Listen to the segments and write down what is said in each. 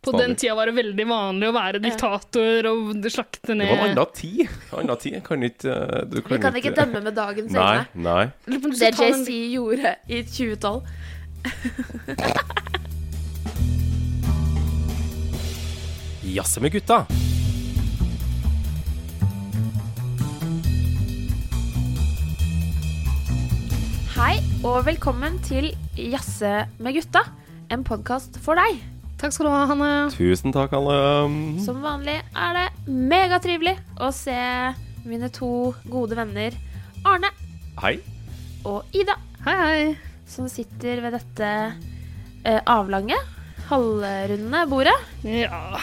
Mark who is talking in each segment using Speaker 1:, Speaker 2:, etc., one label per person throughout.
Speaker 1: På den tida var det veldig vanlig å være diktator og slakte
Speaker 2: Det
Speaker 1: ned
Speaker 2: var en annen tid. En annen tid. Jeg Kan ikke eh, du
Speaker 3: Vi kan ikke dømme med dagens
Speaker 2: Nei,
Speaker 3: øyne.
Speaker 2: nei.
Speaker 1: Lurer på om du
Speaker 3: Det
Speaker 1: skal ta den-
Speaker 3: JC gjorde i 2012.
Speaker 2: Jazze med gutta.
Speaker 3: Hei, og velkommen til Jazze med gutta. En podkast for deg.
Speaker 1: Takk skal du ha, Hanne.
Speaker 2: Tusen takk, alle.
Speaker 3: Som vanlig er det megatrivelig å se mine to gode venner Arne
Speaker 2: Hei.
Speaker 3: og Ida,
Speaker 1: Hei, hei.
Speaker 3: som sitter ved dette eh, avlange, halvrunde bordet.
Speaker 1: Ja.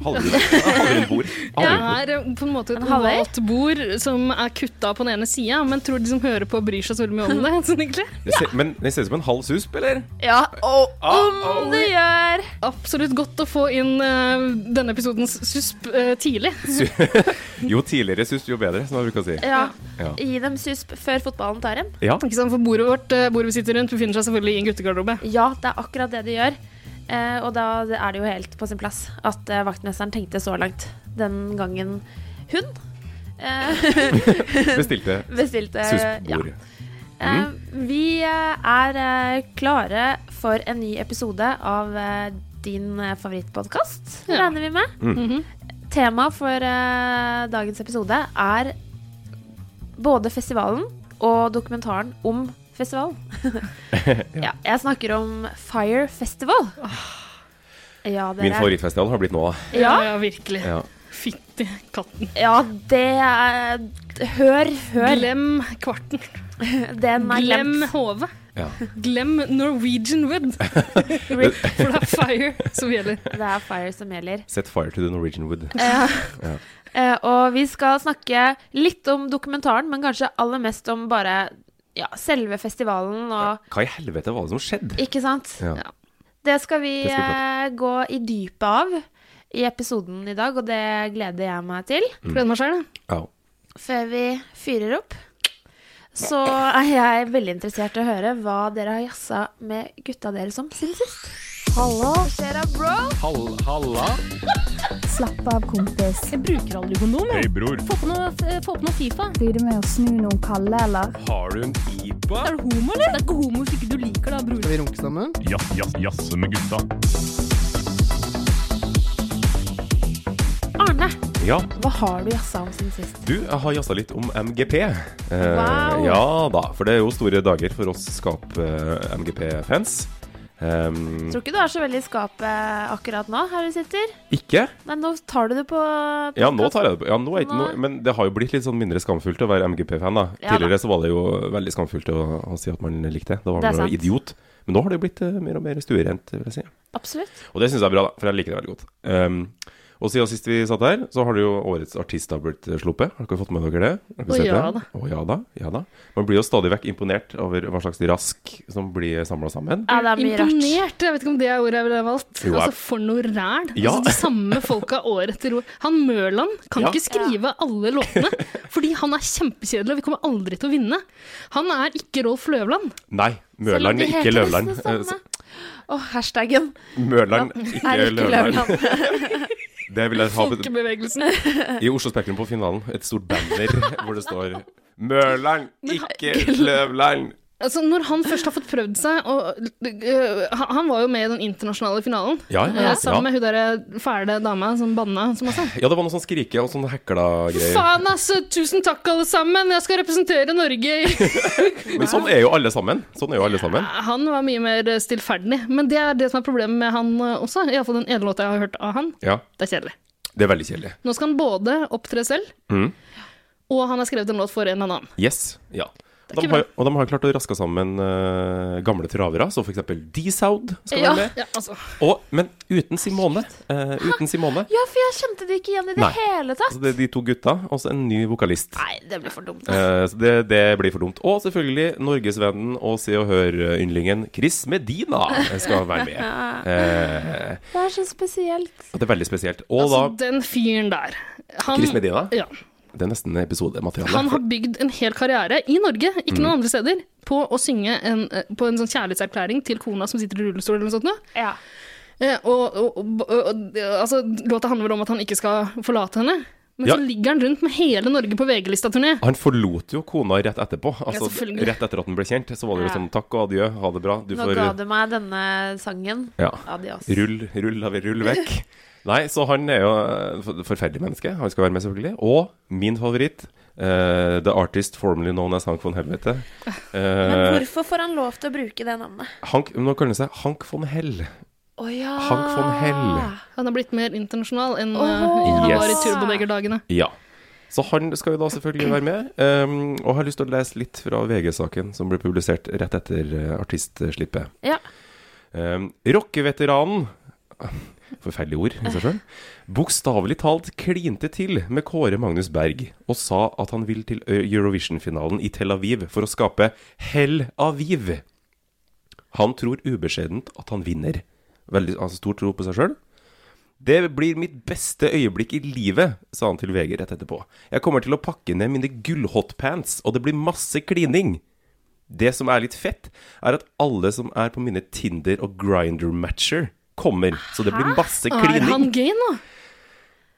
Speaker 2: Halvrund halvrund bord.
Speaker 1: Det
Speaker 2: Halvrund bord.
Speaker 1: er eh, på en måte et
Speaker 3: En halvøy.
Speaker 1: ovalt bord som er kutta på den ene sida, men tror de som hører på, bryr seg så veldig mye om det. Sånn, egentlig.
Speaker 2: Det ser, men det ser ut som en halv susp, eller?
Speaker 3: Ja, og
Speaker 2: Ah,
Speaker 3: om det gjør!
Speaker 1: Absolutt godt å få inn eh, denne episodens susp eh, tidlig.
Speaker 2: Jo tidligere susp, jo bedre, som jeg bruker å si.
Speaker 3: Ja.
Speaker 2: Ja.
Speaker 3: Gi dem susp før fotballen tar dem.
Speaker 2: Ja.
Speaker 1: Ikke sant, for Bordet vårt eh, bordet vi sitter rundt, befinner seg selvfølgelig i en guttegarderobe.
Speaker 3: Ja, det er akkurat det de gjør. Eh, og da er det jo helt på sin plass at eh, vaktmesteren tenkte så langt den gangen hun eh,
Speaker 2: Bestilte
Speaker 3: bestilte ja.
Speaker 2: suspbord.
Speaker 3: Eh, vi eh, er eh, klare for en ny episode av eh, din eh, favorittpodkast,
Speaker 1: Ja. Mhm.
Speaker 3: regner vi med. Temaet for eh, dagens episode er både festivalen og dokumentaren om festivalen. ja, jeg snakker om Fire Festival.
Speaker 1: Ah.
Speaker 3: Ja,
Speaker 2: Min
Speaker 3: dere.
Speaker 2: favorittfestival har blitt nå.
Speaker 3: Ja,
Speaker 1: ja virkelig.
Speaker 2: Ja.
Speaker 1: Fytti katten.
Speaker 3: ja, det er Hør, hør.
Speaker 1: Glem kvarten.
Speaker 3: Den er
Speaker 1: Glem
Speaker 3: glemt.
Speaker 1: hovet.
Speaker 2: Ja.
Speaker 1: Glem Norwegian Wood, for det er fire som gjelder.
Speaker 3: Det er Fire som gjelder.
Speaker 2: Set fire to the Norwegian wood.
Speaker 3: Eh, og vi skal snakke litt om dokumentaren, men kanskje aller mest om bare ja, selve festivalen og
Speaker 2: Hva i helvete var det som skjedde?
Speaker 3: Ikke sant?
Speaker 2: Ja.
Speaker 3: Det skal vi
Speaker 2: Det skal vi
Speaker 3: eh, gå i dypet av i episoden i dag, og det gleder jeg meg til.
Speaker 2: Mm.
Speaker 1: Prøvde meg sjøl, det.
Speaker 2: Ja.
Speaker 3: Før vi fyrer opp, så er jeg veldig interessert i å høre hva dere har jazza med gutta deres om siden sist. Hallo. Hva skjer da, bro?
Speaker 4: Slapp av, kompis.
Speaker 5: Jeg bruker aldri kondom. jeg. Få på noe, f- få på noe Fifa.
Speaker 4: Blir det med å snu noen kalde, eller?
Speaker 6: Har du en pipa?
Speaker 5: Er du homo, eller? Det er ikke homo hvis ikke du liker det, da, bror.
Speaker 7: Skal vi runke sammen?
Speaker 6: Ja, ja, jasse med gutta.
Speaker 3: Arne,
Speaker 2: ja.
Speaker 3: hva har du jazza om siden sist?
Speaker 2: Du, jeg har jazza litt om MGP. Eh,
Speaker 3: Wow.
Speaker 2: Ja da, for det er jo store dager for oss eh, skap-MGP-fans. Um,
Speaker 3: Tror ikke du er så veldig i skapet akkurat nå, her du sitter.
Speaker 2: ikke?
Speaker 3: Nei, nå tar du det på
Speaker 2: Ja, nå tar jeg det på. Ja, nå er ikke, nå,
Speaker 3: Nå-
Speaker 2: men det har jo blitt litt sånn mindre skamfullt å være MGP-fan, da.
Speaker 3: Ja da.
Speaker 2: Tidligere så var det jo veldig skamfullt å, å si at man likte det. Da var
Speaker 3: Det er
Speaker 2: man
Speaker 3: sant.
Speaker 2: jo idiot. Men nå har det jo blitt eh, mer og mer stuerent, vil jeg si.
Speaker 3: Absolutt.
Speaker 2: Og det syns jeg er bra, da, for jeg liker det veldig godt. Um, og siden sist vi satt her, så har det jo årets artist har blitt eh, sluppet. Har dere fått med dere det? Har dere
Speaker 1: Å,
Speaker 2: sett
Speaker 1: ja
Speaker 2: det? Å ja da. Ja da. Man blir jo stadig vekk imponert over hva slags rask som blir samla sammen.
Speaker 3: Ja, det er mye rart.
Speaker 1: Imponert. Jeg vet ikke om det er ordet jeg ville ha valgt.
Speaker 2: Jo, jeg-
Speaker 1: Altså, for noe ræl.
Speaker 2: Ja.
Speaker 1: Altså, de samme folka år etter år. Han Mørland kan
Speaker 2: Ja.
Speaker 1: ikke skrive alle låtene, fordi han er kjempekjedelig, og vi kommer aldri til å vinne. Han er ikke Rolf Løvland.
Speaker 2: Nei, Mørland er ikke Løvland. Eh,
Speaker 3: Å, hashtaggen.
Speaker 2: så- Mørland,
Speaker 3: Er
Speaker 2: ikke
Speaker 3: ikke
Speaker 2: Løvland.
Speaker 3: Løvland.
Speaker 2: Det vil jeg ha bet-
Speaker 1: Folkebevegelsen.
Speaker 2: I Oslo Spektrum på finalen, et stort banner hvor det står Mørland, ikke Løvland.
Speaker 1: Altså, når han først har fått prøvd seg og, øh, Han han var jo med i den internasjonale finalen.
Speaker 2: Ja, ja, ja.
Speaker 1: Eh, Sammen med hun derre fæle dama som banna så masse.
Speaker 2: Ja, det var noe sånn skrike og sånn hekla-greier.
Speaker 1: Faen, altså! Tusen takk, alle sammen! Jeg skal representere Norge! i-
Speaker 2: Men sånn er jo alle sammen. Sånn er jo alle sammen.
Speaker 1: Han var mye mer eh, stillferdig. Men det er det som er problemet med han øh, også. Iallfall den ene låta jeg har hørt av han.
Speaker 2: Ja,
Speaker 1: Det er kjedelig.
Speaker 2: det er veldig kjedelig.
Speaker 1: Nå skal han både opptre selv,
Speaker 2: Mhm.
Speaker 1: og han har skrevet en låt for en annen.
Speaker 2: Yes. Ja. De
Speaker 1: ikke
Speaker 2: har, og de har klart å raske sammen eh, gamle travere, så for eksempel D-Sound skal være med.
Speaker 1: Ja, altså.
Speaker 2: Og, men uten Simone. eh, uten Simone.
Speaker 3: Ja, for jeg kjente det ikke igjen i det
Speaker 2: Nei.
Speaker 3: hele tatt.
Speaker 2: Så det er de to gutta, og så en ny vokalist.
Speaker 3: Nei, det blir for dumt.
Speaker 2: Eh, så det, det blir for dumt. Og selvfølgelig norgesvennen og Se og Hør-yndlingen Chris Medina skal være med. Eh,
Speaker 3: Det er så spesielt.
Speaker 2: og det er veldig spesielt. Og
Speaker 1: altså, den fyren der
Speaker 2: da
Speaker 1: han,
Speaker 2: Chris Medina.
Speaker 1: Ja.
Speaker 2: Det er nesten episodemateriale.
Speaker 1: Han har bygd en hel karriere i Norge, ikke
Speaker 2: Mm.
Speaker 1: noen andre steder, på å synge en, eh, på en sånn kjærlighetserklæring til kona som sitter i rullestol eller noe sånt. nå.
Speaker 3: Ja.
Speaker 1: Eh, og, og, og, og altså, låta handler vel om at han ikke skal forlate henne. Men
Speaker 2: Ja.
Speaker 1: så ligger han rundt med hele Norge på VG-lista-turné.
Speaker 2: Han forlot jo kona rett etterpå. Altså,
Speaker 1: selvfølgelig.
Speaker 2: rett etter at den ble kjent. Så var det jo
Speaker 3: Ja.
Speaker 2: sånn takk og adjø, ha det bra. Du
Speaker 3: Nå
Speaker 2: får
Speaker 3: ga du meg denne sangen.
Speaker 2: ja,
Speaker 3: Adios.
Speaker 2: rull, rull, av- rull vekk. Nei, så han er jo et forferdelig menneske. Han skal være med, selvfølgelig. Og min favoritt, eh, the artist formerly known as Hank von Helvete.
Speaker 3: Ah, Men
Speaker 2: Eh,
Speaker 3: hvorfor får han lov til å bruke det navnet?
Speaker 2: Hank, nå kaller han seg Hank von Hell.
Speaker 3: Å ja!
Speaker 2: Hank von Hell.
Speaker 1: Han har blitt mer internasjonal enn
Speaker 3: Åh.
Speaker 1: eh, han var i
Speaker 2: Yes.
Speaker 1: Turbodeger-dagene.
Speaker 2: Ja. Så han skal jo da selvfølgelig være med. Um, og har lyst til å lese litt fra VG-saken som ble publisert rett etter eh, artistslippet.
Speaker 3: Ja.
Speaker 2: Um, Rockeveteranen Forferdelig ord i seg sjøl. Bokstavelig talt klinte til med Kåre Magnus Berg og sa at han vil til Ø- Eurovision-finalen i Tel Aviv for å skape Hell Aviv. Han tror ubeskjedent at han vinner. Veldig altså, stor tro på seg sjøl. Det blir mitt beste øyeblikk i livet, sa han til VG rett etterpå. Jeg kommer til å pakke ned mine gullhotpants, og det blir masse klining. Det som er litt fett, er at alle som er på mine Tinder- og Grinder-matcher, kommer. Så det blir masse
Speaker 1: Er han
Speaker 2: klining.
Speaker 1: gay nå?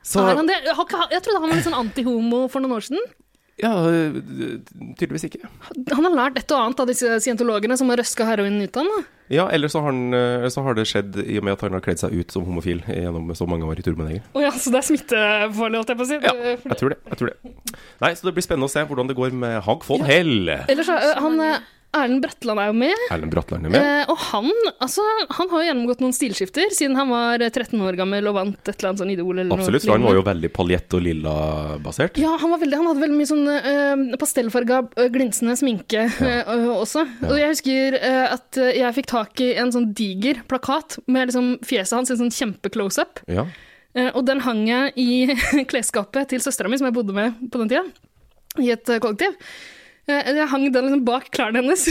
Speaker 2: Så,
Speaker 1: Er han det? Har ikke, jeg trodde han var litt sånn antihomo for noen år siden.
Speaker 2: ja, tydeligvis ikke.
Speaker 1: Han har lært et og annet av disse scientologene som har røska heroinen ut av ham.
Speaker 2: Ja, eller så har, han, eh, så har det skjedd i og med at han har kledd seg ut som homofil gjennom så mange år i Turboneger.
Speaker 1: Å ja, så det er smittefarlig, holdt jeg på å si.
Speaker 2: Ja,
Speaker 1: Det- for-
Speaker 2: jeg tror det. jeg tror det. Nei, så det blir spennende å se hvordan det går med Hag von Hell.
Speaker 1: Ellers er eh, han eh, Erlend Bratland er jo med.
Speaker 2: Erlend Bratland er med.
Speaker 1: Eh, og han, altså, han har jo gjennomgått noen stilskifter siden han var eh, 13 år gammel og vant et eller annet sånn Idol. Eller noe
Speaker 2: Absolutt, for han var
Speaker 1: lignende.
Speaker 2: jo veldig paljett og lilla-basert.
Speaker 1: Ja, han, var veldig, han hadde veldig mye sånn uh, pastellfarga, eh, glinsende sminke eh, eh, også. Og jeg husker eh, at eh, jeg fikk tak i en sånn diger plakat med liksom fjeset hans i en sånn kjempe-close-up.
Speaker 2: Ja.
Speaker 1: Eh, og den hang jeg i klesskapet til søstera mi, som jeg bodde med på den tida, i et eh, kollektiv. Eh, Jeg hang den liksom bak klærne hennes,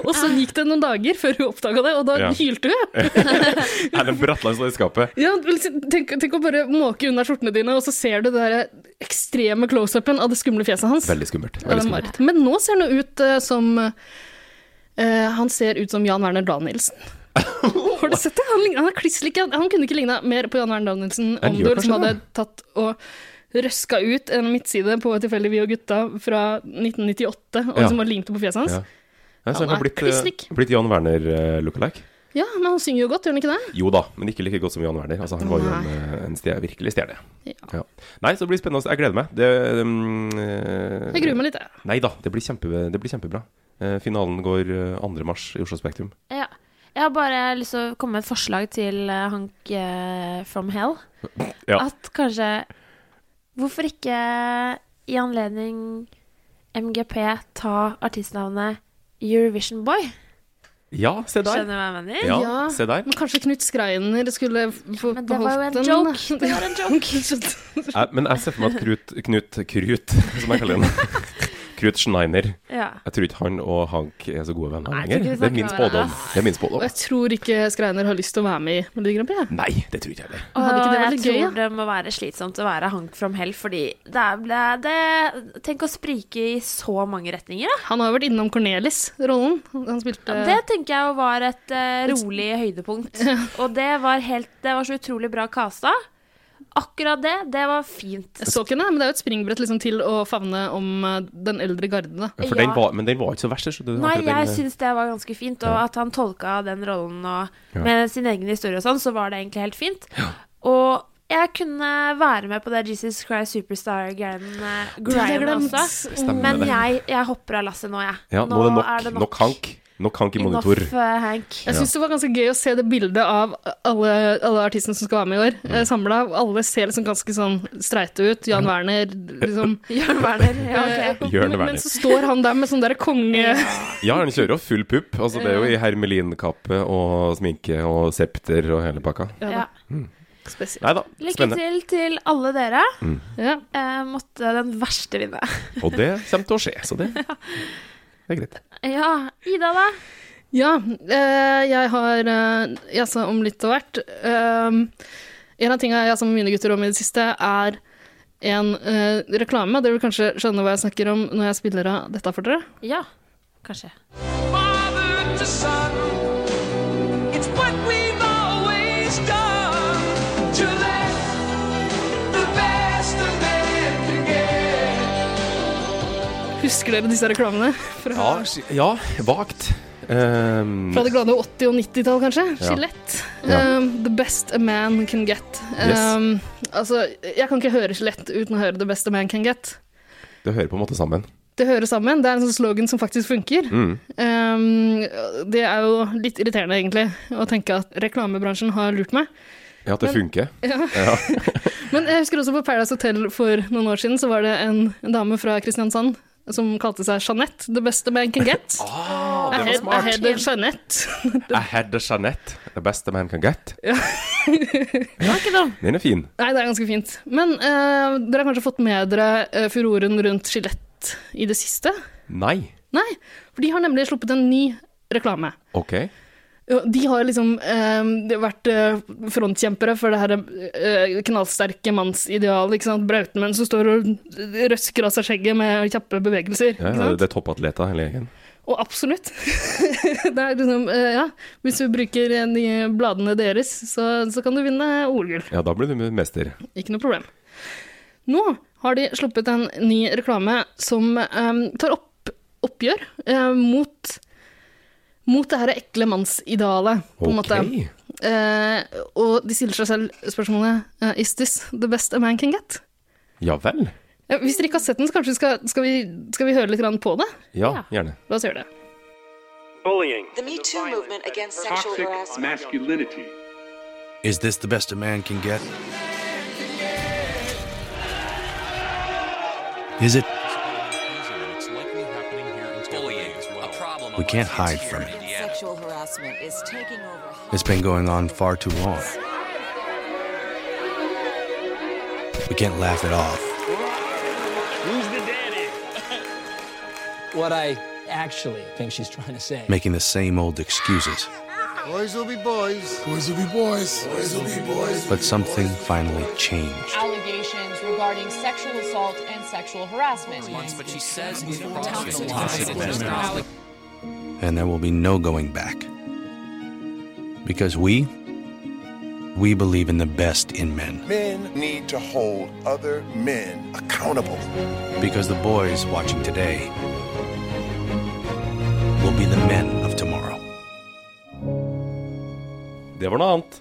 Speaker 1: og så gikk det noen dager før hun oppdaga det, og da
Speaker 2: Ja.
Speaker 1: hylte hun.
Speaker 2: Erlend Bratland står i skapet.
Speaker 1: Ja, liksom, tenk, tenk å bare måke unna skjortene dine, og så ser du det der ekstreme close-upen av det skumle fjeset hans.
Speaker 2: Veldig skummelt.
Speaker 1: Ja, det
Speaker 2: Veldig
Speaker 1: er
Speaker 2: skummelt.
Speaker 1: mareritt. Men nå ser han jo ut eh, som eh, Han ser ut som Jan Werner Danielsen. Har du sett det? Han, lign- han er kliss lik. Han kunne ikke ligna mer på Jan Werner Danielsen
Speaker 2: Han
Speaker 1: om
Speaker 2: gjør
Speaker 1: du liksom
Speaker 2: kanskje
Speaker 1: hadde tatt og røska ut en midtside på tilfeldig Vi og gutta fra 1998, og
Speaker 2: Ja.
Speaker 1: som var limt på fjeset hans.
Speaker 2: Ja.
Speaker 1: Ja.
Speaker 2: Nei, så
Speaker 1: Han
Speaker 2: han har
Speaker 1: er
Speaker 2: blitt,
Speaker 1: kliss
Speaker 2: eh,
Speaker 1: lik.
Speaker 2: blitt Jan Werner eh, lookalike.
Speaker 1: men han synger jo godt, gjør han ikke det?
Speaker 2: Jo da, men ikke like godt som Jan Werner. Altså, han var jo en,
Speaker 1: Nei.
Speaker 2: eh, en stjerne, virkelig stjerne.
Speaker 1: Ja.
Speaker 2: Ja. Nei, så det blir spennende. å se. Jeg gleder meg. Det, um,
Speaker 1: Jeg gruer meg litt, jeg.
Speaker 2: Nei da, det blir, kjempe, det blir kjempebra. Eh, finalen går eh, 2. mars i Oslo Spektrum.
Speaker 3: Ja. Jeg har bare lyst til å komme med et forslag til eh, Hank eh, from Hell.
Speaker 2: Ja.
Speaker 3: At kanskje Hvorfor ikke i anledning MGP ta artistnavnet Eurovision Boy?
Speaker 2: Ja, se der.
Speaker 3: Skjønner du hva jeg mener?
Speaker 2: Ja,
Speaker 1: Ja.
Speaker 2: se der.
Speaker 1: Men kanskje Knut Skreiner skulle f- få
Speaker 3: Men det var
Speaker 1: beholdt
Speaker 3: jo en
Speaker 1: den?
Speaker 3: joke. Det var en
Speaker 1: joke.
Speaker 2: Eh, men jeg ser for meg at Krut Knut Krut, som jeg kaller han. Krut Schneiner
Speaker 3: Ja.
Speaker 2: Jeg tror ikke han og Hank er så gode venner
Speaker 3: Nei, jeg tror
Speaker 2: lenger.
Speaker 3: ikke
Speaker 2: Det
Speaker 3: vi
Speaker 2: er min
Speaker 3: snakker om
Speaker 2: spådom. Det er min spådom.
Speaker 1: Og jeg tror ikke Skreiner har lyst til å være med i Melodi Grand Prix. jeg.
Speaker 2: Nei, det tror ikke jeg heller.
Speaker 1: Hadde ikke det vært
Speaker 3: jeg
Speaker 1: litt
Speaker 3: tror
Speaker 1: gøy? ja?
Speaker 3: det må være slitsomt å være Hank from Hell, fordi det ble det Tenk å sprike i så mange retninger, da.
Speaker 1: Han har jo vært innom Cornelis-rollen. Han spilte
Speaker 3: Det tenker jeg jo var et eh, rolig høydepunkt. Og det var, helt, det var så utrolig bra casta. Akkurat det, det var fint.
Speaker 1: Jeg så ikke det, men det er jo et springbrett liksom, til å favne om eh, den eldre garde. Da.
Speaker 2: For den
Speaker 3: Ja.
Speaker 2: var, men den var ikke så verst. skjønner du.
Speaker 3: Nei,
Speaker 2: Akkurat
Speaker 3: jeg
Speaker 2: den, eh,
Speaker 3: syns det var ganske fint, og at han tolka den rollen og
Speaker 2: Ja.
Speaker 3: med sin egen historie og sånn, så var det egentlig helt fint. Og jeg kunne være med på det Jesus Christ Superstar-greiene også.
Speaker 2: Stemmer
Speaker 3: Men
Speaker 2: det.
Speaker 3: jeg, jeg hopper av lasset nå, jeg.
Speaker 2: ja, nå, er det nok, nok. Hank. Nok Hank i
Speaker 3: Enough,
Speaker 2: monitor.
Speaker 3: eh, Hank.
Speaker 1: Jeg syns det var ganske gøy å se det bildet av alle, alle artistene som skal være med i år, mm. samla. Alle ser liksom ganske sånn streite ut. Jan Werner, liksom.
Speaker 3: Jørn Werner. Ja, ok.
Speaker 1: Eh,
Speaker 2: Jørn
Speaker 1: men-
Speaker 2: Werner.
Speaker 1: Men så står han der med sånn derre konge...
Speaker 2: Ja, han kjører jo full pupp. Altså, det er jo i hermelinkappe og sminke og septer og hele pakka.
Speaker 1: Ja,
Speaker 3: Ja.
Speaker 1: da. Spesielt.
Speaker 2: Nei da,
Speaker 3: Lykke
Speaker 2: spennende.
Speaker 3: til til alle dere.
Speaker 1: Ja.
Speaker 3: Eh, måtte den verste vinne.
Speaker 2: Og det kommer til å skje, så det, det er greit.
Speaker 3: Ja, Ida da?
Speaker 1: Ja, eh, jeg har eh, jazza om litt av hvert. Um, en av tingene jeg jazza med mine gutter om i det siste, er en eh, reklame. Dere vil kanskje skjønne hva jeg snakker om når jeg spiller av dette for dere.
Speaker 3: Ja, kanskje.
Speaker 7: father to son. It's what we've always done.
Speaker 1: Husker dere disse reklamene? Fra,
Speaker 2: Ja, sk- ja vagt. Ehm,
Speaker 1: fra det glade 80- og 90-tall, kanskje?
Speaker 2: Ja.
Speaker 1: Skjelett.
Speaker 2: Ja.
Speaker 1: Um, the best a man can get.
Speaker 2: Yes.
Speaker 1: Um, altså, jeg kan ikke høre skjelett uten å høre the best a man can get.
Speaker 2: det hører på en måte sammen.
Speaker 1: Det hører sammen. Det er en sånn slogan som faktisk funker.
Speaker 2: Mm.
Speaker 1: Um, det er jo litt irriterende, egentlig, å tenke at reklamebransjen har lurt meg.
Speaker 2: Ja, at det
Speaker 1: Men-
Speaker 2: funker.
Speaker 1: Men jeg husker også på Paradise Hotel for noen år siden, så var det en, en dame fra Kristiansand som kalte seg Jeanette. The best a man can get.
Speaker 2: Ah,
Speaker 1: I had, I had a Jeanette.
Speaker 2: I had a Jeanette. The best a man can get.
Speaker 3: Det var ikke dumt.
Speaker 2: Den er fin.
Speaker 1: Nei, det er ganske fint. Men eh, dere har kanskje fått med dere eh, furoren rundt Skjelett i det siste?
Speaker 2: Nei.
Speaker 1: Nei, for de har nemlig sluppet en ny reklame.
Speaker 2: Ok.
Speaker 1: Ja, De har liksom eh, de har vært eh, frontkjempere for det her eh, knallsterke mannsidealet. ikke sant? Brautemenn som står og røsker av seg skjegget med kjappe bevegelser.
Speaker 2: Ja,
Speaker 1: ikke
Speaker 2: ja,
Speaker 1: sant?
Speaker 2: det er toppatleter hele gjengen.
Speaker 1: Og absolutt. det er liksom, eh, ja, Hvis du bruker de bladene deres, så, så kan du vinne OL-gull.
Speaker 2: Ja, da blir du mester.
Speaker 1: Ikke noe problem. Nå har de sluppet en ny reklame som eh, tar opp oppgjør eh, mot, mot det her ekle mannsidealet, på en måte.
Speaker 2: Ok.
Speaker 1: Eh, og de stiller seg selv spørsmålet eh, Is this the best a man can get?
Speaker 2: Ja vel.
Speaker 1: Eh, hvis dere ikke har sett den, så kanskje vi skal, skal, vi, skal vi høre litt grann på det?
Speaker 2: Ja, gjerne.
Speaker 1: La oss gjøre det.
Speaker 7: bullying,
Speaker 8: The Me Too movement against sexual
Speaker 6: toxic
Speaker 8: harassment.
Speaker 6: masculinity,
Speaker 9: Is this the best a man can get? Is it? We can't hide from it.
Speaker 8: Sexual harassment is taking over.
Speaker 9: It's been going on far too long. We can't laugh it off.
Speaker 10: what I actually think she's trying to say.
Speaker 9: Making the same old excuses.
Speaker 10: Boys will be boys. Boys will be boys. Boys will be boys.
Speaker 9: But something finally changed.
Speaker 8: Allegations regarding sexual assault and sexual harassment. but she says
Speaker 9: And there will be no going back. Because we, we believe in the best in men.
Speaker 10: Men need to hold other men accountable.
Speaker 9: Because the boys watching today will be the men of tomorrow.
Speaker 2: Det var noe annet.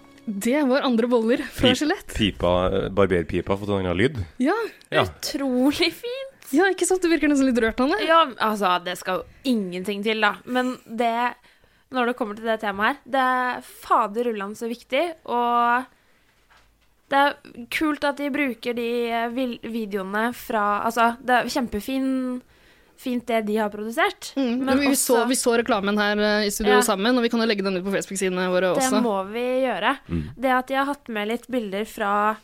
Speaker 1: Det var andre boller fra
Speaker 2: Pip-
Speaker 1: Skjelett.
Speaker 2: Pipa, eh, barberpipa har fått en annen lyd.
Speaker 1: Ja.
Speaker 2: Ja.
Speaker 3: Utrolig fint.
Speaker 1: ja, ikke sant? Du virker nesten litt rørt, Anne.
Speaker 3: Ja, altså, det skal jo ingenting til, da. Men det Når det kommer til det temaet her, det er fader ulland så viktig, og det er kult at de bruker de eh, vil- videoene fra Altså, det er kjempefint fint det de har produsert,
Speaker 1: Mm, vi, vi, så, vi så reklamen her eh, i studio
Speaker 3: Ja.
Speaker 1: sammen, og vi kan jo legge den ut på Facebook-sidene våre
Speaker 3: Det
Speaker 1: også. Mm.
Speaker 3: må vi gjøre. Det at de har hatt med litt bilder fra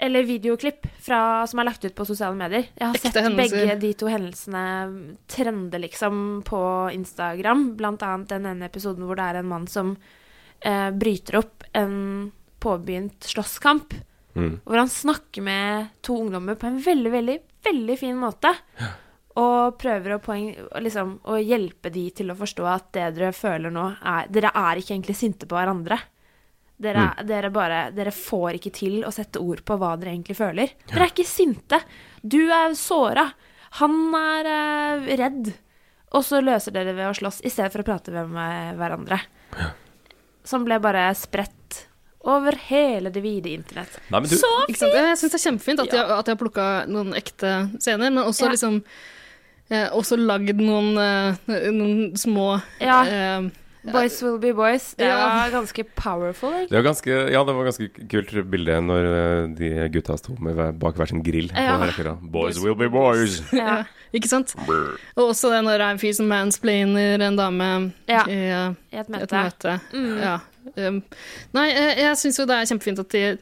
Speaker 3: Eller videoklipp fra, som er lagt ut på sosiale medier. Jeg har
Speaker 1: Ekte
Speaker 3: sett
Speaker 1: hendelser.
Speaker 3: begge de to hendelsene trende liksom på Instagram. Blant annet den ene episoden hvor det er en mann som eh, bryter opp en påbegynt slåsskamp. Hvor han snakker med to ungdommer på en veldig, veldig, veldig fin måte. Og prøver å, poeng, å liksom, å hjelpe de til å forstå at det dere føler nå, er Dere er ikke egentlig sinte på hverandre. Dere,
Speaker 2: Mm.
Speaker 3: er- dere, bare, dere får ikke til å sette ord på hva dere egentlig føler. Dere er ikke sinte. Du er såra. Han er eh, redd. Og så løser dere ved å slåss i stedet for å prate med med hverandre. Som ble bare spredt over hele det vide internett.
Speaker 2: Nei, men du,
Speaker 3: Så
Speaker 1: Ikke sant? Jeg syns det er kjempefint at de, har- at de har plukka noen ekte scener, men også
Speaker 3: Ja.
Speaker 1: liksom eh, også lagd noen, eh, noen små
Speaker 3: Ja.
Speaker 1: eh,
Speaker 3: Boys will be boys. Det
Speaker 1: Ja.
Speaker 3: var ganske powerful. Egentlig.
Speaker 2: det var ganske, ja, det var ganske kult bilde når eh, de gutta sto med hver- bak hver sin grill. på
Speaker 3: Ja.
Speaker 2: den rekla. Boys will be boys.
Speaker 3: Ja.
Speaker 1: Ikke sant? Og også det når det er en fyr som mansplainer en dame
Speaker 3: Ja.
Speaker 1: i eh,
Speaker 3: I
Speaker 1: et
Speaker 3: et møte. Mm.
Speaker 1: møte. Ja. Um, nei, eh, jeg syns jo det er kjempefint at de,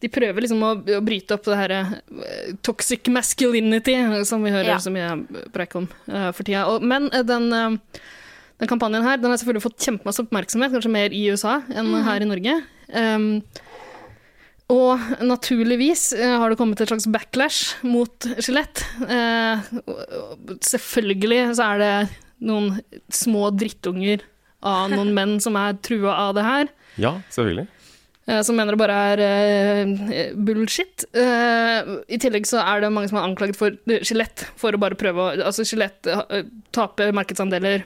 Speaker 1: de prøver liksom å, å bryte opp det her eh, toxic masculinity som vi hører
Speaker 3: Ja.
Speaker 1: så mye preik om eh, for tida. Og, men eh, den, eh, den kampanjen her den har selvfølgelig fått kjempemasse oppmerksomhet, kanskje mer i USA enn her i Norge. Um, og naturligvis eh, har det kommet et slags backlash mot skjelett. Eh, og- og selvfølgelig så er det noen små drittunger av noen menn som er trua av det her.
Speaker 2: Ja, selvfølgelig.
Speaker 1: eh, som mener det bare er eh, bullshit. Eh, I tillegg så er det mange som er anklaget for eh, Skjelett, for å bare prøve å Altså, Skjelett eh, taper markedsandeler.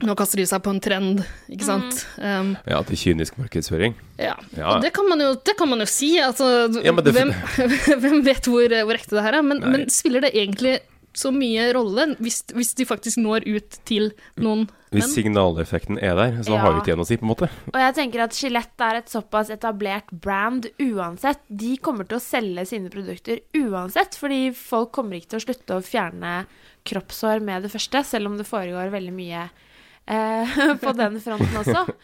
Speaker 1: Nå kaster de seg på en trend, ikke sant.
Speaker 3: Mhm.
Speaker 1: Um,
Speaker 2: Ja, til kynisk markedsføring.
Speaker 1: ja.
Speaker 2: Ja.
Speaker 1: Og det kan man jo, det kan man jo si. Altså,
Speaker 2: Ja, men det-
Speaker 1: hvem, hvem vet hvor, eh, hvor ekte det her er? Men,
Speaker 2: Nei.
Speaker 1: men spiller det egentlig så mye rolle hvis, hvis de faktisk når ut til noen
Speaker 2: Hvis
Speaker 1: menn?
Speaker 2: signaleffekten er der, så
Speaker 3: Ja.
Speaker 2: har vi ikke igjen å si, på en måte.
Speaker 3: Og jeg tenker at Skjelett er et såpass etablert brand uansett. De kommer til å selge sine produkter uansett, fordi folk kommer ikke til å slutte å fjerne kroppshår med det første, selv om det foregår veldig mye eh, på den fronten også.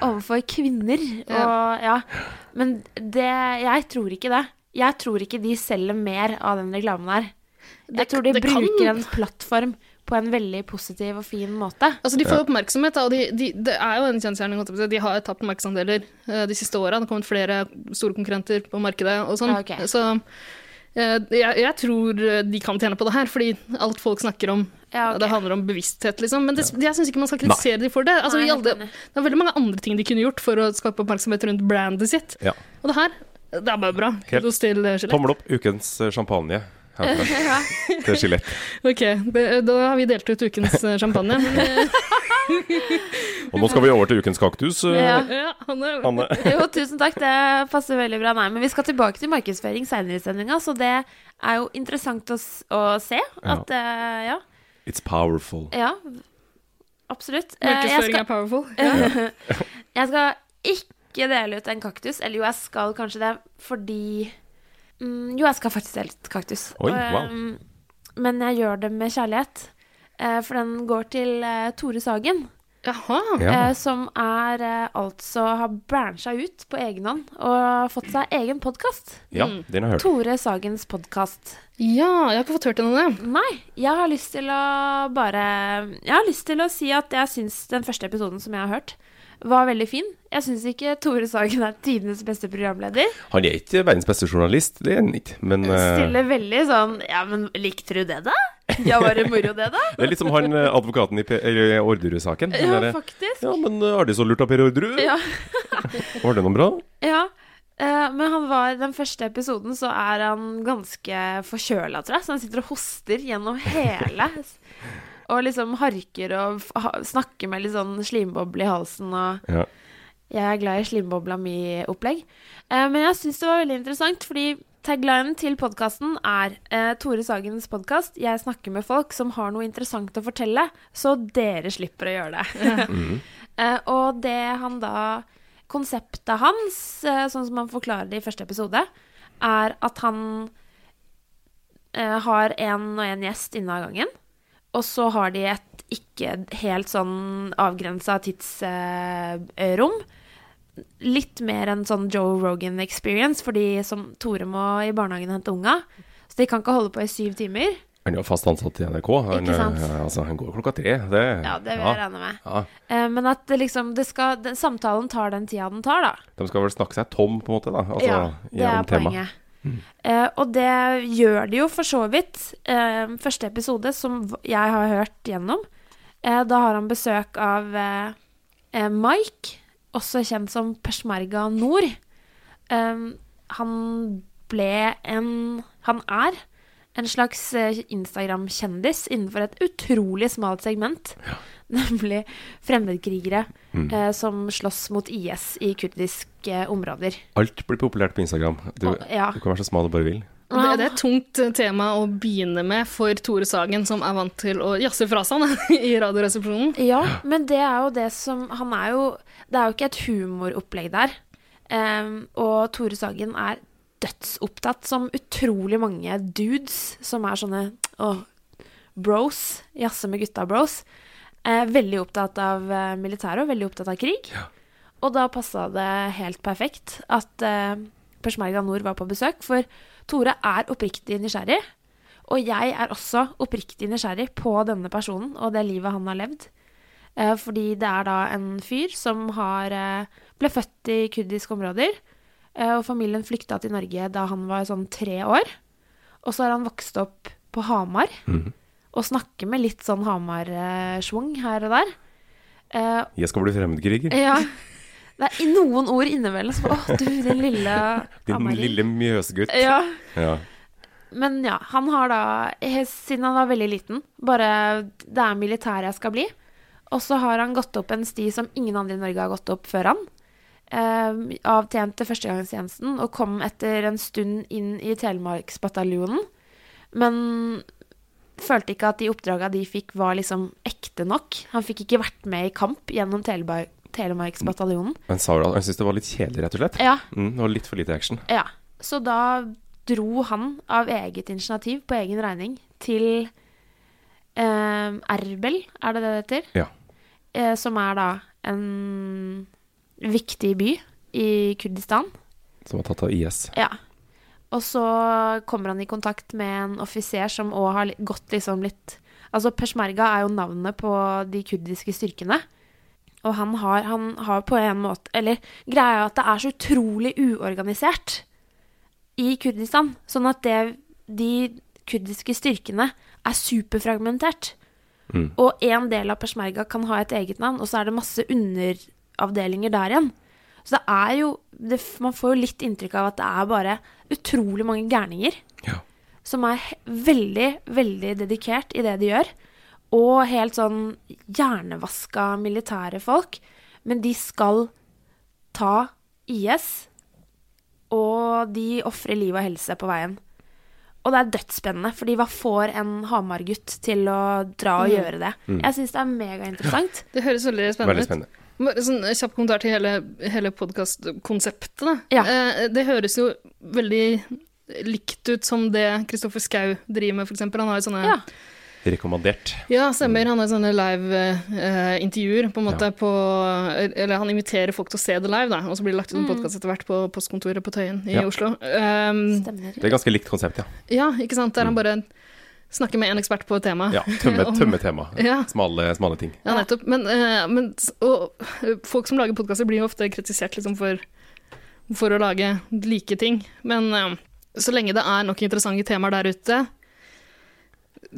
Speaker 3: Overfor kvinner og ja. Men det Jeg tror ikke det. Jeg tror ikke de selger mer av den reklamen der.
Speaker 1: Det-
Speaker 3: Jeg tror de
Speaker 1: det kan-
Speaker 3: bruker en plattform på en veldig positiv og fin måte.
Speaker 1: Altså, de får oppmerksomhet, da, og de, de, det er jo en kjensgjerning. holdt jeg på å si. De har tapt markedsandeler eh, de siste åra. Det har kommet flere store konkurrenter på markedet og sånn.
Speaker 3: Ja, ok.
Speaker 1: Så eh, jeg, jeg tror eh, de kan tjene på det her, fordi alt folk snakker om
Speaker 3: Ja, ok.
Speaker 1: Det handler om bevissthet, liksom. Men det, jeg syns ikke man skal kritisere dem for det. Altså,
Speaker 3: Nei,
Speaker 1: i
Speaker 3: jeg er
Speaker 1: alle,
Speaker 3: helt enig.
Speaker 1: det er veldig mange andre ting de kunne gjort for å skape oppmerksomhet rundt brandet sitt.
Speaker 2: Ja.
Speaker 1: Og det her, det er bare bra.
Speaker 2: Helt.
Speaker 1: Kudos til eh, Skjelett.
Speaker 2: Tommel opp ukens eh, champagne. Herfra. Til Skjelett.
Speaker 1: Ok, det, da har vi delt ut ukens eh, champagne. Men,
Speaker 2: Og nå skal vi over til ukens kaktus. eh,
Speaker 3: Ja.
Speaker 1: eh, ja, Hanne,
Speaker 2: Hanne.
Speaker 3: Jo, tusen takk. Det passer veldig bra. Nei, men vi skal tilbake til markedsføring seinere i sendinga, så det er jo interessant å, s å se at eh, ja.
Speaker 2: It's powerful.
Speaker 3: ja. Absolutt. Eh, jeg,
Speaker 1: markedsføring
Speaker 3: skal,
Speaker 1: er powerful.
Speaker 3: jeg skal ikke dele ut en kaktus. Eller jo, jeg skal kanskje det, fordi mm, Jo, jeg skal faktisk dele ut kaktus.
Speaker 2: Oi,
Speaker 3: Og, eh,
Speaker 2: wow.
Speaker 3: mm, Men jeg gjør det med kjærlighet. eh, For den går til eh, Tore Sagen.
Speaker 1: Jaha.
Speaker 2: Ja.
Speaker 3: eh, som er eh, altså har brancha ut på egen hånd og fått seg egen podkast.
Speaker 2: ja, den har jeg hørt.
Speaker 3: Tore Sagens podkast.
Speaker 1: Ja, jeg har ikke fått hørt henne det.
Speaker 3: Nei, jeg har lyst til å bare Jeg har lyst til å si at jeg syns den første episoden som jeg har hørt, var veldig fin. Jeg syns ikke Tore Sagen er tidenes beste programleder.
Speaker 2: Han er ikke verdens beste journalist, det er han ikke, men eh,
Speaker 3: Stiller veldig sånn Ja, men likte du det, da? Ja, var det moro, det, da?
Speaker 2: det er litt som han eh, advokaten i P- eller i Orderud-saken. Den
Speaker 3: Ja,
Speaker 2: derre,
Speaker 3: faktisk.
Speaker 2: ja, men eh, er det så lurt av Per Orderud?
Speaker 3: Ja.
Speaker 2: Var det noe bra?
Speaker 3: Ja, eh, men han var den første episoden så er han ganske forkjøla, tror jeg. Så han sitter og hoster gjennom hele. og liksom harker og f- ha, snakker med litt sånn slimboble i halsen og
Speaker 2: Ja.
Speaker 3: Jeg er glad i slimbobla mi-opplegg. Eh, men jeg syns det var veldig interessant, fordi taglinen til podkasten er eh, Tore Sagens podkast 'Jeg snakker med folk som har noe interessant å fortelle', så dere slipper å gjøre det. Eh, og det han da Konseptet hans, eh, sånn som han forklarer det i første episode, er at han eh, har en og en gjest inne av gangen. Og så har de et ikke helt sånn avgrensa tidsrom. Eh, rom. Litt mer en sånn Joe Rogan experience, fordi som Tore må i barnehagen hente unga. Så de kan ikke holde på i syv timer.
Speaker 2: Han er jo fast ansatt i NRK. Han,
Speaker 3: Ikke sant?
Speaker 2: eh, altså, han går klokka tre. Det,
Speaker 3: Ja, det vil jeg
Speaker 2: ja.
Speaker 3: regne med.
Speaker 2: Ja.
Speaker 3: Eh, men at det liksom det skal, den, Samtalen tar den tida den tar, da.
Speaker 2: De skal vel snakke seg tom, på en måte, da. Altså,
Speaker 3: det
Speaker 2: gjennom
Speaker 3: er
Speaker 2: temaet.
Speaker 3: poenget. Eh, og det gjør de jo for så vidt. Eh, første episode, som v- jeg har hørt gjennom, eh, da har han besøk av eh, eh, Mike, også kjent som Peshmerga Nord. Eh, han ble en Han er en slags eh, Instagram-kjendis innenfor et utrolig smalt segment. Nemlig fremmedkrigere eh, som slåss mot IS i kurdiske områder.
Speaker 2: Alt blir populært på Instagram. Du,
Speaker 3: Å, ja.
Speaker 2: du kan være så smal du bare vil.
Speaker 1: Og Det, det er et tungt eh, tema å begynne med for Tore Sagen, som er vant til å jazze fra seg da, i Radioresepsjonen.
Speaker 3: Ja, men det er jo det som Han er jo Det er jo ikke et humoropplegg der. Ehm, og Tore Sagen er dødsopptatt som utrolig mange dudes som er sånne åh, bros. Jazze med gutta-bros. Eh, veldig opptatt av eh, militæret og veldig opptatt av krig. Og da passa det helt perfekt at eh, Peshmerga Nord var på besøk, for Tore er oppriktig nysgjerrig. Og jeg er også oppriktig nysgjerrig på denne personen og det livet han har levd. Eh, fordi det er da en fyr som har, eh, ble født i kurdiske områder. Eh, og familien flykta til Norge da han var sånn tre år. Og så har han vokst opp på Hamar.
Speaker 2: Mhm.
Speaker 3: Og snakker med litt sånn Hamar-schwung her og der. Eh,
Speaker 2: Jeg skal bli fremmedkriger.
Speaker 3: ja. Det er i noen ord innimellom som Å, du, den lille
Speaker 2: Din
Speaker 3: Amari.
Speaker 2: lille mjøsgutt.
Speaker 3: Ja.
Speaker 2: Ja.
Speaker 3: Men ja, han har da, he- siden han var veldig liten, bare det er militær jeg skal bli. Og så har han gått opp en sti som ingen andre i Norge har gått opp før han. Eh, avtjente førstegangstjenesten og kom etter en stund inn i Telemarksbataljonen. Men følte ikke at de oppdraga de fikk var liksom ekte nok. Han fikk ikke vært med i kamp gjennom Telebar Telemarksbataljonen.
Speaker 2: Men sa du at han syntes det var litt kjedelig, rett og slett?
Speaker 3: Ja,
Speaker 2: Mm, det var litt for lite action.
Speaker 3: ja. Så da dro han av eget initiativ, på egen regning, til eh, Erbel, er det det det heter?
Speaker 2: Ja.
Speaker 3: Eh, som er da en viktig by i Kurdistan.
Speaker 2: Som var tatt av IS.
Speaker 3: Ja. Og så kommer han i kontakt med en offiser som òg har li- gått liksom litt Altså peshmerga er jo navnet på de kurdiske styrkene. Og han har, han har på en måte Eller greia er at det er så utrolig uorganisert i Kurdistan. Sånn at det, de kurdiske styrkene er superfragmentert.
Speaker 2: Mm.
Speaker 3: Og én del av peshmerga kan ha et eget navn, og så er det masse underavdelinger der igjen. Så det er jo det, Man får jo litt inntrykk av at det er bare utrolig mange gærninger
Speaker 2: Ja.
Speaker 3: som er he- veldig, veldig dedikert i det de gjør. Og helt sånn hjernevaska militære folk. Men de skal ta IS, og de ofrer liv og helse på veien. Og det er dødsspennende, fordi hva får en Hamar-gutt til å dra og gjøre det? Jeg syns det er megainteressant.
Speaker 1: Det høres veldig spennende
Speaker 2: Veldig
Speaker 1: ut.
Speaker 2: spennende.
Speaker 1: Bare sånn eh, kjapp kommentar til hele, hele podkastkonseptet. da.
Speaker 3: Ja.
Speaker 1: Eh, det høres jo veldig likt ut som det Kristoffer Schau driver med, f.eks. Han har jo sånne
Speaker 3: Ja.
Speaker 2: Rekommandert.
Speaker 1: Ja, stemmer. Han har sånne live-intervjuer, på en måte,
Speaker 2: Ja.
Speaker 1: på eh, Eller han inviterer folk til å se det live, da, og så blir det lagt ut
Speaker 3: Mm.
Speaker 1: en podkast etter hvert på postkontoret på Tøyen i
Speaker 2: Ja.
Speaker 1: Oslo. Um,
Speaker 3: Stemmer.
Speaker 2: Det er ganske likt konsept, ja.
Speaker 1: ja, ikke sant. Der han bare snakker med en ekspert på et tema.
Speaker 2: Mm. ja tømme,
Speaker 1: Om-
Speaker 2: tømme tema.
Speaker 1: Ja.
Speaker 2: Smale, smale ting.
Speaker 1: Ja, nettopp. Men, eh, men s- og, eh, folk som lager podkaster, blir jo ofte kritisert liksom, for, for å lage like ting. Men eh, så lenge det er nok interessante temaer der ute,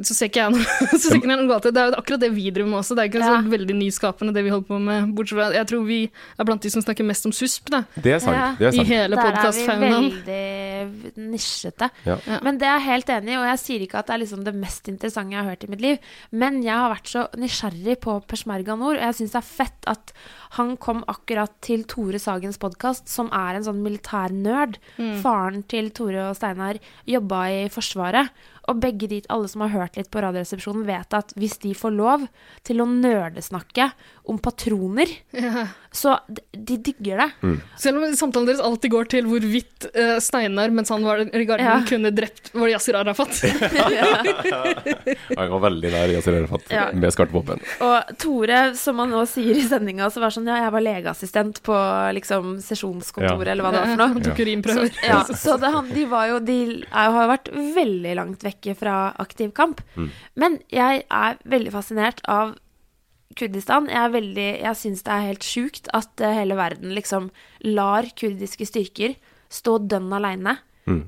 Speaker 1: så ser ikke jeg noe, så ser ikke jeg noe galt i det. Det er jo akkurat det vi driver med også. Det er ikke
Speaker 3: Ja.
Speaker 1: så veldig nyskapende, det vi holder på med. Bortsett fra Jeg tror vi er blant de som snakker mest om susp, da.
Speaker 2: Det er
Speaker 3: Ja.
Speaker 2: sant. Det er
Speaker 1: I
Speaker 2: sant.
Speaker 1: hele podkastfaunaen.
Speaker 3: Der er vi veldig nisjete.
Speaker 2: Ja.
Speaker 1: Ja.
Speaker 3: Men det er jeg helt enig i, og jeg sier ikke at det er liksom det mest interessante jeg har hørt i mitt liv, men jeg har vært så nysgjerrig på Peshmerga Nord, og jeg syns det er fett at han kom akkurat til Tore Sagens podkast, som er en sånn militær nerd.
Speaker 1: Mm.
Speaker 3: Faren til Tore og Steinar jobba i Forsvaret, og begge de, alle som har hørt litt på Radioresepsjonen, vet at hvis de får lov til å nerdesnakke om patroner,
Speaker 1: Ja.
Speaker 3: så de, de digger det.
Speaker 1: Selv om samtalen deres alltid går til hvorvidt eh, Steinar, mens han var i garden,
Speaker 3: Ja.
Speaker 1: kunne drept Var det Yasir Arafat?
Speaker 2: Ja, Jeg var veldig der i Yasir Arafat,
Speaker 3: Ja.
Speaker 2: med skarpt våpen.
Speaker 3: Og Tore, som han nå sier i sendinga, så var sånn Ja, jeg var legeassistent på liksom sesjonskontoret,
Speaker 2: Ja.
Speaker 3: eller hva det var for noe.
Speaker 1: Han tok urinprøver.
Speaker 3: Ja, så det, han, de var jo De er, har vært veldig langt vekke fra aktiv kamp. Men jeg er veldig fascinert av Kurdistan. Jeg, er veldig, jeg syns det er helt sjukt at eh, hele verden liksom lar kurdiske styrker stå dønn aleine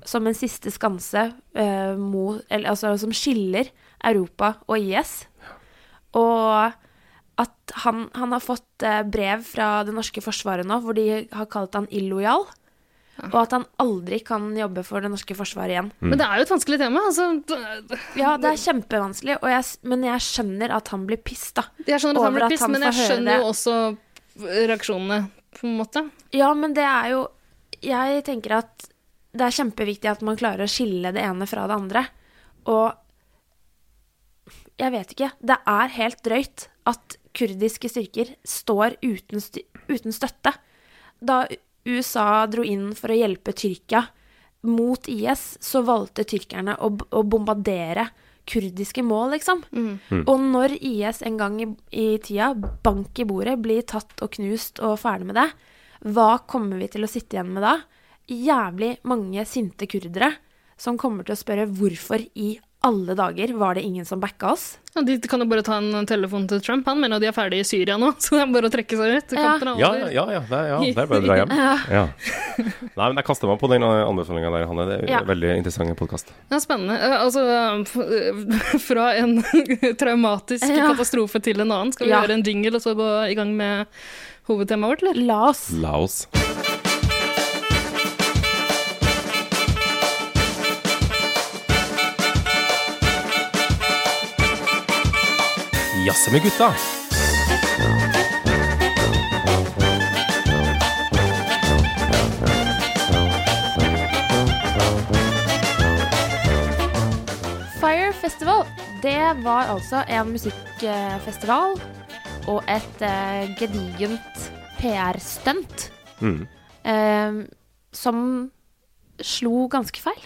Speaker 3: som en siste skanse eh, mot eller, Altså som skiller Europa og IS. Og at han, han har fått eh, brev fra det norske forsvaret nå hvor de har kalt han illojal. Og at han aldri kan jobbe for det norske forsvaret igjen.
Speaker 1: Men det er jo et vanskelig tema. Altså, d-
Speaker 3: Ja, det er kjempevanskelig, og jeg, s- men jeg skjønner at han blir piss, da.
Speaker 1: jeg skjønner at han
Speaker 3: Over
Speaker 1: blir
Speaker 3: at
Speaker 1: piss,
Speaker 3: han
Speaker 1: men jeg
Speaker 3: får høre
Speaker 1: skjønner jo
Speaker 3: det.
Speaker 1: også eh, reaksjonene, på en måte.
Speaker 3: Ja, men det er jo Jeg tenker at det er kjempeviktig at man klarer å skille det ene fra det andre. Og jeg vet ikke. Det er helt drøyt at kurdiske styrker står uten, sty uten støtte. Da USA dro inn for å hjelpe Tyrkia mot IS, så valgte tyrkerne å, b- å bombardere kurdiske mål, liksom. Og når IS en gang i, i tida, bank i bordet, blir tatt og knust og ferdig med det, hva kommer vi til å sitte igjen med da? Jævlig mange sinte kurdere som kommer til å spørre hvorfor i alle dager var det ingen som backa oss?
Speaker 1: Ja, de kan jo bare ta en telefon til Trump. Han mener jo de er ferdige i Syria nå, så det er bare å trekke seg ut.
Speaker 3: Ja.
Speaker 1: Kampen er
Speaker 2: Ja,
Speaker 1: over.
Speaker 2: ja, ja. Det, er- ja, det er bare å dra hjem. Ja. Nei, men jeg kaster meg på den anbefalinga der, Hanne. Det er
Speaker 3: Ja.
Speaker 2: en veldig interessant podkast.
Speaker 1: Ja, spennende. Eh, Altså, f- fra en traumatisk
Speaker 3: Ja.
Speaker 1: katastrofe til en annen. Skal vi
Speaker 3: Ja.
Speaker 1: gjøre en jingle og så gå i gang med hovedtemaet vårt, eller?
Speaker 3: La oss.
Speaker 2: La oss. Jazze med gutta.
Speaker 3: Fire Festival, det var altså en musikkfestival og et eh, gedigent PR-stunt
Speaker 2: Mm.
Speaker 3: eh, som slo ganske feil.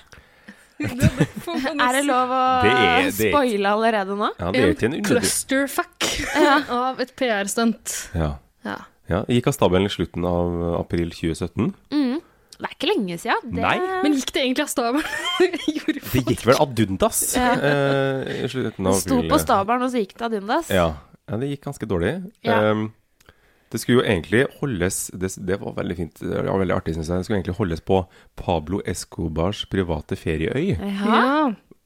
Speaker 3: Er det lov å
Speaker 2: Det er- det er-
Speaker 3: spoile allerede nå?
Speaker 2: Ja, det er jo ikke en underdriv...
Speaker 1: clusterfuck av et PR-stunt.
Speaker 2: Ja.
Speaker 1: Ja.
Speaker 2: ja. Gikk av stabelen i slutten av april 2017.
Speaker 3: Mm. Det er ikke lenge sia. Det,
Speaker 2: Nei.
Speaker 1: Men gikk det egentlig av stabelen? Gjorde
Speaker 2: Det gikk vel ad undas
Speaker 3: Ja.
Speaker 2: eh, i slutten av
Speaker 3: sto
Speaker 2: april.
Speaker 3: på stabelen, og så gikk det ad undas.
Speaker 2: Ja. ja, det gikk ganske dårlig.
Speaker 3: Ja.
Speaker 2: Ehm, det skulle jo egentlig holdes Det, det var veldig fint, det var veldig artig, syns jeg. Det skulle egentlig holdes på Pablo Escobars private ferieøy
Speaker 3: Jaha.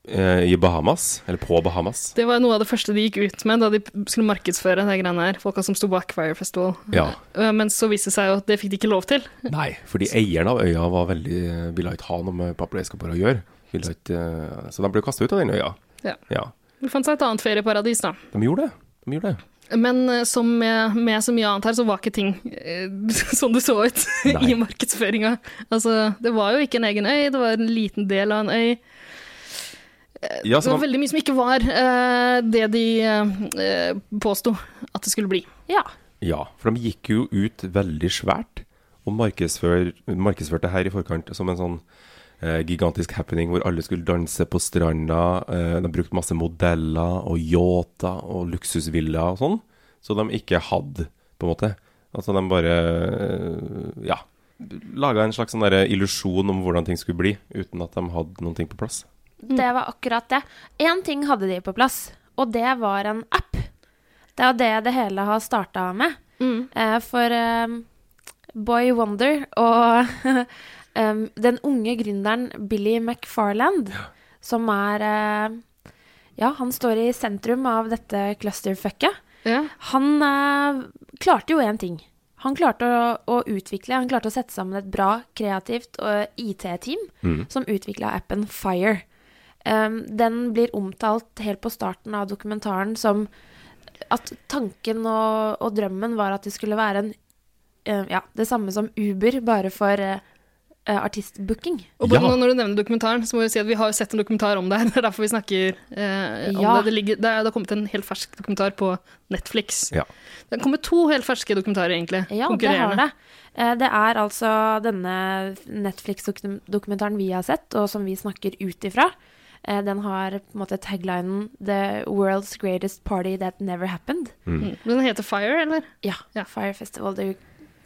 Speaker 1: Ja,
Speaker 2: eh, i Bahamas. Eller på Bahamas.
Speaker 1: det var noe av det første de gikk ut med da de skulle markedsføre det greiene her, folka som sto bak Fire Festival.
Speaker 2: Ja,
Speaker 1: Eh, Men så viste det seg jo at det fikk de ikke lov til.
Speaker 2: Nei, fordi eieren av øya var veldig, ville ikke ha noe med Pablo Escobar å gjøre. Ville ikke, eh, så de ble kasta ut av den øya.
Speaker 1: Ja.
Speaker 2: ja.
Speaker 1: Det fant seg et annet ferieparadis, da.
Speaker 2: De gjorde det. De gjorde det.
Speaker 1: Men eh, som med, med så mye annet her, så var ikke ting eh, sånn det så ut
Speaker 2: Nei.
Speaker 1: i markedsføringa. Altså, det var jo ikke en egen øy, det var en liten del av en øy.
Speaker 2: Ja,
Speaker 1: Eh, Det
Speaker 2: så
Speaker 1: var
Speaker 2: de,
Speaker 1: veldig mye som ikke var eh, det de uh, påsto at det skulle bli.
Speaker 3: Ja.
Speaker 2: ja, for de gikk jo ut veldig svært og markedsfør, markedsførte her i forkant som en sånn eh, gigantisk happening hvor alle skulle danse på stranda. Eh, de brukte masse modeller og yachter og luksusvillaer og sånn, så de ikke hadde, på en måte. Altså de bare eh, ja, laga en slags sånn derre illusjon om hvordan ting skulle bli, uten at de hadde noen ting på plass.
Speaker 3: Det var akkurat det. Én ting hadde de på plass, og det var en app. Det er jo det det hele har starta med. Eh, for eh, Boy Wonder og em, den unge gründeren Billy McFarland, som er eh, Ja, han står i sentrum av dette clusterfucket.
Speaker 1: Ja.
Speaker 3: Han eh, klarte jo én ting. Han klarte å, å utvikle, han klarte å sette sammen et bra, kreativt eh, IT-team som utvikla appen Fire. Em, den blir omtalt helt på starten av dokumentaren som at tanken og, og drømmen var at det skulle være en eh, Ja, det samme som Uber, bare for eh, eh, artistbooking.
Speaker 1: Og bare
Speaker 2: Ja.
Speaker 1: nå når du nevner dokumentaren, så må vi si at vi har jo sett en dokumentar om det her. Det er derfor vi snakker eh, om
Speaker 3: Ja.
Speaker 1: det. Det, ligger, det, er, det har kommet en helt fersk dokumentar på Netflix.
Speaker 2: Ja.
Speaker 1: Det kommer to helt ferske dokumentarer, egentlig.
Speaker 3: Ja, det har det. Eh, Det er altså denne Netflix-dokumentaren vi har sett, og som vi snakker ut ifra. Eh, Den har på en måte taglinen 'The world's greatest party that never happened'.
Speaker 1: Mm. Den heter Fire, eller?
Speaker 3: Ja.
Speaker 1: Ja.
Speaker 3: Fire Festival, the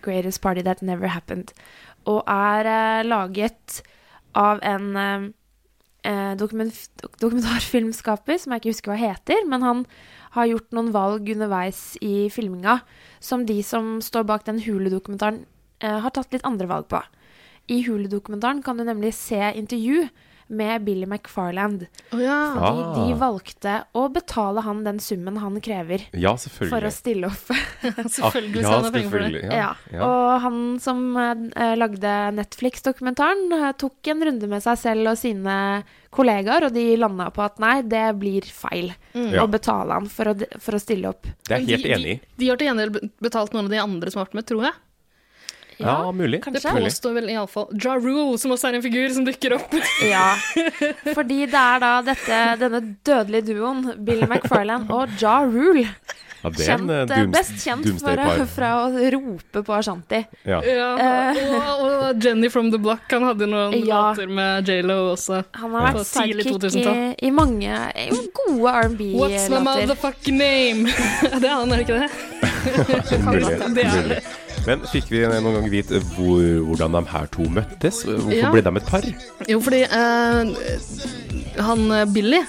Speaker 3: greatest party that never happened. Og er eh, laget av en eh, eh, dokument, dok- dokumentarfilmskaper som jeg ikke husker hva heter, men han har gjort noen valg underveis i filminga som de som står bak den Hule-dokumentaren, eh, har tatt litt andre valg på. I Hule-dokumentaren kan du nemlig se intervju med Billy McFarland.
Speaker 1: Å ja.
Speaker 3: Fordi
Speaker 2: Ah.
Speaker 3: de valgte å betale han den summen han krever
Speaker 2: Ja,
Speaker 3: for å
Speaker 2: selvfølgelig. Ah,
Speaker 3: stille opp.
Speaker 1: Selvfølgelig
Speaker 2: ja,
Speaker 1: skal han ha penger for det.
Speaker 2: selvfølgelig,
Speaker 3: Ja. Og han som eh, lagde Netflix-dokumentaren, eh, tok en runde med seg selv og sine kollegaer, og de landa på at nei, det blir feil
Speaker 1: Mm.
Speaker 2: Ja.
Speaker 3: å betale han for å, for å stille opp.
Speaker 2: Det er jeg helt
Speaker 1: de,
Speaker 2: enig i.
Speaker 1: De, de har til gjengjeld betalt noen av de andre som har vært med, tror jeg.
Speaker 2: Ja, mulig.
Speaker 1: Det
Speaker 3: kanskje.
Speaker 2: Mulig.
Speaker 1: påstår vel iallfall Ja Rule, som også er en figur som dukker opp.
Speaker 3: Ja. Fordi det er da dette, denne dødelige duoen, Bill McFarland og Ja Rule,
Speaker 2: Ja, det er en
Speaker 3: kjent,
Speaker 2: eh,
Speaker 3: eh,
Speaker 2: dooms-
Speaker 3: best kjent for, å-
Speaker 2: doomsday-par.
Speaker 3: fra å rope på Ashanti.
Speaker 2: Ja.
Speaker 1: Ja, og, og Jenny from the Block, han hadde noen
Speaker 3: Ja.
Speaker 1: låter med J.Lo også.
Speaker 3: Han har vært
Speaker 1: På tidlig
Speaker 3: sidekick i,
Speaker 1: 2000-tall.
Speaker 3: i mange i gode
Speaker 1: What's my
Speaker 3: R&B-låter.
Speaker 1: motherfucking name? det er han, er det ikke det?
Speaker 2: Mulig,
Speaker 1: Det er
Speaker 2: mulig. Men fikk vi noen gang vite hvor, hvordan de her to møttes? Hvorfor
Speaker 1: Ja.
Speaker 2: ble de et par?
Speaker 1: Jo, fordi eh, han eh, Billy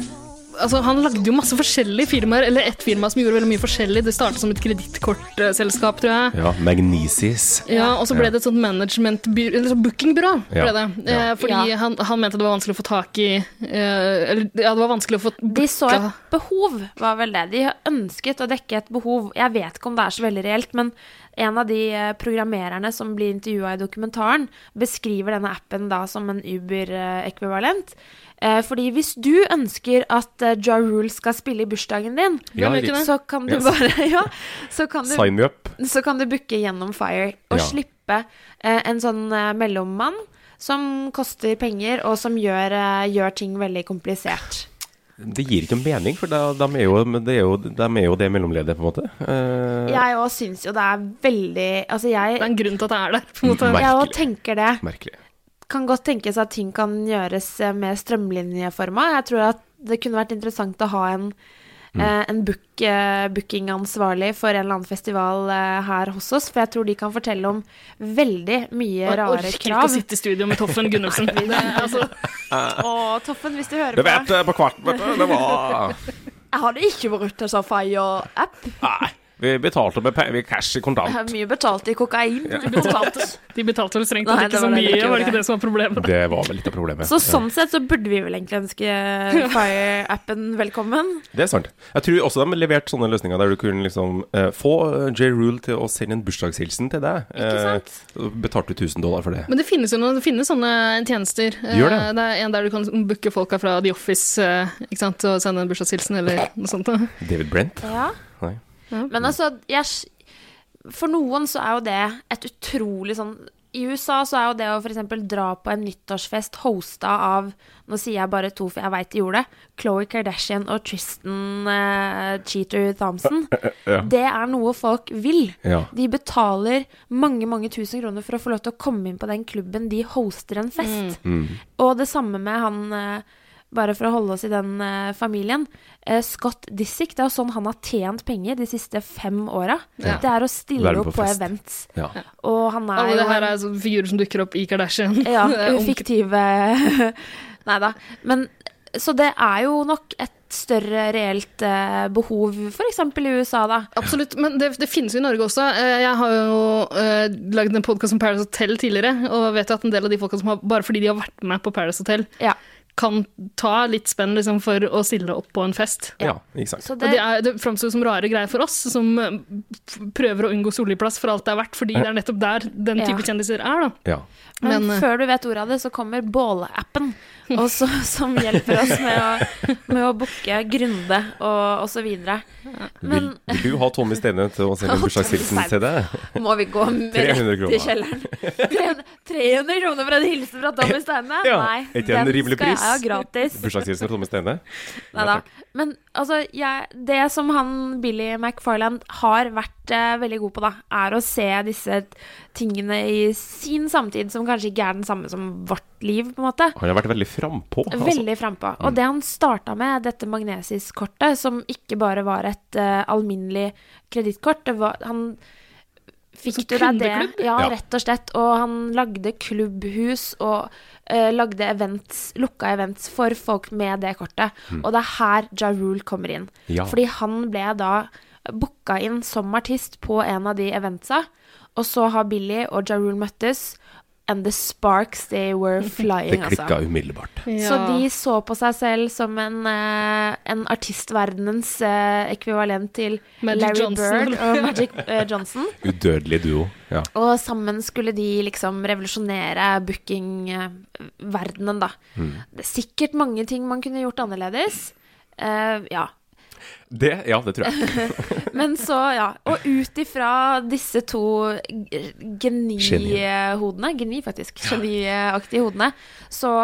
Speaker 1: Altså, han lagde jo masse forskjellige firmaer, eller ett firma som gjorde veldig mye forskjellig. Det startet som et kredittkortselskap, tror jeg.
Speaker 2: Ja, Magnesis.
Speaker 1: Ja, og så ble det et sånt managementbyrå, eller sånn bookingbyrå,
Speaker 2: Ja.
Speaker 1: ble det. Eh,
Speaker 2: Ja.
Speaker 1: fordi
Speaker 3: Ja.
Speaker 1: han, han mente det var vanskelig å få tak i eh, Eller ja, det var vanskelig å få
Speaker 3: De så
Speaker 1: booka-
Speaker 3: et behov, var vel det. De ønsket å dekke et behov. Jeg vet ikke om det er så veldig reelt, men en av de eh, programmererne som blir intervjua i dokumentaren, beskriver denne appen da som en Uber-ekvivalent. Eh, fordi hvis du ønsker at eh, Ja Rule skal spille i bursdagen din,
Speaker 2: Ja, Hvem gjør ikke riktig.
Speaker 3: så kan du
Speaker 2: Yes.
Speaker 3: bare Ja, så kan du
Speaker 2: Sign me up.
Speaker 3: så kan du booke gjennom Fire og
Speaker 2: Ja.
Speaker 3: slippe eh, en sånn eh, mellommann som koster penger, og som gjør, eh, gjør ting veldig komplisert.
Speaker 2: Det gir ikke mening, for de, er, jo, men det er, jo, de er jo det mellomleddet, på en måte. Eh,
Speaker 3: Jeg òg syns jo det er veldig Altså,
Speaker 1: Det er
Speaker 3: jeg
Speaker 1: en grunn til at det er der, på en måte.
Speaker 2: Merkelig.
Speaker 3: jeg òg tenker det.
Speaker 2: Merkelig.
Speaker 3: Kan godt tenkes at ting kan gjøres eh, mer strømlinjeforma. Jeg tror at det kunne vært interessant å ha en,
Speaker 2: Mm.
Speaker 3: eh, en book, eh, bookingansvarlig for en eller annen festival eh, her hos oss, for jeg tror de kan fortelle om veldig mye
Speaker 1: Jeg orker
Speaker 3: rare
Speaker 1: ikke å
Speaker 3: krav.
Speaker 1: sitte i studio med Toffen Gunnufsen. Det er altså,
Speaker 3: Å, Toffen, hvis du hører
Speaker 2: Det
Speaker 3: på.
Speaker 2: vet jeg på kvarten, vet du. Det var
Speaker 3: Jeg hadde ikke vært til Safaya-app.
Speaker 2: Nei. Vi betalte med pe- vi cash i kontant.
Speaker 3: Mye betalt i kokain.
Speaker 1: de betalte vel strengt
Speaker 3: Nei,
Speaker 1: tatt ikke
Speaker 3: det
Speaker 1: så
Speaker 3: var det de
Speaker 1: mye,
Speaker 3: gjorde.
Speaker 1: var det ikke det som var problemet?
Speaker 2: Det var vel litt av problemet.
Speaker 3: Så sånn sett så burde vi vel egentlig ønske Fire-appen velkommen.
Speaker 2: Det er sant. Jeg tror også de har levert sånne løsninger der du kunne liksom eh, få eh, J. Rule til å sende en bursdagshilsen til deg.
Speaker 3: Ikke sant?
Speaker 2: Eh, og betalte 1000 dollar for det.
Speaker 1: Men det finnes jo noen, det finnes sånne tjenester.
Speaker 2: Gjør det?
Speaker 1: Eh, Det er en der du kan booke folka fra The Office eh, ikke sant, og sende en bursdagshilsen eller noe sånt. da.
Speaker 2: David Brent?
Speaker 3: Ja.
Speaker 2: Nei.
Speaker 3: Men altså, jeg, s- for noen så er jo det et utrolig sånn I USA så er jo det å f.eks. dra på en nyttårsfest hosta av Nå sier jeg bare to, for jeg veit de gjorde det. Khloé Kardashian og Tristan eh, Cheater Thompson. Det er noe folk vil.
Speaker 2: Ja.
Speaker 3: De betaler mange mange tusen kroner for å få lov til å komme inn på den klubben de hoster en fest.
Speaker 2: Mm.
Speaker 3: Og det samme med han eh, bare for å holde oss i den eh, familien. eh, Scott Disick. Det er jo sånn han har tjent penger de siste fem åra. Det er å stille
Speaker 2: Være med
Speaker 3: opp
Speaker 2: på
Speaker 3: på
Speaker 2: fest.
Speaker 3: events.
Speaker 2: Ja.
Speaker 3: Og han er
Speaker 1: Alle
Speaker 3: jo
Speaker 1: det her
Speaker 3: en-
Speaker 1: er sånne figurer som dukker opp i Kardashian.
Speaker 3: ja,
Speaker 1: Eh, om-
Speaker 3: fiktive Nei da. Men så det er jo nok et større reelt eh, behov, f.eks. i USA, da.
Speaker 1: Absolutt, men det, det finnes jo i Norge også. Eh, Jeg har jo eh, lagd en podkast om Paradise Hotel tidligere, og vet jo at en del av de folka som har, bare fordi de har vært med på Paradise Hotel,
Speaker 3: Ja.
Speaker 1: kan ta litt spenn liksom, for å stille opp på en fest.
Speaker 2: ja, ikke sant.
Speaker 3: Så
Speaker 1: Og det, er, det framstår som rare greier for oss, som eh, f- prøver å unngå Solli-plass for alt det er verdt, fordi det er nettopp der den type
Speaker 3: Ja.
Speaker 1: kjendiser er, da.
Speaker 2: Ja.
Speaker 3: Men,
Speaker 1: Men, eh,
Speaker 3: før du vet ordet av det, så kommer bålappen, og så- som hjelper oss med å, med å booke Grunde og, og så videre.
Speaker 2: Vil,
Speaker 3: Men-
Speaker 2: vil du ha Tommy Stene til å sende en
Speaker 3: Tommy
Speaker 2: bursdagshilsen
Speaker 3: Stene.
Speaker 2: til deg?
Speaker 3: Må vi gå med
Speaker 2: 300
Speaker 3: rett i
Speaker 2: kroner.
Speaker 3: kjelleren? 300, 300 kroner for en hilsen fra Tommy Steine?
Speaker 2: Ja,
Speaker 3: Nei,
Speaker 2: er ikke det en rimelig
Speaker 3: skal jeg
Speaker 2: pris?
Speaker 3: ha gratis.
Speaker 2: Bursdagshilsen fra Tommy Stene?
Speaker 3: Nei da. Men altså, jeg, det som han Billy McFarland har vært eh, veldig god på, da, er å se disse tingene i sin samtid, som kanskje ikke er den samme som vårt liv, på en måte.
Speaker 2: Han har vært veldig frampå. altså.
Speaker 3: Veldig frampå. Og det han starta med, dette magnesiskortet, som ikke bare var et eh, alminnelig kredittkort, det var Han fikk du deg det?
Speaker 1: kundeklubb?
Speaker 3: Ja,
Speaker 2: Altså Ja.
Speaker 3: rett og slett. Og han lagde klubbhus og eh, lagde events, lukka events for folk med det kortet. Og det er her Ja Rule kommer inn.
Speaker 2: Mm. Ja.
Speaker 3: Fordi han ble da booka inn som artist på en av de eventsa. Og så har Billy og Ja Rule møttes, and the sparks they were flying,
Speaker 2: Det
Speaker 3: altså.
Speaker 2: klikka umiddelbart.
Speaker 3: Så de så på seg selv som en, eh, en artistverdenens eh, ekvivalent til
Speaker 1: Magic
Speaker 3: Larry
Speaker 1: Johnson.
Speaker 3: Bird og Magic eh, Johnson.
Speaker 2: Udødelig duo. Ja.
Speaker 3: Og sammen skulle de liksom revolusjonere bookingverdenen, da. Det er sikkert mange ting man kunne gjort annerledes. Eh, ja.
Speaker 2: Det, ja, det tror jeg.
Speaker 3: Men så, ja. Og ut ifra disse to g- genihodene, geni faktisk, geniaktige hodene, så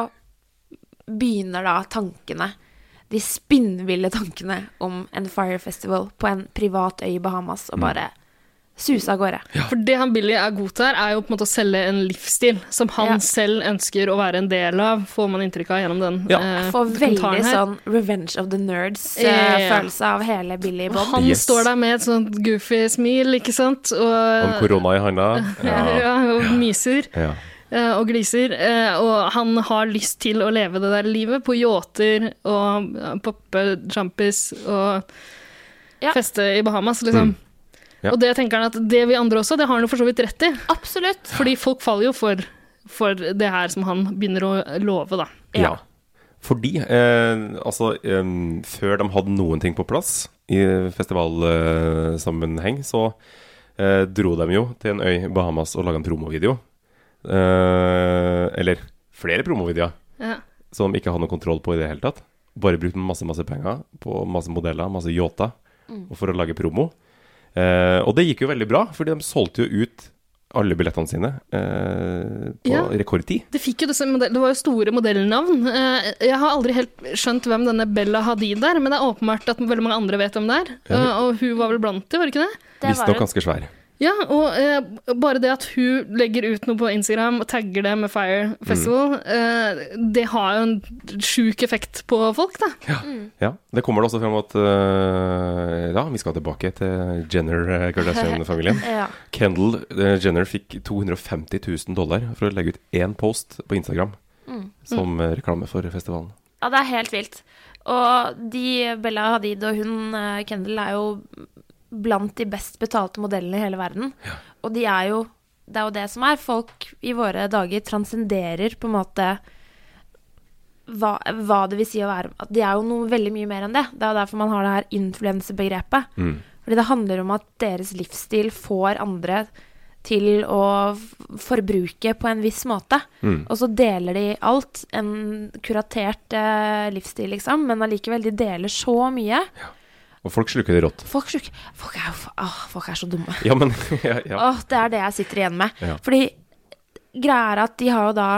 Speaker 3: begynner da tankene, de spinnville tankene om en Fire Festival på en privat øy i Bahamas, og bare suse av gårde.
Speaker 1: For det han Billy er god til her, er jo på en måte å selge en livsstil som han
Speaker 3: Ja.
Speaker 1: selv ønsker å være en del av, får man inntrykk av gjennom den
Speaker 2: Ja.
Speaker 1: eh,
Speaker 3: Jeg får
Speaker 1: dokumentaren
Speaker 3: veldig
Speaker 1: her.
Speaker 3: sånn Revenge of the
Speaker 1: Ja.
Speaker 3: Nerds-følelse av hele Billy
Speaker 1: Og
Speaker 3: Bob.
Speaker 1: han
Speaker 2: Yes.
Speaker 1: står der med et sånt goofy smil, ikke sant? Og, eh,
Speaker 2: Om korona i handa. Ja.
Speaker 1: ja, og myser
Speaker 2: ja.
Speaker 1: eh, og gliser. eh, Og han har lyst til å leve det der livet på yachter og eh, poppe sjampis og
Speaker 3: Ja.
Speaker 1: feste i Bahamas, liksom.
Speaker 2: Mm. Ja.
Speaker 1: Og det tenker han at det vi andre også, det har han jo for så vidt rett i.
Speaker 3: Absolutt.
Speaker 1: Fordi folk faller jo for, for det her som han begynner å love, da.
Speaker 2: ja. Fordi, eh, altså, eh, før de hadde noen ting på plass i festivalsammenheng, så eh, dro dem jo til en øy, Bahamas, og laga en promovideo. Eh, eller flere promovideoer
Speaker 1: Ja.
Speaker 2: som de ikke hadde noe kontroll på i det hele tatt. Bare brukt masse, masse penger på masse modeller, masse yachter, og for å lage promo. Eh, og det gikk jo veldig bra, fordi de solgte jo ut alle billettene sine eh, på
Speaker 1: Ja.
Speaker 2: rekordtid.
Speaker 1: Det, fikk jo disse modell, det var jo store modellnavn. Eh, Jeg har aldri helt skjønt hvem denne Bella Hadid er, men det er åpenbart at veldig mange andre vet hvem det er.
Speaker 2: Ja.
Speaker 1: Eh, Og hun var vel blant de, var det ikke det?
Speaker 3: Det var
Speaker 2: Visstnok
Speaker 3: jo
Speaker 2: ganske svær.
Speaker 1: Ja, og eh, bare det at hun legger ut noe på Instagram og tagger det med Fire Festival, eh, det har jo en sjuk effekt på folk, da.
Speaker 2: Ja, Det kommer det også frem at eh, Ja, vi skal tilbake til Jenner eh, Kardashian-familien.
Speaker 3: ja.
Speaker 2: Kendall eh, Jenner fikk 250 000 dollar for å legge ut én post på Instagram
Speaker 3: Mm.
Speaker 2: som eh, reklame for festivalen.
Speaker 3: ja, det er helt vilt. Og de Bella Hadid og hun eh, Kendall er jo blant de best betalte modellene i hele verden. Og de er jo Det er jo det som er. Folk i våre dager transcenderer på en måte hva, hva det vil si å være at De er jo noe veldig mye mer enn det. Det er jo derfor man har det her influensebegrepet. Fordi det handler om at deres livsstil får andre til å f- forbruke på en viss måte. Og så deler de alt. En kuratert eh, livsstil, liksom. Men allikevel, de deler så mye.
Speaker 2: Og folk sluker det rått.
Speaker 3: Folk, sluk- folk, er, jo f- åh, folk er så dumme.
Speaker 2: Ja, men ja, ja.
Speaker 3: Åh, det er det jeg sitter igjen med.
Speaker 2: Ja.
Speaker 3: Fordi greia er at de har jo da,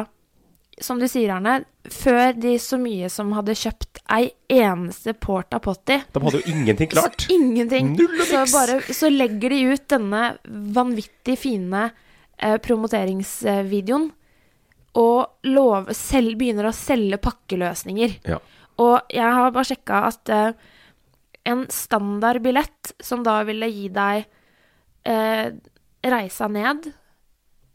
Speaker 3: som du sier, Arne, før de så mye som hadde kjøpt ei eneste porta potty
Speaker 2: De hadde jo ingenting klart.
Speaker 3: så ingenting.
Speaker 2: Null og
Speaker 3: Så,
Speaker 2: niks.
Speaker 3: bare, så legger de ut denne vanvittig fine eh, promoteringsvideoen og lov, selv, begynner å selge pakkeløsninger.
Speaker 2: Ja.
Speaker 3: Og jeg har bare sjekka at eh, en standardbillett som da ville gi deg eh, reisa ned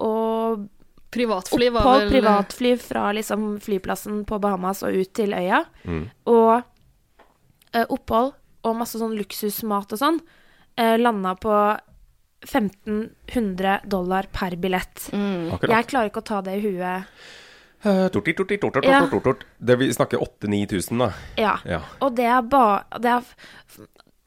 Speaker 3: og
Speaker 1: Privatfly var
Speaker 3: opphold,
Speaker 1: vel
Speaker 3: privatfly fra liksom flyplassen på Bahamas og ut til øya. Og eh, opphold og masse sånn luksusmat og sånn eh, landa på 1500 dollar per billett.
Speaker 1: Mm.
Speaker 2: Akkurat.
Speaker 3: Jeg klarer ikke å ta det i huet.
Speaker 2: Eh, torti, torti, tort, tort,
Speaker 3: Ja.
Speaker 2: tort, tort, tort. Det vi snakker 8000-9000, da.
Speaker 3: Ja.
Speaker 2: Ja.
Speaker 3: Og det er bare det er,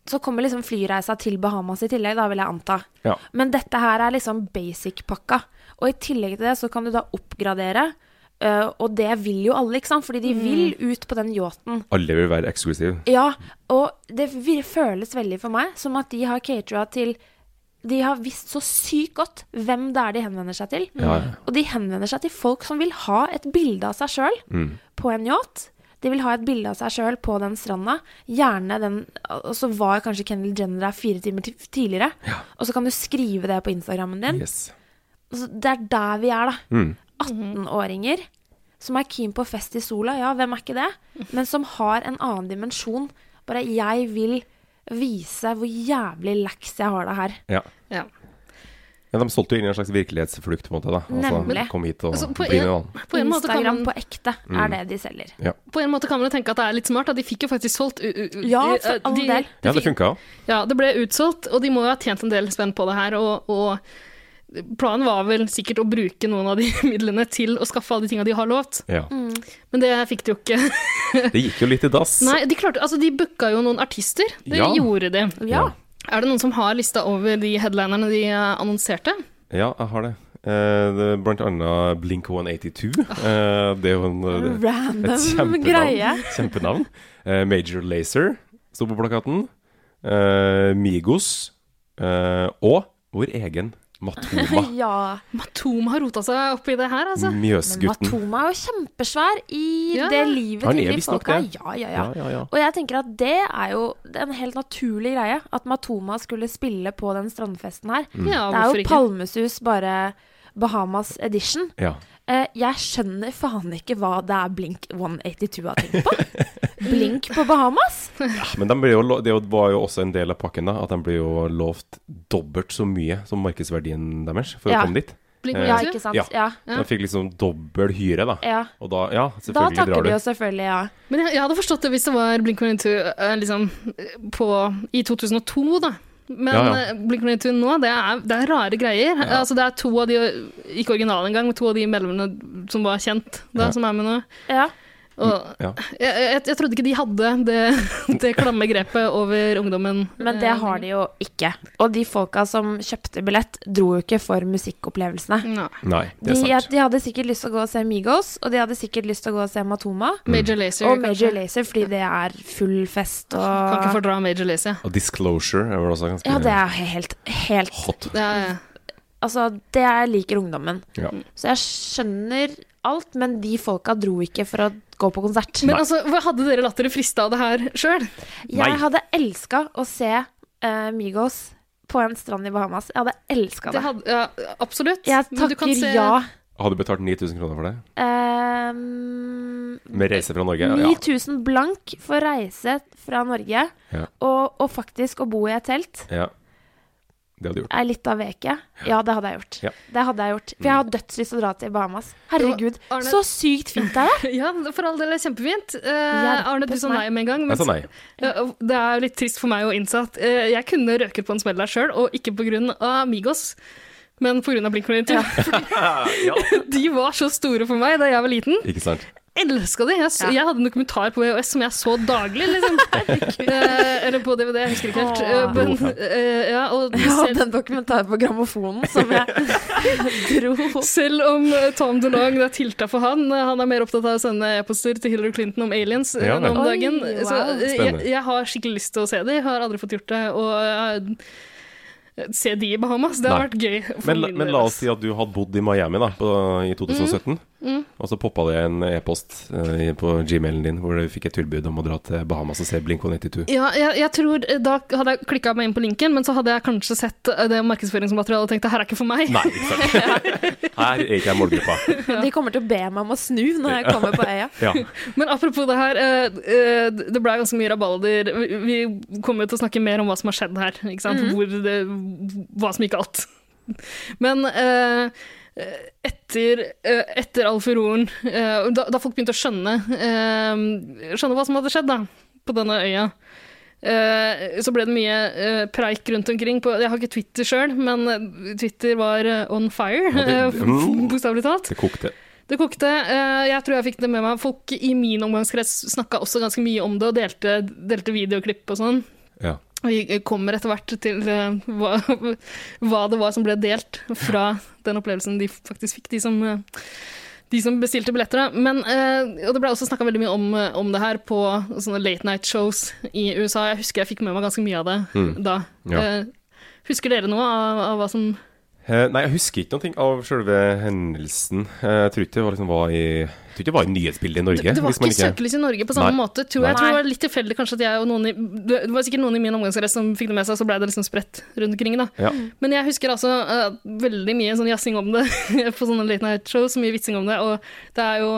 Speaker 3: Så kommer liksom flyreisa til Bahamas i tillegg, da vil jeg anta.
Speaker 2: Ja.
Speaker 3: Men dette her er liksom basic-pakka. Og i tillegg til det så kan du da oppgradere. eh, og det vil jo alle, ikke sant? Fordi de vil ut på den yachten.
Speaker 2: Alle vil være eksklusive.
Speaker 3: Ja, og det vir- føles veldig for meg som at de har catera til De har visst så sykt godt hvem det er de henvender seg til.
Speaker 2: Ja, ja.
Speaker 3: Og de henvender seg til folk som vil ha et bilde av seg sjøl på en yacht. De vil ha et bilde av seg sjøl på den stranda. Gjerne den Og så var kanskje Kendal Jenner der fire timer ti- tidligere. Og så kan du skrive det på Instagrammen din.
Speaker 2: Yes.
Speaker 3: Altså, det er der vi er, da. 18-åringer som er keen på fest i sola, ja, hvem er ikke det? Men som har en annen dimensjon. Bare jeg vil vise hvor jævlig laks jeg har det her.
Speaker 2: Ja.
Speaker 1: Ja.
Speaker 2: Ja, de solgte jo inn i en slags virkelighetsflukt, på en måte. da.
Speaker 3: Nemlig.
Speaker 2: Kom hit og
Speaker 1: Altså, på,
Speaker 2: bli med
Speaker 1: en,
Speaker 2: vann.
Speaker 1: på en måte kan
Speaker 3: Instagram
Speaker 1: man
Speaker 3: på ekte er det de selger.
Speaker 1: på en måte kan man jo tenke at det er litt smart, at de fikk jo faktisk solgt u- u- u-
Speaker 3: Ja,
Speaker 1: eh,
Speaker 3: for all
Speaker 1: de-
Speaker 3: del.
Speaker 2: Ja, det funka jo.
Speaker 1: Ja, det ble utsolgt, og de må jo ha tjent en del spenn på det her, og, og planen var vel sikkert å bruke noen av de midlene til å skaffe alle de tinga de har lovt,
Speaker 2: Ja.
Speaker 3: Mm.
Speaker 1: men det fikk de jo ikke.
Speaker 2: Det gikk jo litt i dass.
Speaker 1: Nei, de klarte, altså de booka jo noen artister, det
Speaker 2: Ja.
Speaker 1: gjorde de.
Speaker 3: Ja.
Speaker 1: Er det noen som har lista over de headlinerne de eh, annonserte?
Speaker 2: Ja, jeg har det. Eh, det er blant annet Blink 182. Eh, det er jo en eh, det- et
Speaker 3: Random
Speaker 2: kjempenavn.
Speaker 3: greie.
Speaker 2: kjempenavn. Eh, Major Lazer sto på plakaten. Eh, Migos. Eh, og vår egen Matoma.
Speaker 3: Ja.
Speaker 1: Matoma har rota seg oppi det her, altså.
Speaker 3: Men
Speaker 2: Mjøsgutten.
Speaker 3: Matoma er jo kjempesvær i
Speaker 1: Ja.
Speaker 3: det livet
Speaker 2: Han
Speaker 3: til
Speaker 2: er
Speaker 3: de
Speaker 2: visst nok
Speaker 3: folka.
Speaker 2: det.
Speaker 3: Ja, ja, ja.
Speaker 2: Ja, ja, ja.
Speaker 3: Og jeg tenker at det er jo en helt naturlig greie, at Matoma skulle spille på den strandfesten her.
Speaker 2: Mm.
Speaker 1: Ja,
Speaker 3: det er
Speaker 1: hvorfor
Speaker 3: jo
Speaker 1: ikke?
Speaker 3: Palmesus, bare Bahamas edition.
Speaker 2: Ja.
Speaker 3: Eh, jeg skjønner faen ikke hva det er Blink 182 har tenkt på. Blink på Bahamas?
Speaker 2: Men de ble jo, lo- det var jo også en del av pakken, da. At de ble jo lovt dobbelt så mye som markedsverdien deres for
Speaker 3: Ja.
Speaker 2: å komme dit.
Speaker 1: Blink
Speaker 2: Eh,
Speaker 3: Ja,
Speaker 1: 182?
Speaker 3: ikke sant?
Speaker 2: Ja.
Speaker 3: Ja.
Speaker 2: De fikk liksom dobbel hyre, da.
Speaker 3: ja.
Speaker 2: Og da, ja,
Speaker 3: Da
Speaker 2: selvfølgelig drar
Speaker 3: takker
Speaker 2: du.
Speaker 3: de jo selvfølgelig ja.
Speaker 1: Men jeg, jeg hadde forstått det hvis det var Blink-182 eh, liksom, på, i 2002, da. Men
Speaker 2: Ja, ja.
Speaker 1: eh, Blink-182 nå, det er, det er rare greier. Altså, det er to av de, ikke originale engang, men to av de medlemmene som var kjent da,
Speaker 2: Ja.
Speaker 1: som er med nå.
Speaker 3: ja.
Speaker 1: Og
Speaker 2: Ja.
Speaker 1: jeg, jeg, jeg trodde ikke de hadde det, det klamme grepet over ungdommen. eh,
Speaker 3: Men det har de jo ikke. Og de folka som kjøpte billett, dro jo ikke for musikkopplevelsene.
Speaker 1: Nei.
Speaker 2: Nei,
Speaker 3: De,
Speaker 2: det er sant.
Speaker 3: de hadde sikkert lyst til å gå og se Migos, og de hadde sikkert lyst til å gå og se Matoma.
Speaker 2: Mm.
Speaker 1: Major Lazer,
Speaker 3: Og Major
Speaker 1: kanskje.
Speaker 3: Lazer, fordi det er full fest
Speaker 1: Kan ikke
Speaker 3: og
Speaker 1: fordra Major Lazer.
Speaker 2: Og Disclosure er vel også ganske
Speaker 3: Ja, det er helt, helt
Speaker 2: hot.
Speaker 1: Ja, ja.
Speaker 3: Altså, det er liker ungdommen.
Speaker 2: Ja.
Speaker 3: Så jeg skjønner alt, men de folka dro ikke for å gå på konsert.
Speaker 1: Men altså, hva hadde dere latt dere friste av det her sjøl?
Speaker 2: Nei.
Speaker 3: jeg hadde elska å se eh, Migos på en strand i Bahamas. Jeg hadde elska det.
Speaker 1: Ja, absolutt.
Speaker 3: Jeg
Speaker 1: Men du kan
Speaker 3: takker
Speaker 1: se-
Speaker 3: ja.
Speaker 2: Hadde du betalt 9000 kroner for det?
Speaker 3: Ehm,
Speaker 2: Med reise fra Norge? Ja.
Speaker 3: 9000 blank for reise fra Norge,
Speaker 2: Ja.
Speaker 3: og, og faktisk å bo i et telt,
Speaker 2: ja. Det hadde du gjort.
Speaker 3: er litt av veke. Ja, det hadde jeg gjort.
Speaker 2: Ja. Mm.
Speaker 3: Det hadde jeg gjort. For jeg har dødslyst til å dra til Bahamas. Herregud,
Speaker 1: Arne-
Speaker 3: så sykt fint det er!
Speaker 1: Ja, for all del er det kjempefint. Eh,
Speaker 3: Hjelpes
Speaker 1: Arne, du sa nei med en gang. men-
Speaker 2: Jeg sa nei.
Speaker 1: Ja, og det er jo litt trist for meg å innse at eh, jeg kunne røket på en smell der sjøl, og ikke pga. Migos, men pga. Blink-182. de var så store for meg da jeg var liten.
Speaker 2: Ikke sant?
Speaker 1: Elska de! Jeg, s-
Speaker 3: Ja.
Speaker 1: jeg hadde en dokumentar på VHS som jeg så daglig, liksom. Eh, eller på DVD, jeg husker ikke helt. Eh,
Speaker 3: Åh.
Speaker 1: men, eh, ja, og
Speaker 3: Jeg
Speaker 1: selv-
Speaker 3: hadde en dokumentar på grammofonen som jeg dro.
Speaker 1: Selv om eh, Tom DeLong det er tilta for han, eh, han er mer opptatt av å sende e-poster til Hillary Clinton om aliens eh,
Speaker 2: Ja,
Speaker 1: nå om
Speaker 3: vel.
Speaker 1: dagen.
Speaker 3: Oi,
Speaker 1: Så
Speaker 3: wow.
Speaker 1: eh, jeg,
Speaker 2: Spennende.
Speaker 1: jeg har skikkelig lyst til å se de, har aldri fått gjort det. Og eh, se de i Bahamas, det har
Speaker 2: Nei.
Speaker 1: vært gøy. for
Speaker 2: Men,
Speaker 1: min
Speaker 2: men
Speaker 1: del,
Speaker 2: la oss
Speaker 1: ass.
Speaker 2: si at du hadde bodd i Miami da, på, i 2017, og så poppa det en e-post eh, på gmailen din hvor du fikk et tilbud om å dra til Bahamas og se Blink-182.
Speaker 1: ja, jeg, jeg tror eh, Da hadde jeg klikka meg inn på linken, men så hadde jeg kanskje sett eh, det markedsføringsmaterialet og tenkt det her er ikke for meg.
Speaker 2: Nei, ikke sant. Her er ikke jeg målgruppa.
Speaker 3: De kommer til å be meg om å snu når jeg kommer på øya.
Speaker 2: Ja.
Speaker 1: Men apropos det her, eh, eh, det ble ganske mye rabalder. Vi- Vi kommer jo til å snakke mer om hva som har skjedd her. Ikke sant? Hvor det, hva som gikk galt. Men eh, etter, eh, etter all furoren, eh, da, da folk begynte å skjønne, eh, skjønne hva som hadde skjedd da, på denne øya, eh, så ble det mye eh, preik rundt omkring. På, jeg har ikke Twitter sjøl, men eh, Twitter var eh, on fire,
Speaker 2: Ja,
Speaker 1: ja,
Speaker 2: det- mm.
Speaker 1: bokstavelig talt.
Speaker 2: Det kokte.
Speaker 1: Det kokte. eh, Jeg tror jeg fikk det med meg. Folk i min omgangskrets snakka også ganske mye om det, og delte, delte videoklipp og sånn.
Speaker 2: Ja.
Speaker 1: Vi kommer etter hvert til eh, hva, hva det var som ble delt fra den opplevelsen de faktisk fikk, de som, eh, de som bestilte billetter. Da. Men, eh, og det ble også snakka veldig mye om, eh, om det her på sånne late night shows i USA. Jeg husker jeg fikk med meg ganske mye av det
Speaker 2: Mm.
Speaker 1: da.
Speaker 2: Ja.
Speaker 1: Eh, Husker dere noe av, av hva som
Speaker 2: Eh, nei, jeg husker ikke noe av selve hendelsen. Eh, jeg tror ikke det var, liksom, var, i, jeg tror ikke det var i nyhetsbildet i Norge.
Speaker 1: Det var
Speaker 2: hvis man
Speaker 1: ikke søkelys i Norge på samme
Speaker 2: Nei.
Speaker 1: måte, tror jeg. jeg.
Speaker 3: Nei.
Speaker 1: tror det var litt tilfeldig kanskje at jeg og noen i Det var sikkert noen i min omgangskrets som fikk det med seg, så blei det liksom spredt rundt omkring, da.
Speaker 2: Ja.
Speaker 1: Men jeg husker altså eh, veldig mye sånn jazzing om det på sånne late night shows, mye vitsing om det, og det er jo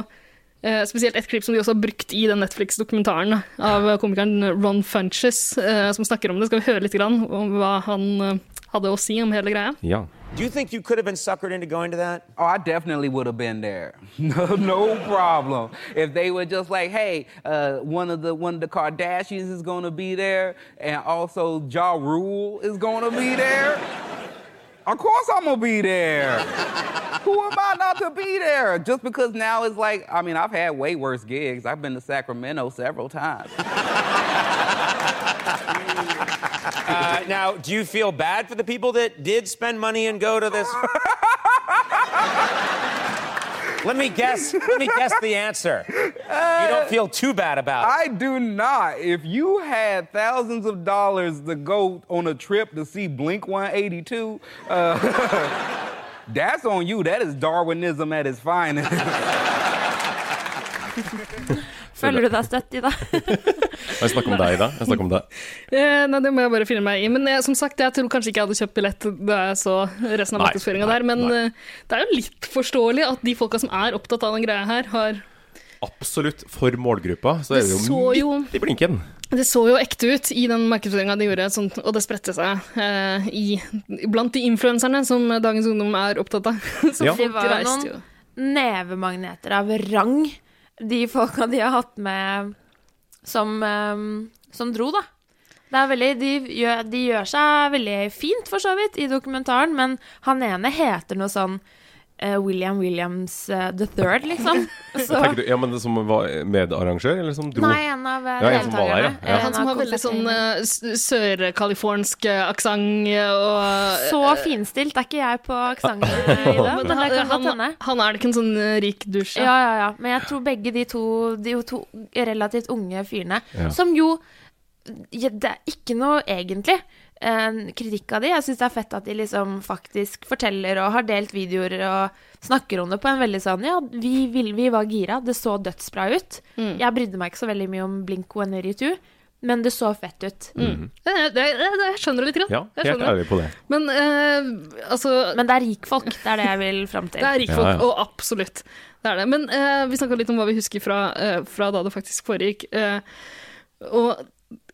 Speaker 1: eh, spesielt et klipp som de også har brukt i den Netflix-dokumentaren da, av komikeren Ron Funches, eh, som snakker om det. Skal vi høre litt grann om hva han eh, hadde å si om hele greia?
Speaker 2: Ja.
Speaker 11: Do you think you could have been suckered into going to that?
Speaker 12: Oh, I definitely would have been there. No, no problem. If they were just like, hey, uh, one of the one of the Kardashians is gonna be there, and also Ja Rule is gonna be there. Of course I'm gonna be there. Who am I not to be there? Just because now it's like, I mean, I've had way worse gigs. I've been to Sacramento several times.
Speaker 11: Uh, now, do you feel bad for the people that did spend money and go to this? let me guess. Let me guess the answer. You don't feel too bad about it.
Speaker 12: I do not. If you had thousands of dollars to go on a trip to see Blink 182, uh, that's on you. That is Darwinism at its finest.
Speaker 3: Føler du deg støtt i det?
Speaker 2: Jeg snakker om deg, da. Jeg snakker om deg.
Speaker 1: Eh, nei, det må jeg bare finne meg i. Men jeg, som sagt, jeg tror kanskje ikke jeg hadde kjøpt billett da jeg så resten av
Speaker 2: Nei,
Speaker 1: markedsføringa
Speaker 2: nei,
Speaker 1: der, men
Speaker 2: nei.
Speaker 1: eh, det er jo litt forståelig at de folka som er opptatt av den greia her, har
Speaker 2: Absolutt for målgruppa, så er
Speaker 1: Det
Speaker 2: vi jo
Speaker 1: så
Speaker 2: midt
Speaker 1: jo-
Speaker 2: i blinken.
Speaker 1: Det så jo ekte ut i den markedsføringa de gjorde, sånn, og det spredte seg eh, i, blant de influenserne som dagens ungdom er opptatt av. Så
Speaker 2: Ja.
Speaker 1: folk
Speaker 3: De var jo
Speaker 1: reiste jo.
Speaker 3: noen nevemagneter av rang, de folka de har hatt med som, ehm, som dro, da. Det er veldig, de, gjør, de gjør seg veldig fint, for så vidt, i dokumentaren, men han ene heter noe sånn eh, William Williams eh, the third, liksom. Så,
Speaker 2: Tenker du, ja, men det Som var medarrangør, eller som dro?
Speaker 3: nei, en av eh,
Speaker 2: Ja, en som var der,
Speaker 3: deltakerne.
Speaker 2: ja. Ja.
Speaker 3: En
Speaker 1: Han som
Speaker 3: av
Speaker 1: har veldig sånn eh,
Speaker 3: konsertene.
Speaker 1: s- sør-californsk eh, aksent eh, og eh,
Speaker 3: Så finstilt er ikke jeg på aksenten,
Speaker 1: men
Speaker 3: men det kan
Speaker 1: han,
Speaker 3: godt
Speaker 1: han,
Speaker 3: hende.
Speaker 1: han er ikke en sånn eh, rik dusj.
Speaker 3: Ja, ja, ja. Men jeg tror begge de to, de jo to relativt unge fyrene,
Speaker 1: Ja.
Speaker 3: som jo ja, Det er ikke noe egentlig eh, kritikk av de. Jeg syns det er fett at de liksom faktisk forteller og har delt videoer og snakker om det på en veldig sånn Ja, vi, vil, vi var gira. Det så dødsbra ut.
Speaker 1: Mm.
Speaker 3: Jeg brydde meg ikke så veldig mye om Blink 182, men det så fett ut.
Speaker 1: Mm.
Speaker 2: Mhm.
Speaker 1: Eh, Det, det, det, det jeg skjønner det litt. grann.
Speaker 2: Ja,
Speaker 1: Jeg
Speaker 2: helt
Speaker 1: skjønner
Speaker 2: ærlig på det.
Speaker 1: Men eh, altså
Speaker 3: Men det er rikfolk, det er det jeg vil fram til.
Speaker 1: Det er rikfolk,
Speaker 2: Ja, ja.
Speaker 1: og absolutt. Det er det. Men eh, vi snakka litt om hva vi husker fra, eh, fra da det faktisk foregikk. Eh, og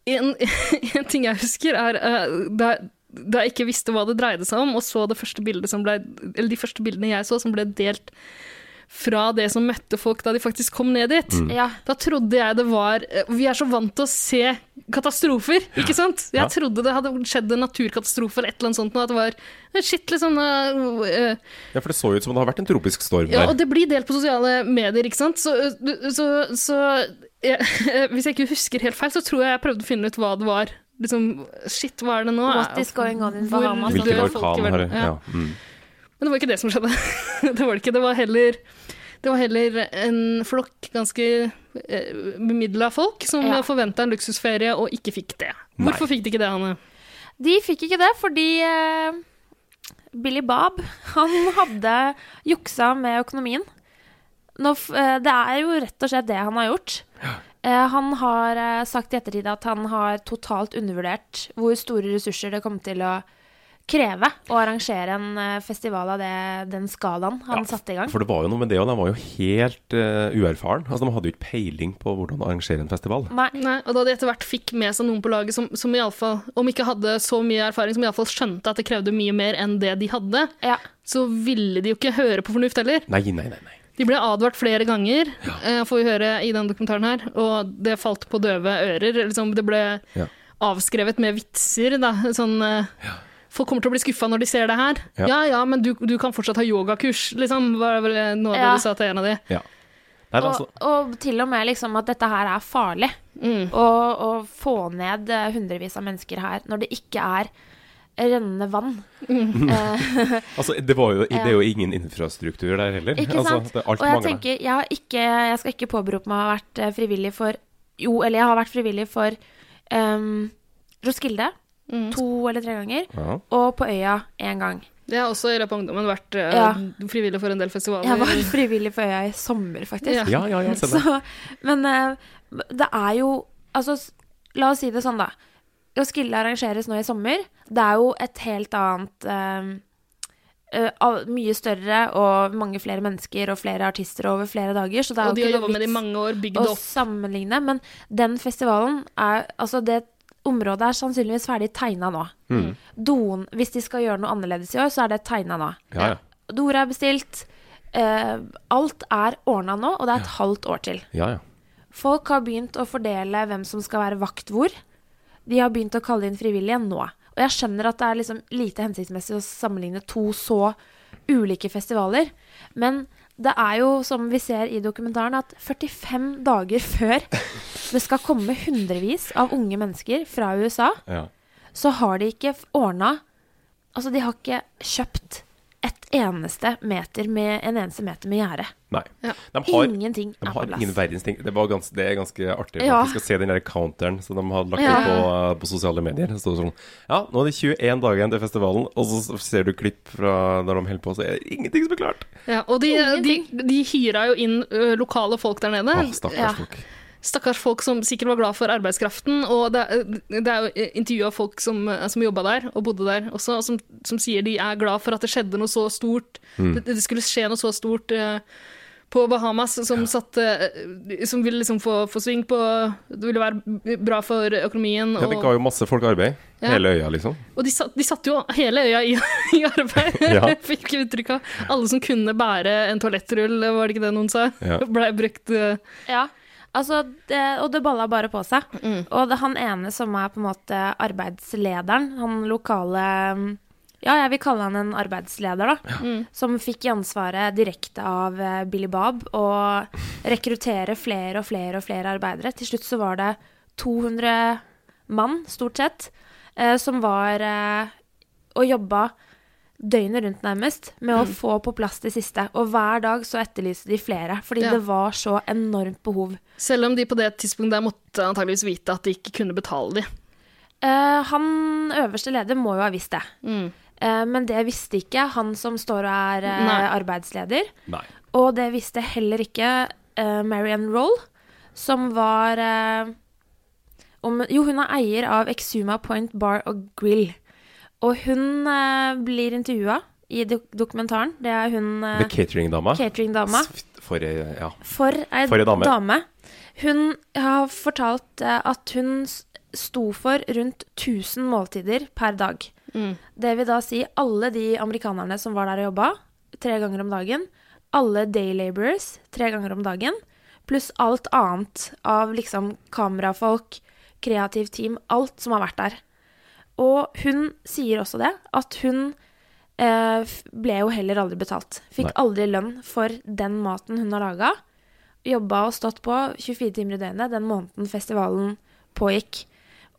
Speaker 1: en, en ting jeg husker, er eh, da, da jeg ikke visste hva det dreide seg om, og så det første bildet som ble, eller de første bildene jeg så som ble delt fra det som møtte folk da de faktisk kom ned dit.
Speaker 3: Mm. Ja.
Speaker 1: Da trodde jeg det var eh, Vi er så vant til å se katastrofer, ikke sant? Jeg
Speaker 2: Ja.
Speaker 1: trodde det hadde skjedd en naturkatastrofe eller et eller annet sånt, og at det var shit, liksom. eh, eh,
Speaker 2: Ja, For det så ut som det har vært en tropisk storm
Speaker 1: ja, og
Speaker 2: der.
Speaker 1: det blir delt på sosiale medier, ikke sant? Så, eh, så, så jeg, hvis jeg ikke husker helt feil, så tror jeg jeg prøvde å finne ut hva det var. Liksom, shit, hva er det nå?
Speaker 3: What is going on in
Speaker 1: Hvor
Speaker 3: Bahamas?
Speaker 1: dør
Speaker 2: Hvilken
Speaker 1: altså, folk i
Speaker 2: orkan har det?
Speaker 1: verden?
Speaker 2: Ja. Mm.
Speaker 1: Men det var ikke det som skjedde. det var det ikke. Det var heller, det var heller en flokk ganske eh, bemidla folk som
Speaker 3: Ja.
Speaker 1: forventet forventa en luksusferie og ikke fikk det.
Speaker 2: Nei.
Speaker 1: Hvorfor fikk de ikke det, Hanne?
Speaker 3: De fikk ikke det fordi eh, Billy Bob, han hadde juksa med økonomien. Nå, f- eh, det er jo rett og slett det han har gjort. Eh, han har eh, sagt i ettertid at han har totalt undervurdert hvor store ressurser det kom til å kreve å arrangere en eh, festival av det, den skalaen han satte i gang.
Speaker 2: For det var jo noe med det, og de var jo helt eh, uerfaren. Altså, De hadde jo ikke peiling på hvordan arrangere en festival.
Speaker 1: Mm.
Speaker 3: Nei.
Speaker 1: Og da de etter hvert fikk med seg noen på laget som, som iallfall, om ikke hadde så mye erfaring, som iallfall skjønte at det krevde mye mer enn det de hadde, så ville de jo ikke høre på fornuft heller.
Speaker 2: Nei, nei, nei. nei.
Speaker 1: De ble advart flere ganger, eh, får vi høre i den dokumentaren her, og det falt på døve ører. Liksom, det ble
Speaker 2: Ja.
Speaker 1: avskrevet med vitser, da. Sånn eh, Folk kommer til å bli skuffa når de ser det her.
Speaker 2: Ja.
Speaker 1: Ja ja, men du, du kan fortsatt ha yogakurs, liksom, var vel eh, noe av
Speaker 3: Ja.
Speaker 1: det du sa til en av de.
Speaker 2: Ja. Nei, men altså,
Speaker 3: Og, og til og med liksom at dette her er farlig. Å å få ned eh, hundrevis av mennesker her når det ikke er rennende vann. Eh,
Speaker 2: altså det, var jo, det er jo
Speaker 3: Ja.
Speaker 2: ingen infrastruktur der heller.
Speaker 3: ikke
Speaker 2: altså,
Speaker 3: sant?
Speaker 2: Det, alt
Speaker 3: og jeg
Speaker 2: mangler.
Speaker 3: tenker, jeg, har ikke, jeg skal ikke påberope meg å ha vært eh, frivillig for Jo, eller jeg har vært frivillig for ehm, Roskilde to eller tre ganger.
Speaker 2: Ja.
Speaker 3: Og på Øya én gang.
Speaker 1: Jeg har også i løpet av ungdommen vært eh,
Speaker 3: Ja.
Speaker 1: frivillig for en del festivaler.
Speaker 3: Jeg var frivillig for øya i sommer, faktisk.
Speaker 1: Ja. Ja, ja, ja, se det.
Speaker 3: så, men eh, det er jo Altså, s- la oss si det sånn, da. Roskilde arrangeres nå i sommer. Det er jo et helt annet eh, eh, al- Mye større og mange flere mennesker og flere artister over flere dager. Så det er
Speaker 1: Og de
Speaker 3: jo
Speaker 1: har
Speaker 3: ikke noe
Speaker 1: jobbet med det i
Speaker 3: vits
Speaker 1: mange år, bygd
Speaker 3: å
Speaker 1: det opp.
Speaker 3: sammenligne. Men den festivalen er Altså, det området er sannsynligvis ferdig tegna nå.
Speaker 2: Mm.
Speaker 3: Doen, hvis de skal gjøre noe annerledes i år, så er det tegna nå.
Speaker 2: Ja, ja.
Speaker 3: Dora er bestilt. Eh, alt er ordna nå, og det er et halvt år til.
Speaker 2: ja, ja.
Speaker 3: Folk har begynt å fordele hvem som skal være vakt hvor. De har begynt å kalle inn frivillige nå. Og jeg skjønner at det er liksom lite hensiktsmessig å sammenligne to så ulike festivaler, men det er jo, som vi ser i dokumentaren, at 45 dager før det skal komme hundrevis av unge mennesker fra USA,
Speaker 2: Ja.
Speaker 3: så har de ikke ordna Altså, de har ikke kjøpt et eneste meter med, en eneste meter med gjerde.
Speaker 2: Nei.
Speaker 3: Ja.
Speaker 2: De har,
Speaker 3: Ingenting
Speaker 2: de
Speaker 3: er på
Speaker 2: har
Speaker 3: plass.
Speaker 2: ingen verdens ting. Det, var gans, det er ganske artig
Speaker 3: Ja.
Speaker 2: faktisk å se den der counteren som de hadde lagt
Speaker 3: Ja.
Speaker 2: ut på, eh, på sosiale medier. Det står sånn Ja, nå er det 21 dager igjen til festivalen, og så ser du klipp fra når de holder på, så er det ingenting som er klart.
Speaker 1: Ja, og de, de, de hyra jo inn ø, lokale folk der nede.
Speaker 2: Åh, stakkars folk.
Speaker 1: Stakkars folk som sikkert var glad for arbeidskraften. Og det, er- det er jo intervju av folk som, ø, som jobba der, og bodde der også, og som, som sier de er glad for at det skjedde noe så stort.
Speaker 2: Mm.
Speaker 1: Det, det skulle skje noe så stort ø, på Bahamas som, satte, ø, som ville liksom få, få sving på Det ville være bra for økonomien.
Speaker 2: Ja, det
Speaker 1: og-
Speaker 2: ga jo masse folk arbeid.
Speaker 1: Ja.
Speaker 2: Hele øya, liksom.
Speaker 1: og de, satt, de satte jo hele øya i, i arbeid,
Speaker 2: Ja.
Speaker 1: fikk jeg inntrykk av. Alle som kunne bære en toalettrull, var det ikke det noen sa?
Speaker 2: Ja.
Speaker 1: Blei brukt eh,
Speaker 3: Ja, altså, det, og det balla bare på seg. Og det, han ene som er på en måte arbeidslederen, han lokale mm, Ja, jeg vil kalle han en arbeidsleder, da.
Speaker 1: Mm.
Speaker 3: Som fikk i ansvaret direkte av eh, Billy Bob å rekruttere flere og flere og flere arbeidere. Til slutt så var det 200 mann, stort sett, eh, som var eh, og jobba døgnet rundt nærmest med å
Speaker 13: Mm.
Speaker 3: få på plass de siste. Og hver dag så etterlyste de flere, fordi
Speaker 1: Ja.
Speaker 3: det var så enormt behov.
Speaker 1: Selv om de på det tidspunktet der måtte antageligvis vite at de ikke kunne betale de.
Speaker 3: Eh, han øverste leder må jo ha visst det.
Speaker 1: Mm.
Speaker 3: Eh, men det visste ikke han som står og er eh,
Speaker 1: Nei.
Speaker 3: arbeidsleder.
Speaker 2: Nei.
Speaker 3: Og det visste heller ikke eh, Marianne Roll, som var eh, om, Jo, hun er eier av Exuma Point Bar og Grill. Og hun eh, blir intervjua i dok dokumentaren. Det er hun eh,
Speaker 2: Med cateringdama.
Speaker 3: cateringdama.
Speaker 2: For eh, ja.
Speaker 3: For ei
Speaker 2: For ei dame.
Speaker 3: dame. Hun har fortalt eh, at hun s- sto for rundt 1000 måltider per dag.
Speaker 1: Mm.
Speaker 3: Det vil da si alle de amerikanerne som var der og jobba, tre ganger om dagen. Alle day laborers, tre ganger om dagen. Pluss alt annet av liksom kamerafolk, kreativt team, alt som har vært der. Og hun sier også det, at hun eh, f- ble jo heller aldri betalt. Fikk
Speaker 13: Nei.
Speaker 3: aldri lønn for den maten hun har laga. Jobba og stått på 24 timer i døgnet den måneden festivalen pågikk.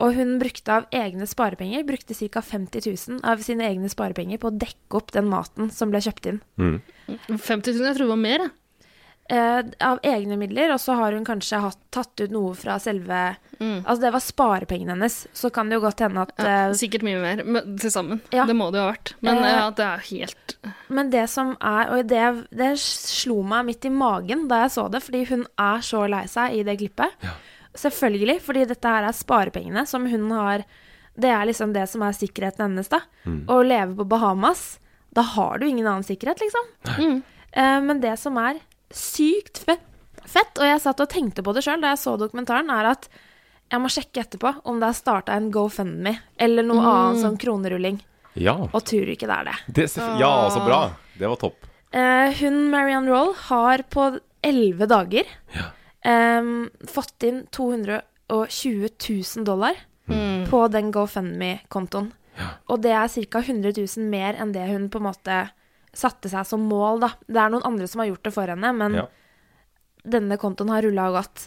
Speaker 3: Og hun brukte av egne sparepenger, brukte ca. 50 000 av sine egne sparepenger på å dekke opp den maten som ble kjøpt inn.
Speaker 1: 50 000, jeg tror det var mer, jeg.
Speaker 3: Eh, av egne midler, og så har hun kanskje hatt, tatt ut noe fra selve Altså det var sparepengene hennes, så kan det jo godt hende at
Speaker 1: Ja,
Speaker 3: eh,
Speaker 1: sikkert mye mer, men til sammen. Det må det jo ha vært. Men
Speaker 3: Eh,
Speaker 1: ja, det er helt
Speaker 3: Men det som er, og det, det slo meg midt i magen da jeg så det, fordi hun er så lei seg i det klippet. Selvfølgelig, fordi dette her er sparepengene som hun har Det er liksom det som er sikkerheten hennes, da.
Speaker 13: Mm.
Speaker 3: Å leve på Bahamas, da har du ingen annen sikkerhet, liksom. Eh, men det som er sykt fett, fett, og jeg satt og tenkte på det sjøl da jeg så dokumentaren, er at jeg må sjekke etterpå om det er starta en GoFundMe eller noe
Speaker 13: Mm.
Speaker 3: annet sånn kronerulling.
Speaker 2: Ja.
Speaker 3: Og tror ikke det er det.
Speaker 2: Det, ser- ja, så bra. Det var topp.
Speaker 3: Eh, hun Marianne Roll har på elleve dager ehm, fått inn 220 000 dollar
Speaker 13: Mm.
Speaker 3: på den GoFundMe-kontoen. Og det er ca. 100 000 mer enn det hun på en måte satte seg som mål, da. Det er noen andre som har gjort det for henne, men
Speaker 13: Ja.
Speaker 3: denne kontoen har rulla og gått.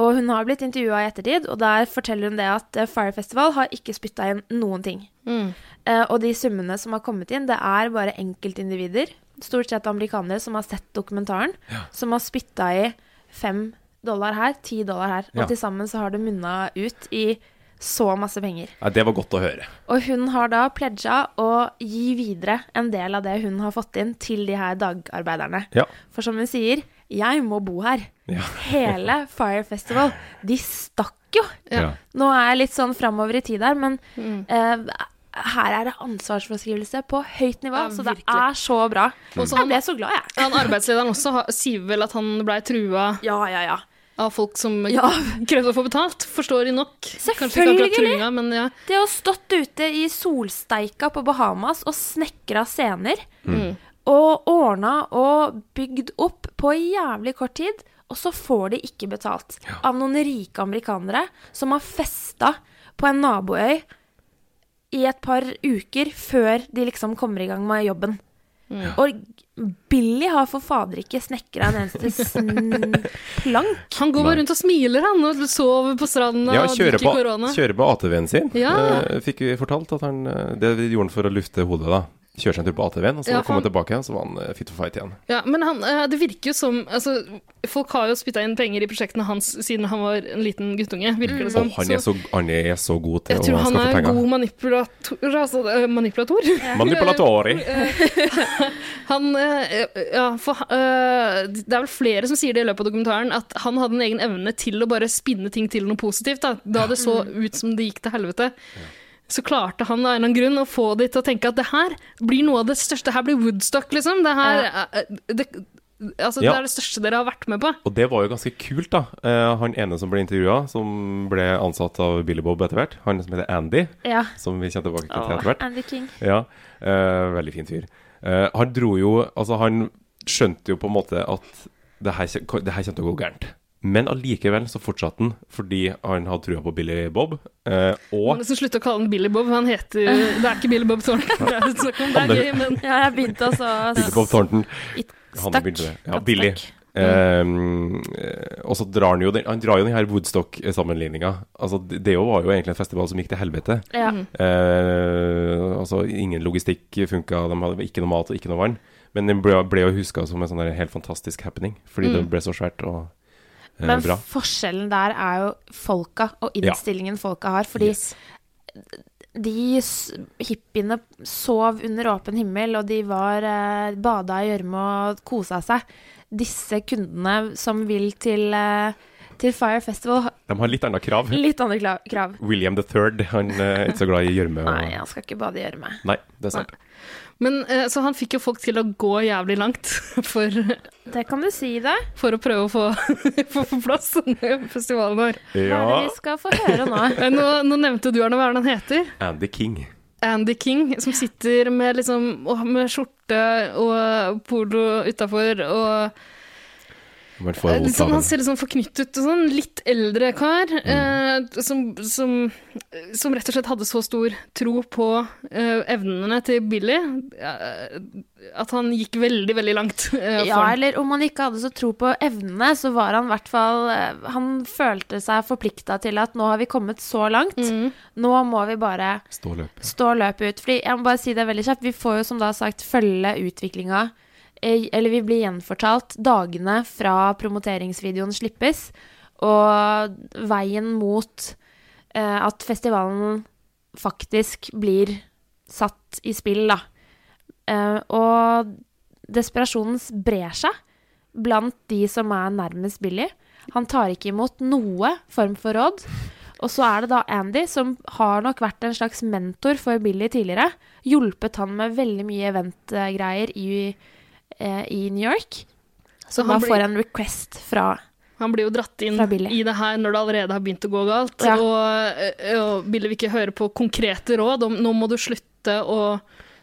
Speaker 3: Og hun har blitt intervjua i ettertid, og der forteller hun det at eh, Fire Festival har ikke spytta inn noen ting. Eh, og de summene som har kommet inn, det er bare enkeltindivider, stort sett amerikanere, som har sett dokumentaren, som har spytta i fem dollar her, ti dollar her.
Speaker 2: Ja.
Speaker 3: Og til sammen så har det munna ut i så masse penger.
Speaker 2: Nei, det var godt å høre.
Speaker 3: Og hun har da pledga å gi videre en del av det hun har fått inn, til de her dagarbeiderne.
Speaker 2: Ja.
Speaker 3: For som hun sier, jeg må bo her.
Speaker 2: Ja.
Speaker 3: Hele Fire Festival, de stakk jo.
Speaker 2: Ja.
Speaker 3: Nå er jeg litt sånn framover i tid her, men eh, her er det ansvarsforskrivelse på høyt nivå, så det er så bra.
Speaker 1: Og så
Speaker 3: jeg ble så glad, jeg.
Speaker 1: Han arbeidslederen også har- sier vel at han blei trua av folk som
Speaker 3: Ja.
Speaker 1: krevde å få betalt. Forstår de nok? Kanskje ikke akkurat
Speaker 3: Selvfølgelig.
Speaker 1: truinga, men ja.
Speaker 3: Det å ha stått ute i solsteika på Bahamas og snekra scener,
Speaker 1: Mm.
Speaker 3: og ordna og bygd opp på jævlig kort tid, og så får de ikke betalt av noen rike amerikanere som har festa på en naboøy i et par uker før de liksom kommer i gang med jobben.
Speaker 13: Mm.
Speaker 3: Og Billy har for fader ikke snekra en eneste sn plank.
Speaker 1: Han går bare rundt og smiler, han, og sover på stranda
Speaker 2: Ja,
Speaker 1: og
Speaker 2: kjøre
Speaker 1: drikker
Speaker 2: på,
Speaker 1: korona.
Speaker 2: kjøre på ATV-en sin.
Speaker 1: Ja.
Speaker 2: Eh, fikk vi fortalt at han eh, Det gjorde han for å lufte hodet, da. Kjøre seg en tur på ATV-en, og så
Speaker 1: Ja,
Speaker 2: ja,
Speaker 1: for
Speaker 2: kom han
Speaker 1: han-
Speaker 2: tilbake igjen, så var han eh, fit for fight igjen.
Speaker 1: Ja, men han, eh, det virker jo som altså, Folk har jo spytta inn penger i prosjektene hans siden han var en liten guttunge, virker det
Speaker 2: Og
Speaker 1: som.
Speaker 2: Mm. han, er så, han er så god til
Speaker 1: jeg tror
Speaker 2: å
Speaker 1: han
Speaker 2: skaffe
Speaker 1: er
Speaker 2: penger.
Speaker 1: god manipulator. Altså, eh, manipulator.
Speaker 2: Manipulatori.
Speaker 1: Han, eh, ja, for, eh, det er vel flere som sier det i løpet av dokumentaren, at han hadde en egen evne til å bare spinne ting til noe positivt. Da, da det så ut som det gikk til helvete. Så klarte han av en eller annen grunn å få de til å tenke at det her blir noe av det største. Det her blir Woodstock, liksom. Det her eh, det, altså,
Speaker 2: Ja.
Speaker 1: det er det største dere har vært med på.
Speaker 2: Og det var jo ganske kult, da. Eh, han ene som ble intervjua, som ble ansatt av Billy Bob etter hvert, han som heter Andy,
Speaker 3: Ja.
Speaker 2: som vi kommer tilbake til
Speaker 3: Åh,
Speaker 2: etter hvert.
Speaker 3: Andy King.
Speaker 2: Ja, eh, veldig fin fyr. Eh, han dro jo Altså, han skjønte jo på en måte at det her, kje- det her kommer til å gå gærent. Men allikevel så fortsatte han fordi han hadde trua på Billy Bob. Eh,
Speaker 1: Man må
Speaker 2: og
Speaker 1: nesten slutte å kalle han Billy Bob. Han heter Det er ikke Billy Bob Thornton. Det er snakk om det er gøy, men
Speaker 3: Ja, jeg begynte altså
Speaker 2: Billy Bob Thornton.
Speaker 3: It-
Speaker 2: Han
Speaker 3: stakk.
Speaker 2: begynte det. Ja,
Speaker 3: At
Speaker 2: Billy.
Speaker 3: stakk.
Speaker 2: Ehm, eh, og så drar han jo den Han drar jo den her Woodstock-sammenligninga. Altså, det det jo var jo egentlig en festival som gikk til helvete.
Speaker 3: Ja.
Speaker 1: Mm. Mm-hmm.
Speaker 2: Eh, altså, ingen logistikk funka, de hadde ikke noe mat og ikke noe vann. Men den ble, ble jo huska som en sånn der helt fantastisk happening, fordi det
Speaker 3: Mm.
Speaker 2: ble så svært og eh,
Speaker 3: Men
Speaker 2: bra.
Speaker 3: forskjellen der er jo folka og
Speaker 2: Ja.
Speaker 3: innstillingen folka har. Fordi de s- hippiene sov under åpen himmel, og de var eh, bada i gjørme og kosa seg. Disse kundene som vil til, eh, til Fire Festival, har
Speaker 2: De har litt andre krav.
Speaker 3: litt andre kla- krav.
Speaker 2: William the Third, han eh, er ikke så glad i gjørme. og-
Speaker 3: Nei, han skal ikke bade i gjørme.
Speaker 2: Nei, det er sant.
Speaker 1: Men, eh, så han fikk jo folk til å gå jævlig langt for,
Speaker 3: Det kan du si, det.
Speaker 1: for å prøve å få, få på plass denne festivalen her.
Speaker 3: Hva er det vi skal få høre nå?
Speaker 1: Eh, Nå, nå nevnte du Arne hva er det han heter.
Speaker 2: Andy King.
Speaker 1: Andy King, som sitter med, liksom, og- med skjorte og polo utafor og
Speaker 2: Man får
Speaker 1: Eh,
Speaker 2: vondt
Speaker 1: liksom,
Speaker 2: av
Speaker 1: han
Speaker 2: det. Mm.
Speaker 1: ser litt sånn forknyttet ut og sånn. Litt eldre kar. Eh, som, som, som rett og slett hadde så stor tro på eh, evnene til Billy eh, at han gikk veldig, veldig langt. eh,
Speaker 3: Ja,
Speaker 1: for han.
Speaker 3: eller om han ikke hadde så tro på evnene, så var han i hvert fall eh, Han følte seg forplikta til at nå har vi kommet så langt,
Speaker 1: Mm.
Speaker 3: nå må vi bare
Speaker 2: Stå løpet.
Speaker 3: stå løpet ut. Fordi jeg må bare si det veldig kjapt, vi får jo som da sagt følge utviklinga eh, eller vi blir gjenfortalt dagene fra promoteringsvideoen slippes, og veien mot eh, at festivalen faktisk blir satt i spill, da. Eh, og desperasjonen brer seg blant de som er nærmest Billy. Han tar ikke imot noe form for råd. Og så er det da Andy, som har nok vært en slags mentor for Billy tidligere. Hjulpet han med veldig mye eventgreier i, eh, i New York. Så
Speaker 1: han
Speaker 3: han
Speaker 1: blir-
Speaker 3: får en request fra
Speaker 1: Han blir jo dratt inn
Speaker 3: Fra Billy.
Speaker 1: i det her når det allerede har begynt å gå galt.
Speaker 3: Ja.
Speaker 1: Og, eh, og Billy vil ikke høre på konkrete råd om nå må du slutte og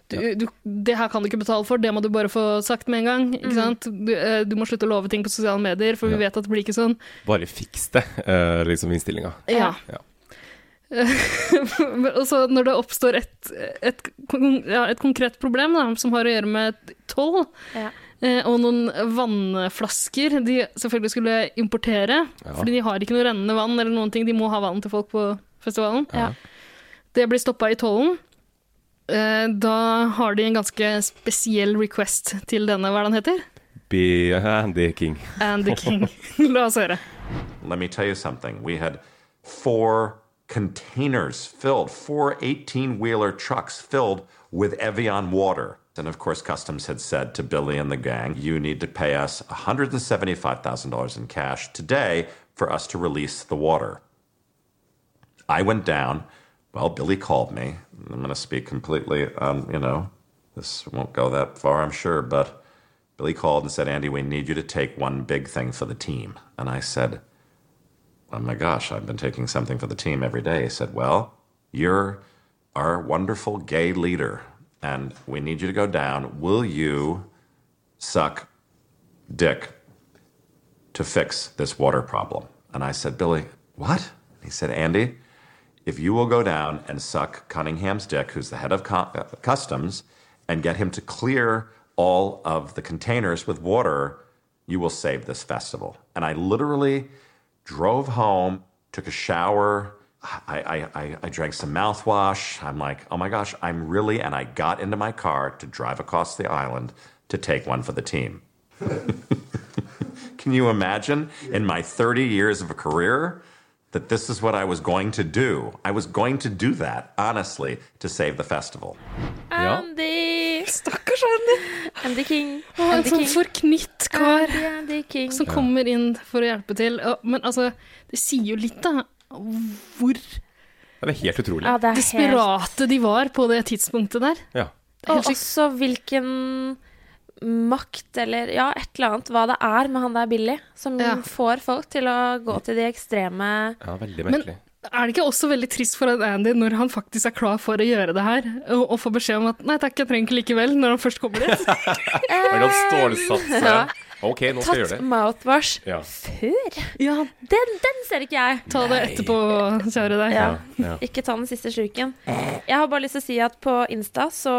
Speaker 1: du, du, det her kan du ikke betale for, det må du bare få sagt med en gang.
Speaker 3: Mm.
Speaker 1: Ikke sant? Du, eh, du må slutte å love ting på sosiale medier, for
Speaker 2: Ja.
Speaker 1: vi vet at det blir ikke sånn.
Speaker 2: Bare fiks det, eh, liksom innstillinga.
Speaker 1: Ja. og så når det oppstår et, et, kon- ja, et konkret problem da, som har å gjøre med et toll
Speaker 3: Ja.
Speaker 1: eh, og noen vannflasker de selvfølgelig skulle importere,
Speaker 2: Ja.
Speaker 1: fordi de har ikke noe rennende vann eller noen ting, de må ha vann til folk på festivalen.
Speaker 2: Ja.
Speaker 1: Det blir stoppa i tollen. Eh, Da har de en ganske spesiell request til denne, hva er det han heter?
Speaker 2: Be Andy King.
Speaker 1: Andy King. La oss høre.
Speaker 13: Let me tell you something. We had four containers filled, four 18 wheeler trucks filled with Evian water. And of course, Customs had said to Billy and the gang, you need to pay us $175,000 in cash today for us to release the water. I went down. Well, Billy called me. I'm going to speak completely, um, you know, this won't go that far, I'm sure, but Billy called and said, Andy, we need you to take one big thing for the team. And I said, Oh my gosh, I've been taking something for the team every day. He said, Well, you're our wonderful gay leader, and we need you to go down. Will you suck dick to fix this water problem? And I said, Billy, what? He said, Andy, if you will go down and suck Cunningham's dick, who's the head of co- uh, customs, and get him to clear all of the containers with water, you will save this festival. And I literally drove home, took a shower. I, I, I, I drank some mouthwash. I'm like, oh my gosh, I'm really. And I got into my car to drive across the island to take one for the team. Can you imagine in my 30 years of a career that this is what I was going to do? I was going to do that, honestly, to save the festival. Ja.
Speaker 3: Andy!
Speaker 1: Stakkars Andy!
Speaker 3: Andy King.
Speaker 1: Å, en
Speaker 3: Andy
Speaker 1: sånn
Speaker 3: King.
Speaker 1: forknytt kar Sånn
Speaker 3: Andy, Andy King.
Speaker 1: som kommer inn for å hjelpe til. Og- Men altså, det sier jo litt, da. Hvor
Speaker 2: Det er helt utrolig.
Speaker 3: Ja, det er helt
Speaker 1: desperate de var på det tidspunktet der.
Speaker 2: Ja.
Speaker 1: Helt
Speaker 3: Og
Speaker 1: sykt.
Speaker 3: også hvilken makt eller ja, et eller annet, hva det er med han der Billy, som
Speaker 1: Ja.
Speaker 3: får folk til å gå til de ekstreme
Speaker 2: Ja, veldig
Speaker 1: Men
Speaker 2: merkelig.
Speaker 1: er det ikke også veldig trist for at Andy, når han faktisk er klar for å gjøre det her, og, og får beskjed om at 'nei takk, jeg trenger ikke likevel', når han først kommer dit?
Speaker 2: Har han stålsatt seg? Ok, nå skal jeg gjøre
Speaker 3: tatt
Speaker 2: det.
Speaker 3: mouthwash
Speaker 2: Ja.
Speaker 3: før. Den, den ser ikke jeg.
Speaker 1: Ta det etterpå, kjære deg.
Speaker 3: Ja. Ikke ta den siste slurken. Jeg har bare lyst til å si at på Insta så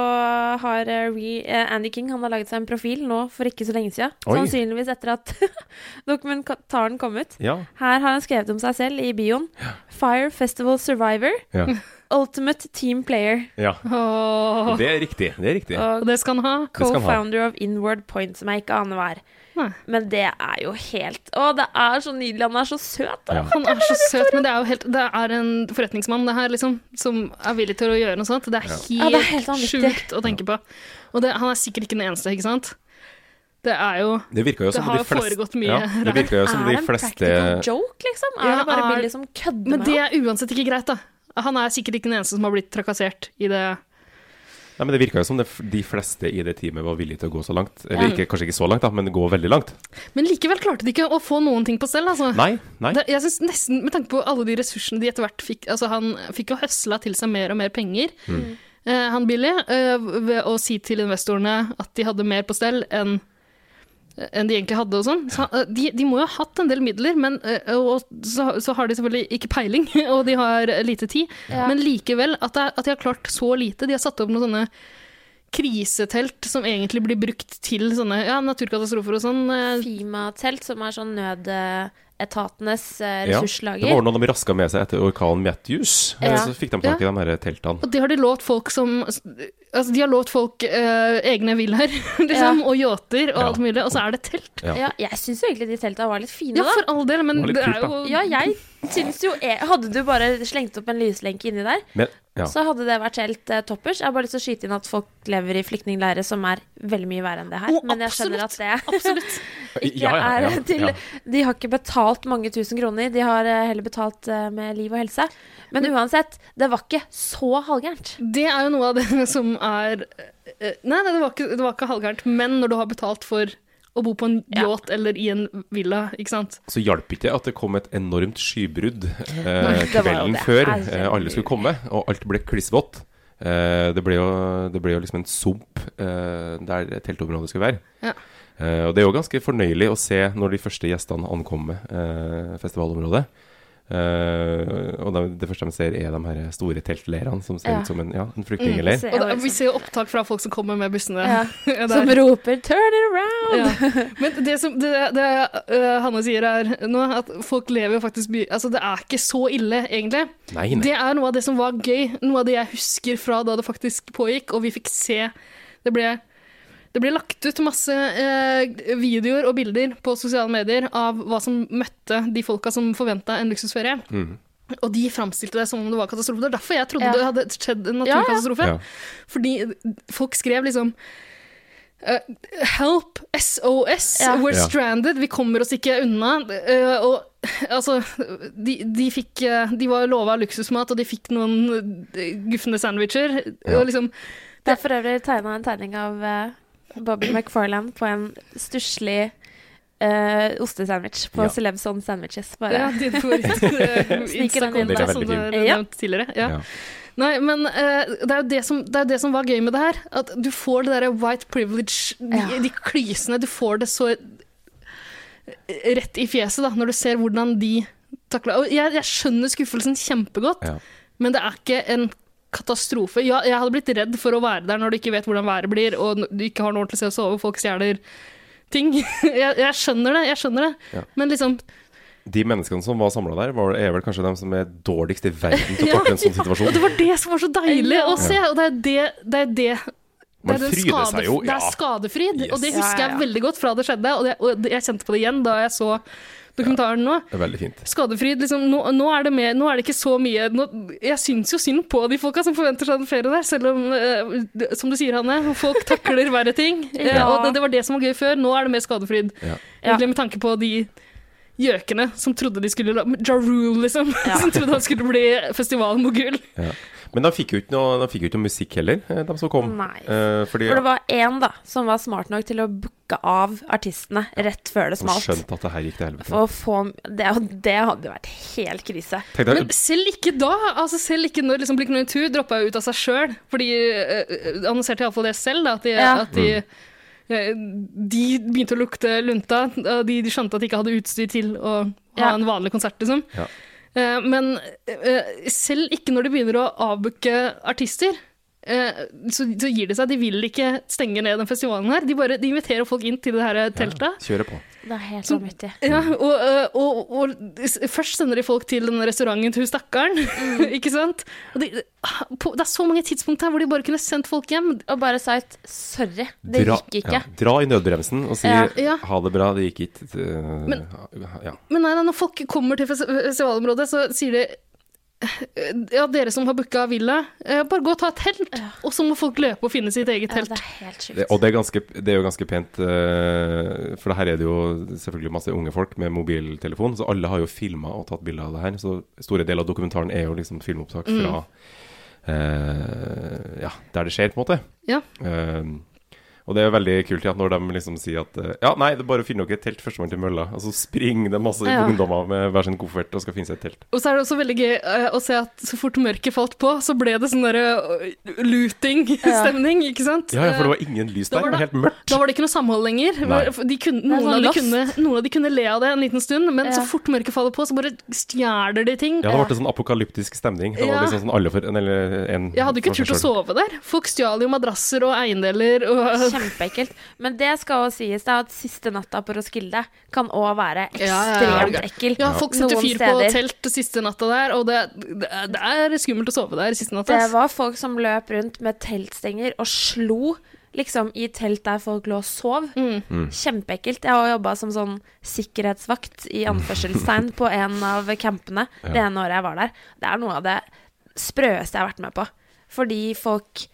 Speaker 3: har eh, Re, eh, Andy King han har laget seg en profil nå for ikke så lenge siden.
Speaker 2: Oi.
Speaker 3: Sannsynligvis etter at dokumentaren kom ut.
Speaker 2: Ja.
Speaker 3: Her har han skrevet om seg selv i bioen. Fire Festival Survivor.
Speaker 2: Ja.
Speaker 3: Ultimate Team Player.
Speaker 2: Ja.
Speaker 1: Åh.
Speaker 2: Det er riktig. Det er riktig.
Speaker 3: Og
Speaker 1: det skal han ha.
Speaker 2: Det skal han ha.
Speaker 3: Co-founder of Inward Point, som jeg ikke aner hva er. Men det er jo helt Å, det er så nydelig. Han er så søt.
Speaker 2: Ja.
Speaker 1: Han er så søt, men det er jo helt Det er en forretningsmann, det her, liksom, som er villig til å gjøre noe sånt. Det er
Speaker 2: Ja.
Speaker 1: helt,
Speaker 3: Ja, det er helt vanvittig.
Speaker 1: sjukt å tenke på. Og det, han er sikkert ikke den eneste, ikke sant? Det er jo
Speaker 2: Det virka jo
Speaker 1: Det
Speaker 2: som
Speaker 1: har
Speaker 2: de
Speaker 1: jo
Speaker 2: fleste
Speaker 1: foregått mye
Speaker 2: ja, Det virka jo som
Speaker 3: er
Speaker 2: de
Speaker 3: det en
Speaker 2: fleste
Speaker 3: practical joke, liksom? Er
Speaker 1: Ja,
Speaker 3: det bare
Speaker 1: er-
Speaker 3: Billy som kødder
Speaker 1: Men
Speaker 3: med
Speaker 1: det
Speaker 3: ham?
Speaker 1: er uansett ikke greit, da. Han er sikkert ikke den eneste som har blitt trakassert i det
Speaker 2: Nei, men Det virka jo som det, f- de fleste i det teamet var villige til å gå så langt.
Speaker 1: Ja.
Speaker 2: Eller ikke, kanskje ikke så langt, da, men gå veldig langt.
Speaker 1: Men likevel klarte de ikke å få noen ting på stell, altså.
Speaker 2: Nei, nei.
Speaker 1: Det, jeg synes nesten, Med tanke på alle de ressursene de etter hvert fikk altså Han fikk jo høsla til seg mer og mer penger,
Speaker 2: Mm.
Speaker 1: eh, han Billy, eh, ved å si til investorene at de hadde mer på stell enn enn de egentlig hadde og sånn. Så, eh, de, de må jo ha hatt en del midler, men eh, og, så, så har de selvfølgelig ikke peiling, og de har lite tid.
Speaker 3: Ja.
Speaker 1: Men likevel, at, det, er- at de har klart så lite. De har satt opp noen sånne krisetelt som egentlig blir brukt til sånne ja, naturkatastrofer og sånn. eh,
Speaker 3: Fima-telt, som er sånn nødetatenes eh,
Speaker 2: Ja.
Speaker 3: ressurslager.
Speaker 2: Det var noe de raska med seg etter orkanen Matthews. eh,
Speaker 1: Ja.
Speaker 2: Så fikk de tak i de her teltene.
Speaker 1: Og det har de lovt folk som Altså, de har lovt folk eh, egne villaer, liksom, og yachter og alt mulig, og så er det telt.
Speaker 2: Ja.
Speaker 3: Ja, jeg syns jo egentlig de telta var litt fine,
Speaker 1: Ja,
Speaker 3: da.
Speaker 1: for all del, men
Speaker 2: Det var litt
Speaker 1: det er
Speaker 2: kult, da.
Speaker 1: jo
Speaker 3: Ja, jeg syns jo jeg- Hadde du bare slengt opp en lyslenke inni der,
Speaker 2: Men, ja.
Speaker 3: så hadde det vært helt eh, toppers. Jeg har bare lyst til å skyte inn at folk lever i flyktningleirer som er veldig mye verre enn det her.
Speaker 1: Å,
Speaker 3: Men jeg skjønner at det ikke
Speaker 2: Ja, ja, ja,
Speaker 3: er til
Speaker 2: ja.
Speaker 3: De har ikke betalt mange tusen kroner, de har eh, heller betalt eh, med liv og helse. Men uansett, det var ikke så halvgærent.
Speaker 2: Mm.
Speaker 1: Det er jo noe av det som er eh, Nei, nei, det var ikke, det var ikke halvgærent, men når du har betalt for å bo på en yacht eller i en villa, ikke sant.
Speaker 2: Så hjalp ikke at det kom et enormt skybrudd eh,
Speaker 1: Nei, det var jo
Speaker 2: kvelden
Speaker 1: det.
Speaker 2: før
Speaker 1: Herregud.
Speaker 2: eh, alle skulle komme, og alt ble klissvått. Eh, det, ble jo, det ble jo liksom en sump eh, der teltområdet skulle være.
Speaker 1: Ja.
Speaker 2: Eh, og det er jo ganske fornøyelig å se når de første gjestene ankommer eh, festivalområdet. Eh, og da, det første de ser, er de her store teltleirene som ser
Speaker 1: Ja.
Speaker 2: ut som en, ja, en
Speaker 1: Mm,
Speaker 2: flyktningleir.
Speaker 1: og da, vi ser jo opptak fra folk som kommer med bussene.
Speaker 3: liksom- Ja.
Speaker 1: Ja, det er-
Speaker 3: Som roper 'turn it around'!
Speaker 1: Ja. Men det, som, det, det øh, Hanne sier her nå, at folk lever jo faktisk by... Altså, det er ikke så ille, egentlig.
Speaker 2: Nei, nei.
Speaker 1: Det er noe av det som var gøy, noe av det jeg husker fra da det faktisk pågikk, og vi fikk se Det ble, det ble lagt ut masse eh, videoer og bilder på sosiale medier av hva som møtte de folka som forventa en luksusferie.
Speaker 2: Mm.
Speaker 1: Og de framstilte det som om det var katastrofe. Det er derfor jeg trodde
Speaker 3: Ja.
Speaker 1: det hadde skjedd en
Speaker 3: Ja, ja.
Speaker 1: naturkatastrofe.
Speaker 2: Ja.
Speaker 1: Fordi folk skrev liksom eh, help, SOS,
Speaker 3: Ja.
Speaker 1: we're
Speaker 2: Ja.
Speaker 1: stranded, vi kommer oss ikke unna. Eh, og altså, de, de fikk eh, De var lova luksusmat, og de fikk noen eh, gufne sandwicher.
Speaker 2: Ja.
Speaker 1: Og liksom
Speaker 3: Det er for øvrig tegna en tegning av eh, Bobby McFarland på en stusslig eh, ostesandwich på
Speaker 2: Ja.
Speaker 3: Celebs on Sandwiches. Bare.
Speaker 1: Ja, din favoritt eh,
Speaker 3: Sniker den inn
Speaker 1: Insta-konto,
Speaker 2: der.
Speaker 1: som du har
Speaker 3: Ja.
Speaker 1: nevnt tidligere. Ja.
Speaker 2: Ja.
Speaker 1: Nei, men eh, det, er jo det, som, det er jo det som var gøy med det her. At du får det derre white privilege, de,
Speaker 3: Ja.
Speaker 1: de klysene. Du får det så eh, rett i fjeset da, når du ser hvordan de takla Og jeg, jeg skjønner skuffelsen kjempegodt,
Speaker 2: Ja.
Speaker 1: men det er ikke en katastrofe. Ja, jeg hadde blitt redd for å være der når du ikke vet hvordan været blir, og n- du ikke har noe ordentlig sted å sove, folk stjeler ting. jeg, jeg skjønner det, jeg skjønner det.
Speaker 2: Ja.
Speaker 1: Men liksom,
Speaker 2: De menneskene som var samla der, var, er vel kanskje de som er dårligst i verden til å takle en sånn situasjon.
Speaker 1: Og det var det som var så deilig å se, og det er det, det, er det det
Speaker 2: Man
Speaker 1: er, den
Speaker 2: fryder seg jo,
Speaker 1: det er
Speaker 2: ja.
Speaker 1: skadefryd, og det
Speaker 2: Yes.
Speaker 1: husker
Speaker 2: Ja, ja,
Speaker 1: jeg veldig godt fra det skjedde. Og, det, og det- jeg kjente på det igjen da jeg så dokumentaren nå.
Speaker 2: Det er Veldig fint.
Speaker 1: Skadefryd, liksom, nå, nå, er det mer, nå er det ikke så mye nå, Jeg syns jo synd på de folka som forventer seg en ferie der, selv om, eh, som du sier, Hanne, folk takler verre ting. Eh,
Speaker 3: Ja.
Speaker 1: og det, det var det som var gøy før. Nå er det mer skadefryd.
Speaker 2: Ja.
Speaker 1: Egentlig med tanke på de gjøkene som trodde de skulle la Ja Rule, liksom. Som trodde han skulle bli festivalmogul.
Speaker 2: Ja. Men de fikk jo ikke noe, de fikk jo ikke noe musikk heller, eh, de som kom.
Speaker 3: Nei.
Speaker 2: Eh, fordi
Speaker 3: For det var én da, som var smart nok til å booke av artistene rett før
Speaker 2: de
Speaker 3: det smalt.
Speaker 2: skjønte at det her gikk til helvete.
Speaker 3: For å få det, og det hadde jo vært helt krise.
Speaker 2: Tenk deg-
Speaker 1: Men selv ikke da, altså selv ikke når liksom Blikk eh, Natur droppa jo ut av seg sjøl, for de eh, annonserte iallfall det selv, da, at de,
Speaker 3: Ja.
Speaker 1: at de eh, De begynte å lukte lunta, og de, de skjønte at de ikke hadde utstyr til å ha
Speaker 3: Ja.
Speaker 1: en vanlig konsert, liksom.
Speaker 2: Ja.
Speaker 1: Eh, Men eh, selv ikke når de begynner å avbooke artister, eh, så, så gir de seg. De vil ikke stenge ned den festivalen her. De bare de inviterer folk inn til det her teltet.
Speaker 2: Kjøre på.
Speaker 3: Det er helt vanvittig.
Speaker 1: Ja, og, eh, og, og s- først sender de folk til denne restauranten til hun stakkaren,
Speaker 3: Mm.
Speaker 1: ikke sant? Og de, på, det er så mange tidspunkt her hvor de bare kunne sendt folk hjem.
Speaker 3: Og bare sagt 'sorry, det gikk ikke'.
Speaker 2: Ja, dra i nødbremsen og si
Speaker 1: Ja. Ja.
Speaker 2: ha det bra, det gikk ikke.
Speaker 1: Men-
Speaker 2: eh, ja.
Speaker 1: Men nei, nei, når folk kommer til fes- festivalområdet, så sier de eh, ja, dere som har booka villa, eh, bare gå og ta et telt, og så må folk løpe og finne sitt eget telt.
Speaker 3: det er helt sjukt.
Speaker 2: Det, og det er, ganske, det er jo ganske pent, eh, for her er det jo selvfølgelig masse unge folk med mobiltelefon, så alle har jo filma og tatt bilder av det her. Så store deler av dokumentaren er jo liksom filmopptak
Speaker 1: Mm.
Speaker 2: fra eh, ja, der det skjer, på en måte.
Speaker 1: Ja.
Speaker 2: Eh, og det er veldig kult ja, når de liksom sier at eh, ja, nei, det er bare å finne dere et telt førstemann til mølla. Og så springer det masse
Speaker 1: Ja.
Speaker 2: ungdommer med hver sin koffert og skal finne seg et telt.
Speaker 1: Og så er det også veldig gøy eh, å se at så fort mørket falt på, så ble det sånn derre looting-stemning, ikke sant?
Speaker 2: Ja, ja, for det var ingen lys
Speaker 1: Da var
Speaker 2: der, det
Speaker 1: Eh,
Speaker 2: var
Speaker 1: det-
Speaker 2: helt mørkt.
Speaker 1: Da var det ikke noe samhold lenger.
Speaker 2: Nei.
Speaker 1: For De kunne,
Speaker 3: er
Speaker 1: noen,
Speaker 3: sånn
Speaker 1: av de
Speaker 3: lost.
Speaker 1: kunne, noen av de kunne le av det en liten stund, men
Speaker 3: Ja.
Speaker 1: så fort mørket faller på, så bare stjeler de ting.
Speaker 2: Ja, det ble sånn apokalyptisk stemning. Det var
Speaker 1: Ja.
Speaker 2: liksom sånn alle for, eller en
Speaker 1: Jeg hadde ikke
Speaker 2: for seg
Speaker 1: turt å
Speaker 2: selv.
Speaker 1: sove der. Folk stjal jo madrasser og eiendeler og
Speaker 3: Kjempeekkelt. Men det skal også sies da at siste natta på Roskilde kan òg være
Speaker 1: Ja, ja,
Speaker 3: ekstremt
Speaker 1: ja.
Speaker 3: ekkel.
Speaker 1: Ja, folk setter
Speaker 3: noen
Speaker 1: fyr på
Speaker 3: steder.
Speaker 1: telt siste natta der, og det, det, er- det er skummelt å sove der siste natta.
Speaker 3: Det
Speaker 1: ass.
Speaker 3: var folk som løp rundt med teltstenger og slo liksom i telt der folk lå og sov.
Speaker 2: Mm.
Speaker 3: Kjempeekkelt. Jeg har jobba som sånn sikkerhetsvakt i anførselstegn på en av campene det
Speaker 2: Mm. Ja.
Speaker 3: ene året jeg var der. Det er noe av det sprøeste jeg har vært med på. Fordi folk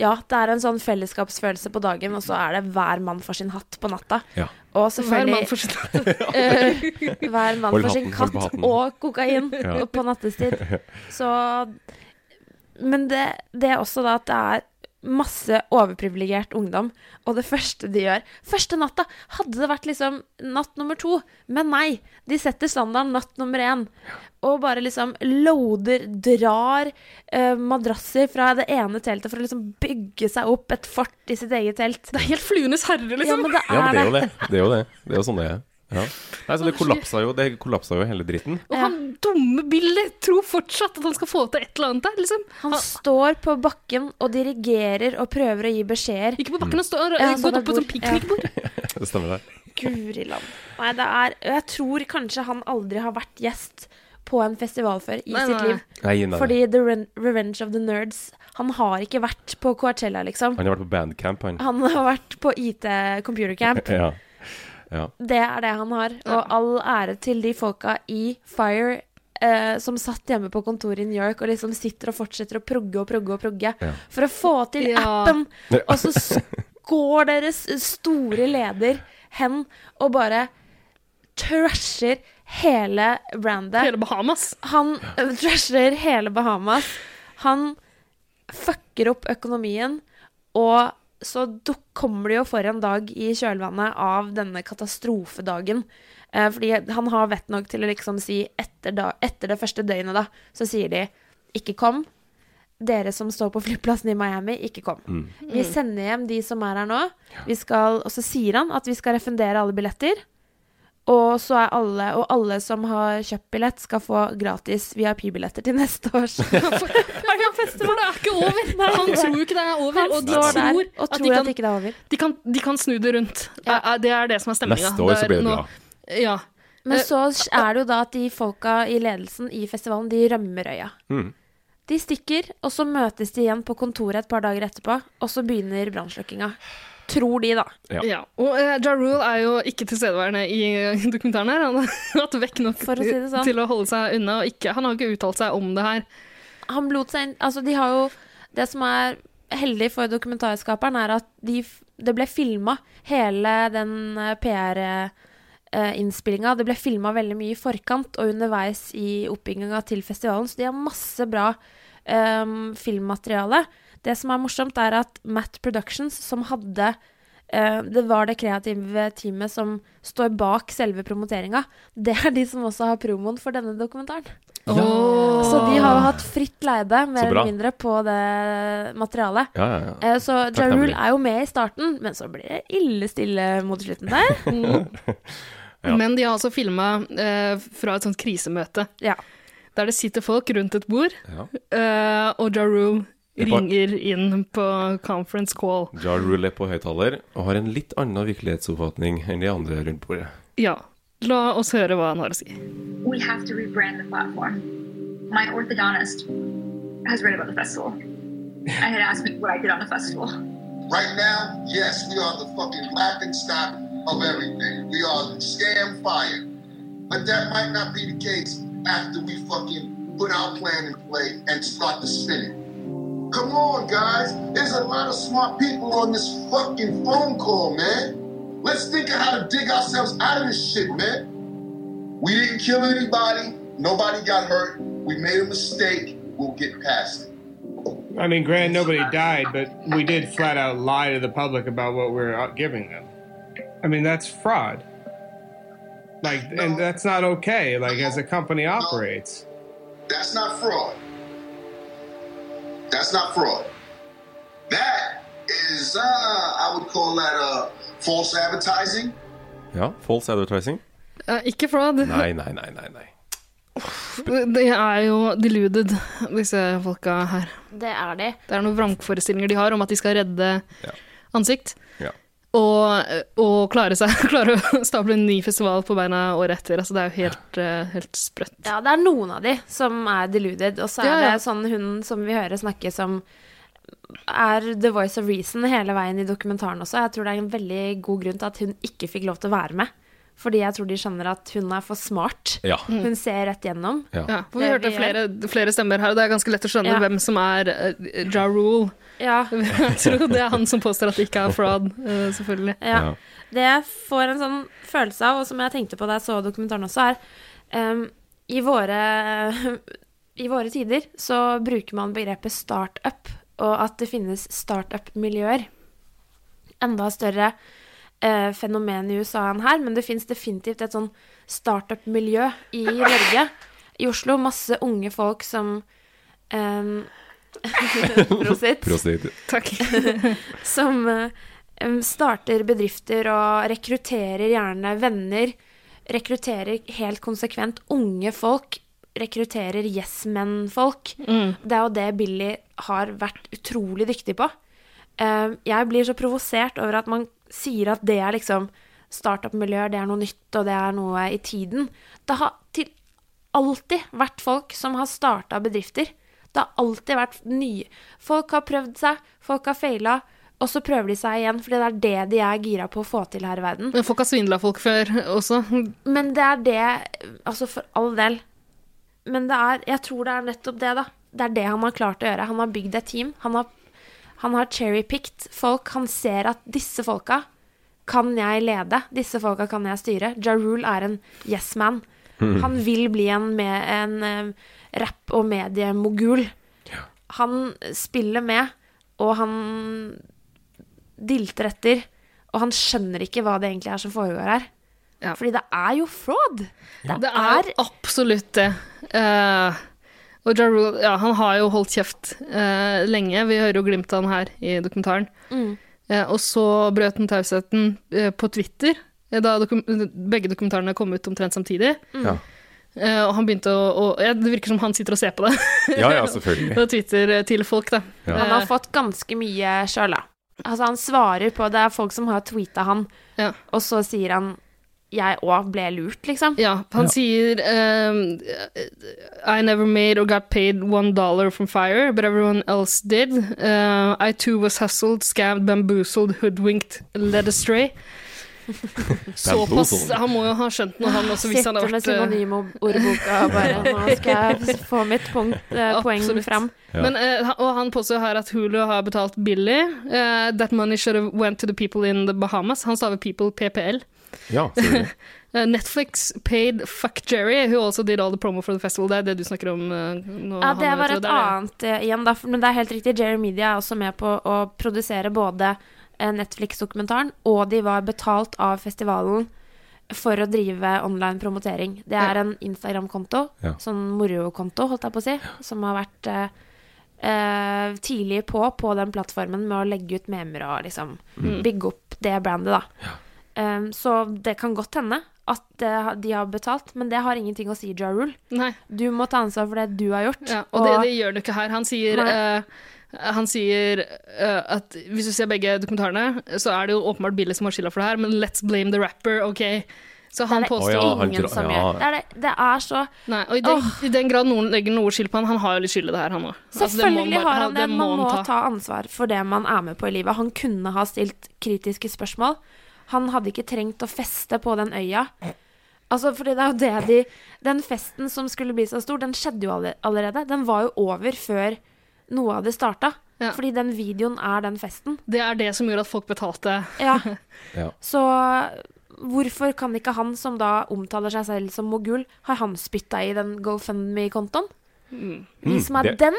Speaker 3: Ja, det er en sånn fellesskapsfølelse på dagen, og så er det hver mann for sin hatt på natta.
Speaker 2: Ja.
Speaker 3: Og
Speaker 1: Hver
Speaker 3: selvfølgelig
Speaker 1: mann for sin
Speaker 3: Eh, Hver mann
Speaker 2: Hold
Speaker 3: for sin
Speaker 2: hatten, hold
Speaker 3: katt
Speaker 2: på hatten.
Speaker 3: og kokain
Speaker 2: Ja.
Speaker 3: på nattestid. Så Men det, det er også da at det er masse overprivilegert ungdom, og det første de gjør Første natta! Hadde det vært liksom natt nummer to, men nei. De setter standarden natt nummer én. Og bare liksom loader, drar eh, madrasser fra det ene teltet for å liksom bygge seg opp et fort i sitt eget telt.
Speaker 1: Det er helt Fluenes herre, liksom.
Speaker 3: Ja, men det er,
Speaker 2: Ja, men det er jo
Speaker 3: det.
Speaker 2: det. Det er jo det. Det er jo sånn det er. Ja. Nei, så det kollapsa jo, det kollapsa jo hele dritten.
Speaker 1: Og han dumme Billy tror fortsatt at han skal få til et eller annet der, liksom.
Speaker 3: Han står på bakken og dirigerer og prøver å gi beskjeder.
Speaker 1: Ikke på bakken, han står
Speaker 3: Ja,
Speaker 1: ja,
Speaker 3: han står
Speaker 1: gått
Speaker 3: ved
Speaker 1: opp på et sånt
Speaker 3: bord.
Speaker 1: piknikbord.
Speaker 2: Det stemmer det.
Speaker 3: Guri land. Nei, det er Jeg tror kanskje han aldri har vært gjest på en festival før i
Speaker 1: Nei,
Speaker 3: sitt
Speaker 1: nei.
Speaker 3: liv.
Speaker 2: Nei, nei, nei.
Speaker 3: Fordi The Ren Revenge of the Nerds Han har ikke vært på Coachella, liksom.
Speaker 2: Han har vært på bandcamp, han.
Speaker 3: Han har vært på IT Computer Camp.
Speaker 2: Ja. ja.
Speaker 3: Det er det han har. Og all ære til de folka i Fire eh, som satt hjemme på kontoret i New York og liksom sitter og fortsetter å progge og progge og progge
Speaker 2: Ja.
Speaker 3: for å få til
Speaker 1: Ja.
Speaker 3: appen. Og så s- går deres store leder hen og bare trasher hele brandet.
Speaker 1: Hele Bahamas.
Speaker 3: Han eh, trasher hele Bahamas. Han fucker opp økonomien, og så duk- kommer det jo for en dag i kjølvannet av denne katastrofedagen. Eh, fordi han har vett nok til å liksom si etter, da, etter det første døgnet, da, så sier de ikke kom. Dere som står på flyplassen i Miami, ikke kom.
Speaker 2: Mm.
Speaker 3: Vi sender hjem de som er her nå. Vi skal, og så sier han at vi skal refundere alle billetter. Og så er alle, og alle som har kjøpt billett, skal få gratis VIP-billetter til neste års.
Speaker 1: Men det er ikke over! Han tror jo ikke det er over,
Speaker 3: Han
Speaker 1: og de
Speaker 3: står der
Speaker 1: tror
Speaker 3: og
Speaker 1: at
Speaker 3: tror
Speaker 1: de
Speaker 3: at
Speaker 1: kan,
Speaker 3: ikke det er over.
Speaker 1: de kan, de kan snu det rundt. Er- er- Det er det som er stemninga.
Speaker 2: Neste år så blir det bra.
Speaker 1: Ja.
Speaker 3: Men så er det jo da at de folka i ledelsen i festivalen, de rømmer øya.
Speaker 2: Mm.
Speaker 3: De stikker, og så møtes de igjen på kontoret et par dager etterpå, og så begynner brannslukkinga. Tror de, da.
Speaker 1: Ja. Og uh, Ja Rule er jo ikke tilstedeværende i eh, dokumentaren her. Han har hatt vekk nok
Speaker 3: For å si det sånn.
Speaker 1: til å holde seg unna. Og ikke, han har ikke uttalt seg om det her.
Speaker 3: han lot seg inn Altså, de har jo Det som er heldig for dokumentarskaperen, er at de, f- det ble filma hele den eh, PR-innspillinga. eh, Det ble filma veldig mye i forkant og underveis i oppbygginga til festivalen, så de har masse bra eh, um, filmmateriale. Det som er morsomt, er at Matt Productions, som hadde eh, det var det kreative teamet som står bak selve promoteringa. Det er de som også har promoen for denne dokumentaren.
Speaker 2: Ja.
Speaker 3: Så de har jo hatt fritt leide,
Speaker 2: Så
Speaker 3: mer
Speaker 2: bra.
Speaker 3: eller mindre, på det materialet.
Speaker 2: Ja, ja, ja.
Speaker 3: Eh, Så Ja Rule
Speaker 2: Takknemlig.
Speaker 3: er jo med i starten, men så blir det ille stille mot slutten der. Mm,
Speaker 2: Ja.
Speaker 1: Men de har også filma eh, fra et sånt krisemøte. Der det sitter folk rundt et bord,
Speaker 2: Ja.
Speaker 1: eh, og Ja Rule
Speaker 2: Det er bare-
Speaker 1: ringer inn på conference call.
Speaker 2: Ja Rule er på høyttaler og har en litt annen virkelighetsoppfatning enn de andre rundt bordet.
Speaker 1: Ja, la oss høre hva han har å si.
Speaker 14: we have to rebrand the platform. My orthodontist has read about the festival and had asked me what I did on the festival.
Speaker 15: Right now, yes, we are the fucking laughing stock of everything. We are scam fired. But that might not be the case after we fucking put our plan in play and start to spin it. Come on, guys. There's a lot of smart people on this fucking phone call, man. Let's think of how to dig ourselves out of this shit, man. We didn't kill anybody. Nobody got hurt. We made a mistake. We'll get past it.
Speaker 16: I mean, granted, nobody died, but we did flat out lie to the public about what we were are giving them. I mean, that's fraud. Like, and that's not okay. Like, as a company operates.
Speaker 15: That's not fraud. That's not fraud. That is, uh, I would call that uh, false advertising.
Speaker 2: Ja, false advertising?
Speaker 1: Eh, ikke fraud.
Speaker 2: Nei, nei, nei, nei. nei.
Speaker 1: De er jo deluded, disse folka her.
Speaker 3: Det er de.
Speaker 1: Det er noen vrangforestillinger de har om at de skal redde ansikt.
Speaker 2: Ja.
Speaker 1: Og, og klare, seg, klare å stable en ny festival på beina året etter. Altså, det er jo helt, eh, helt sprøtt.
Speaker 3: Ja, det er noen av de som er deluded, og så er
Speaker 1: Ja, ja.
Speaker 3: det sånn hun som vi hører snakke som er the voice of reason hele veien i dokumentaren også. Jeg tror det er en veldig god grunn til at hun ikke fikk lov til å være med. Fordi jeg tror de skjønner at hun er for smart.
Speaker 2: Ja. Mm.
Speaker 3: Hun ser rett gjennom.
Speaker 2: Ja.
Speaker 1: Ja, for vi
Speaker 3: Det
Speaker 1: hørte
Speaker 3: vi
Speaker 1: flere, flere stemmer her, og det er ganske lett å skjønne
Speaker 3: Ja.
Speaker 1: hvem som er uh, Ja Rule.
Speaker 3: Ja.
Speaker 1: Jeg tror det er han som påstår at det ikke er fraud, eh, selvfølgelig.
Speaker 3: Ja. Det jeg får en sånn følelse av, og som jeg tenkte på da jeg så dokumentaren også, er em, i, våre, I våre tider så bruker man begrepet startup, og at det finnes startup-miljøer. Enda større eh, fenomen i USA enn her, men det fins definitivt et sånn startup-miljø i Norge. I Oslo masse unge folk som ehm, em, Prosit.
Speaker 2: Prosit.
Speaker 1: Takk.
Speaker 3: som eh, em, starter bedrifter og rekrutterer gjerne venner. Rekrutterer helt konsekvent unge folk. Rekrutterer yes men-folk.
Speaker 1: Mm.
Speaker 3: Det er jo det Billy har vært utrolig dyktig på. Eh, Jeg blir så provosert over at man sier at det er liksom startup-miljøer, det er noe nytt, og det er noe i tiden. Det har til alltid vært folk som har starta bedrifter. Det har alltid vært nye. Folk har prøvd seg, folk har feila, og så prøver de seg igjen, fordi det er det de er gira på å få til her i verden.
Speaker 1: Men folk har svindla folk før også.
Speaker 3: Men det er det Altså, for all del. Men det er Jeg tror det er nettopp det, da. Det er det han har klart å gjøre. Han har bygd et team. Han har, han har cherrypicked folk. Han ser at disse folka kan jeg lede. Disse folka kan jeg styre. Ja Rule er en yes man.
Speaker 17: Mm.
Speaker 3: Han vil bli en, med, en eh, rapp- og mediemogul. Han spiller med, og han dilter etter. Og han skjønner ikke hva det egentlig er som foregår her. Fordi det er jo fraud!
Speaker 1: Det er absolutt det. Eh, og Ja Rule, ja, han har jo holdt kjeft eh, lenge. Vi hører jo glimt av han her i dokumentaren.
Speaker 3: Mm.
Speaker 1: Eh, og så brøt han tausheten eh, på Twitter, eh, da dokum begge dokumentarene kom ut omtrent samtidig.
Speaker 2: Ja.
Speaker 1: Eh, og han begynte å, å ja, Det virker som han sitter og ser på det.
Speaker 2: Ja, ja, selvfølgelig.
Speaker 1: og Twitter eh, til folk, da.
Speaker 2: Ja.
Speaker 3: Han har fått ganske mye sjøl, da. Altså, han svarer på Det er folk som har tweeta han, og så sier han 'jeg òg ble lurt', liksom.
Speaker 1: Ja, Han sier ehm, I never made or got paid one dollar from fire, but everyone else did. Eh, I too was hustled, scammed, bamboozled, hoodwinked, led astray. Såpass
Speaker 3: Bamboozled.
Speaker 1: Han må jo ha skjønt noe, han også, hvis han har
Speaker 3: Sitter med
Speaker 1: vært eh,
Speaker 3: synonymordboka og bare 'nå skal jeg få mitt punkt, eh, poeng
Speaker 1: Absolutt.
Speaker 3: fram'.
Speaker 1: Men, eh, han- og han påstår her at Hulu har betalt billig. Eh, that money should have went to the people in the Bahamas. Han staver people PPL.
Speaker 2: Ja, selvfølgelig.
Speaker 1: Eh, Netflix paid fuck Jerry, who also did all the promo for the festival. Det er det du snakker om eh, nå.
Speaker 3: Ja, det
Speaker 1: Hanna,
Speaker 3: var
Speaker 1: vet du,
Speaker 3: et
Speaker 1: er det.
Speaker 3: annet eh, igjen, da. for- Men det er helt riktig. Jerry Media er også med på å produsere både eh, Netflix-dokumentaren, og de var betalt av festivalen for å drive online promotering. Det er en Instagram-konto,
Speaker 2: Ja.
Speaker 3: sånn morokonto, holdt jeg på å si, som har vært eh, eh, tidlig på på den plattformen med å legge ut memer og liksom
Speaker 17: Mm.
Speaker 3: bygge opp det brandet, da. Um, så det kan godt hende at det ha- de har betalt, men det har ingenting å si, Ja Rule. Du må ta ansvar for det du har gjort.
Speaker 1: Ja, og det, det gjør du ikke her. Han sier,
Speaker 3: Nei.
Speaker 1: eh, han sier eh, at hvis du ser begge dokumentarene, så er det jo åpenbart Billy som har skylda for det her, men let's blame the rapper, OK? Så han
Speaker 3: det er
Speaker 1: påstår
Speaker 2: Å ja, han
Speaker 3: ingen
Speaker 2: dra-
Speaker 3: som
Speaker 2: ja.
Speaker 3: gjør det. Er det, det er så
Speaker 1: Nei, og i den, i den grad noen legger noe skyld på han, han har jo litt skyld i Altså, det her, han òg.
Speaker 3: Selvfølgelig har han det. Man må ta ansvar for det man er med på i livet. Han kunne ha stilt kritiske spørsmål. Han hadde ikke trengt å feste på den øya. Altså, fordi det er jo det de Den festen som skulle bli så stor, den skjedde jo alle- allerede. Den var jo over før noe av det starta. Fordi den videoen er den festen.
Speaker 1: Det er det som gjorde at folk betalte.
Speaker 3: Ja.
Speaker 2: Ja.
Speaker 3: Så hvorfor kan ikke han som da omtaler seg selv som mogul, har han spytta i den GoFundMe-kontoen? Vis
Speaker 2: Mm,
Speaker 3: meg
Speaker 2: det-
Speaker 3: den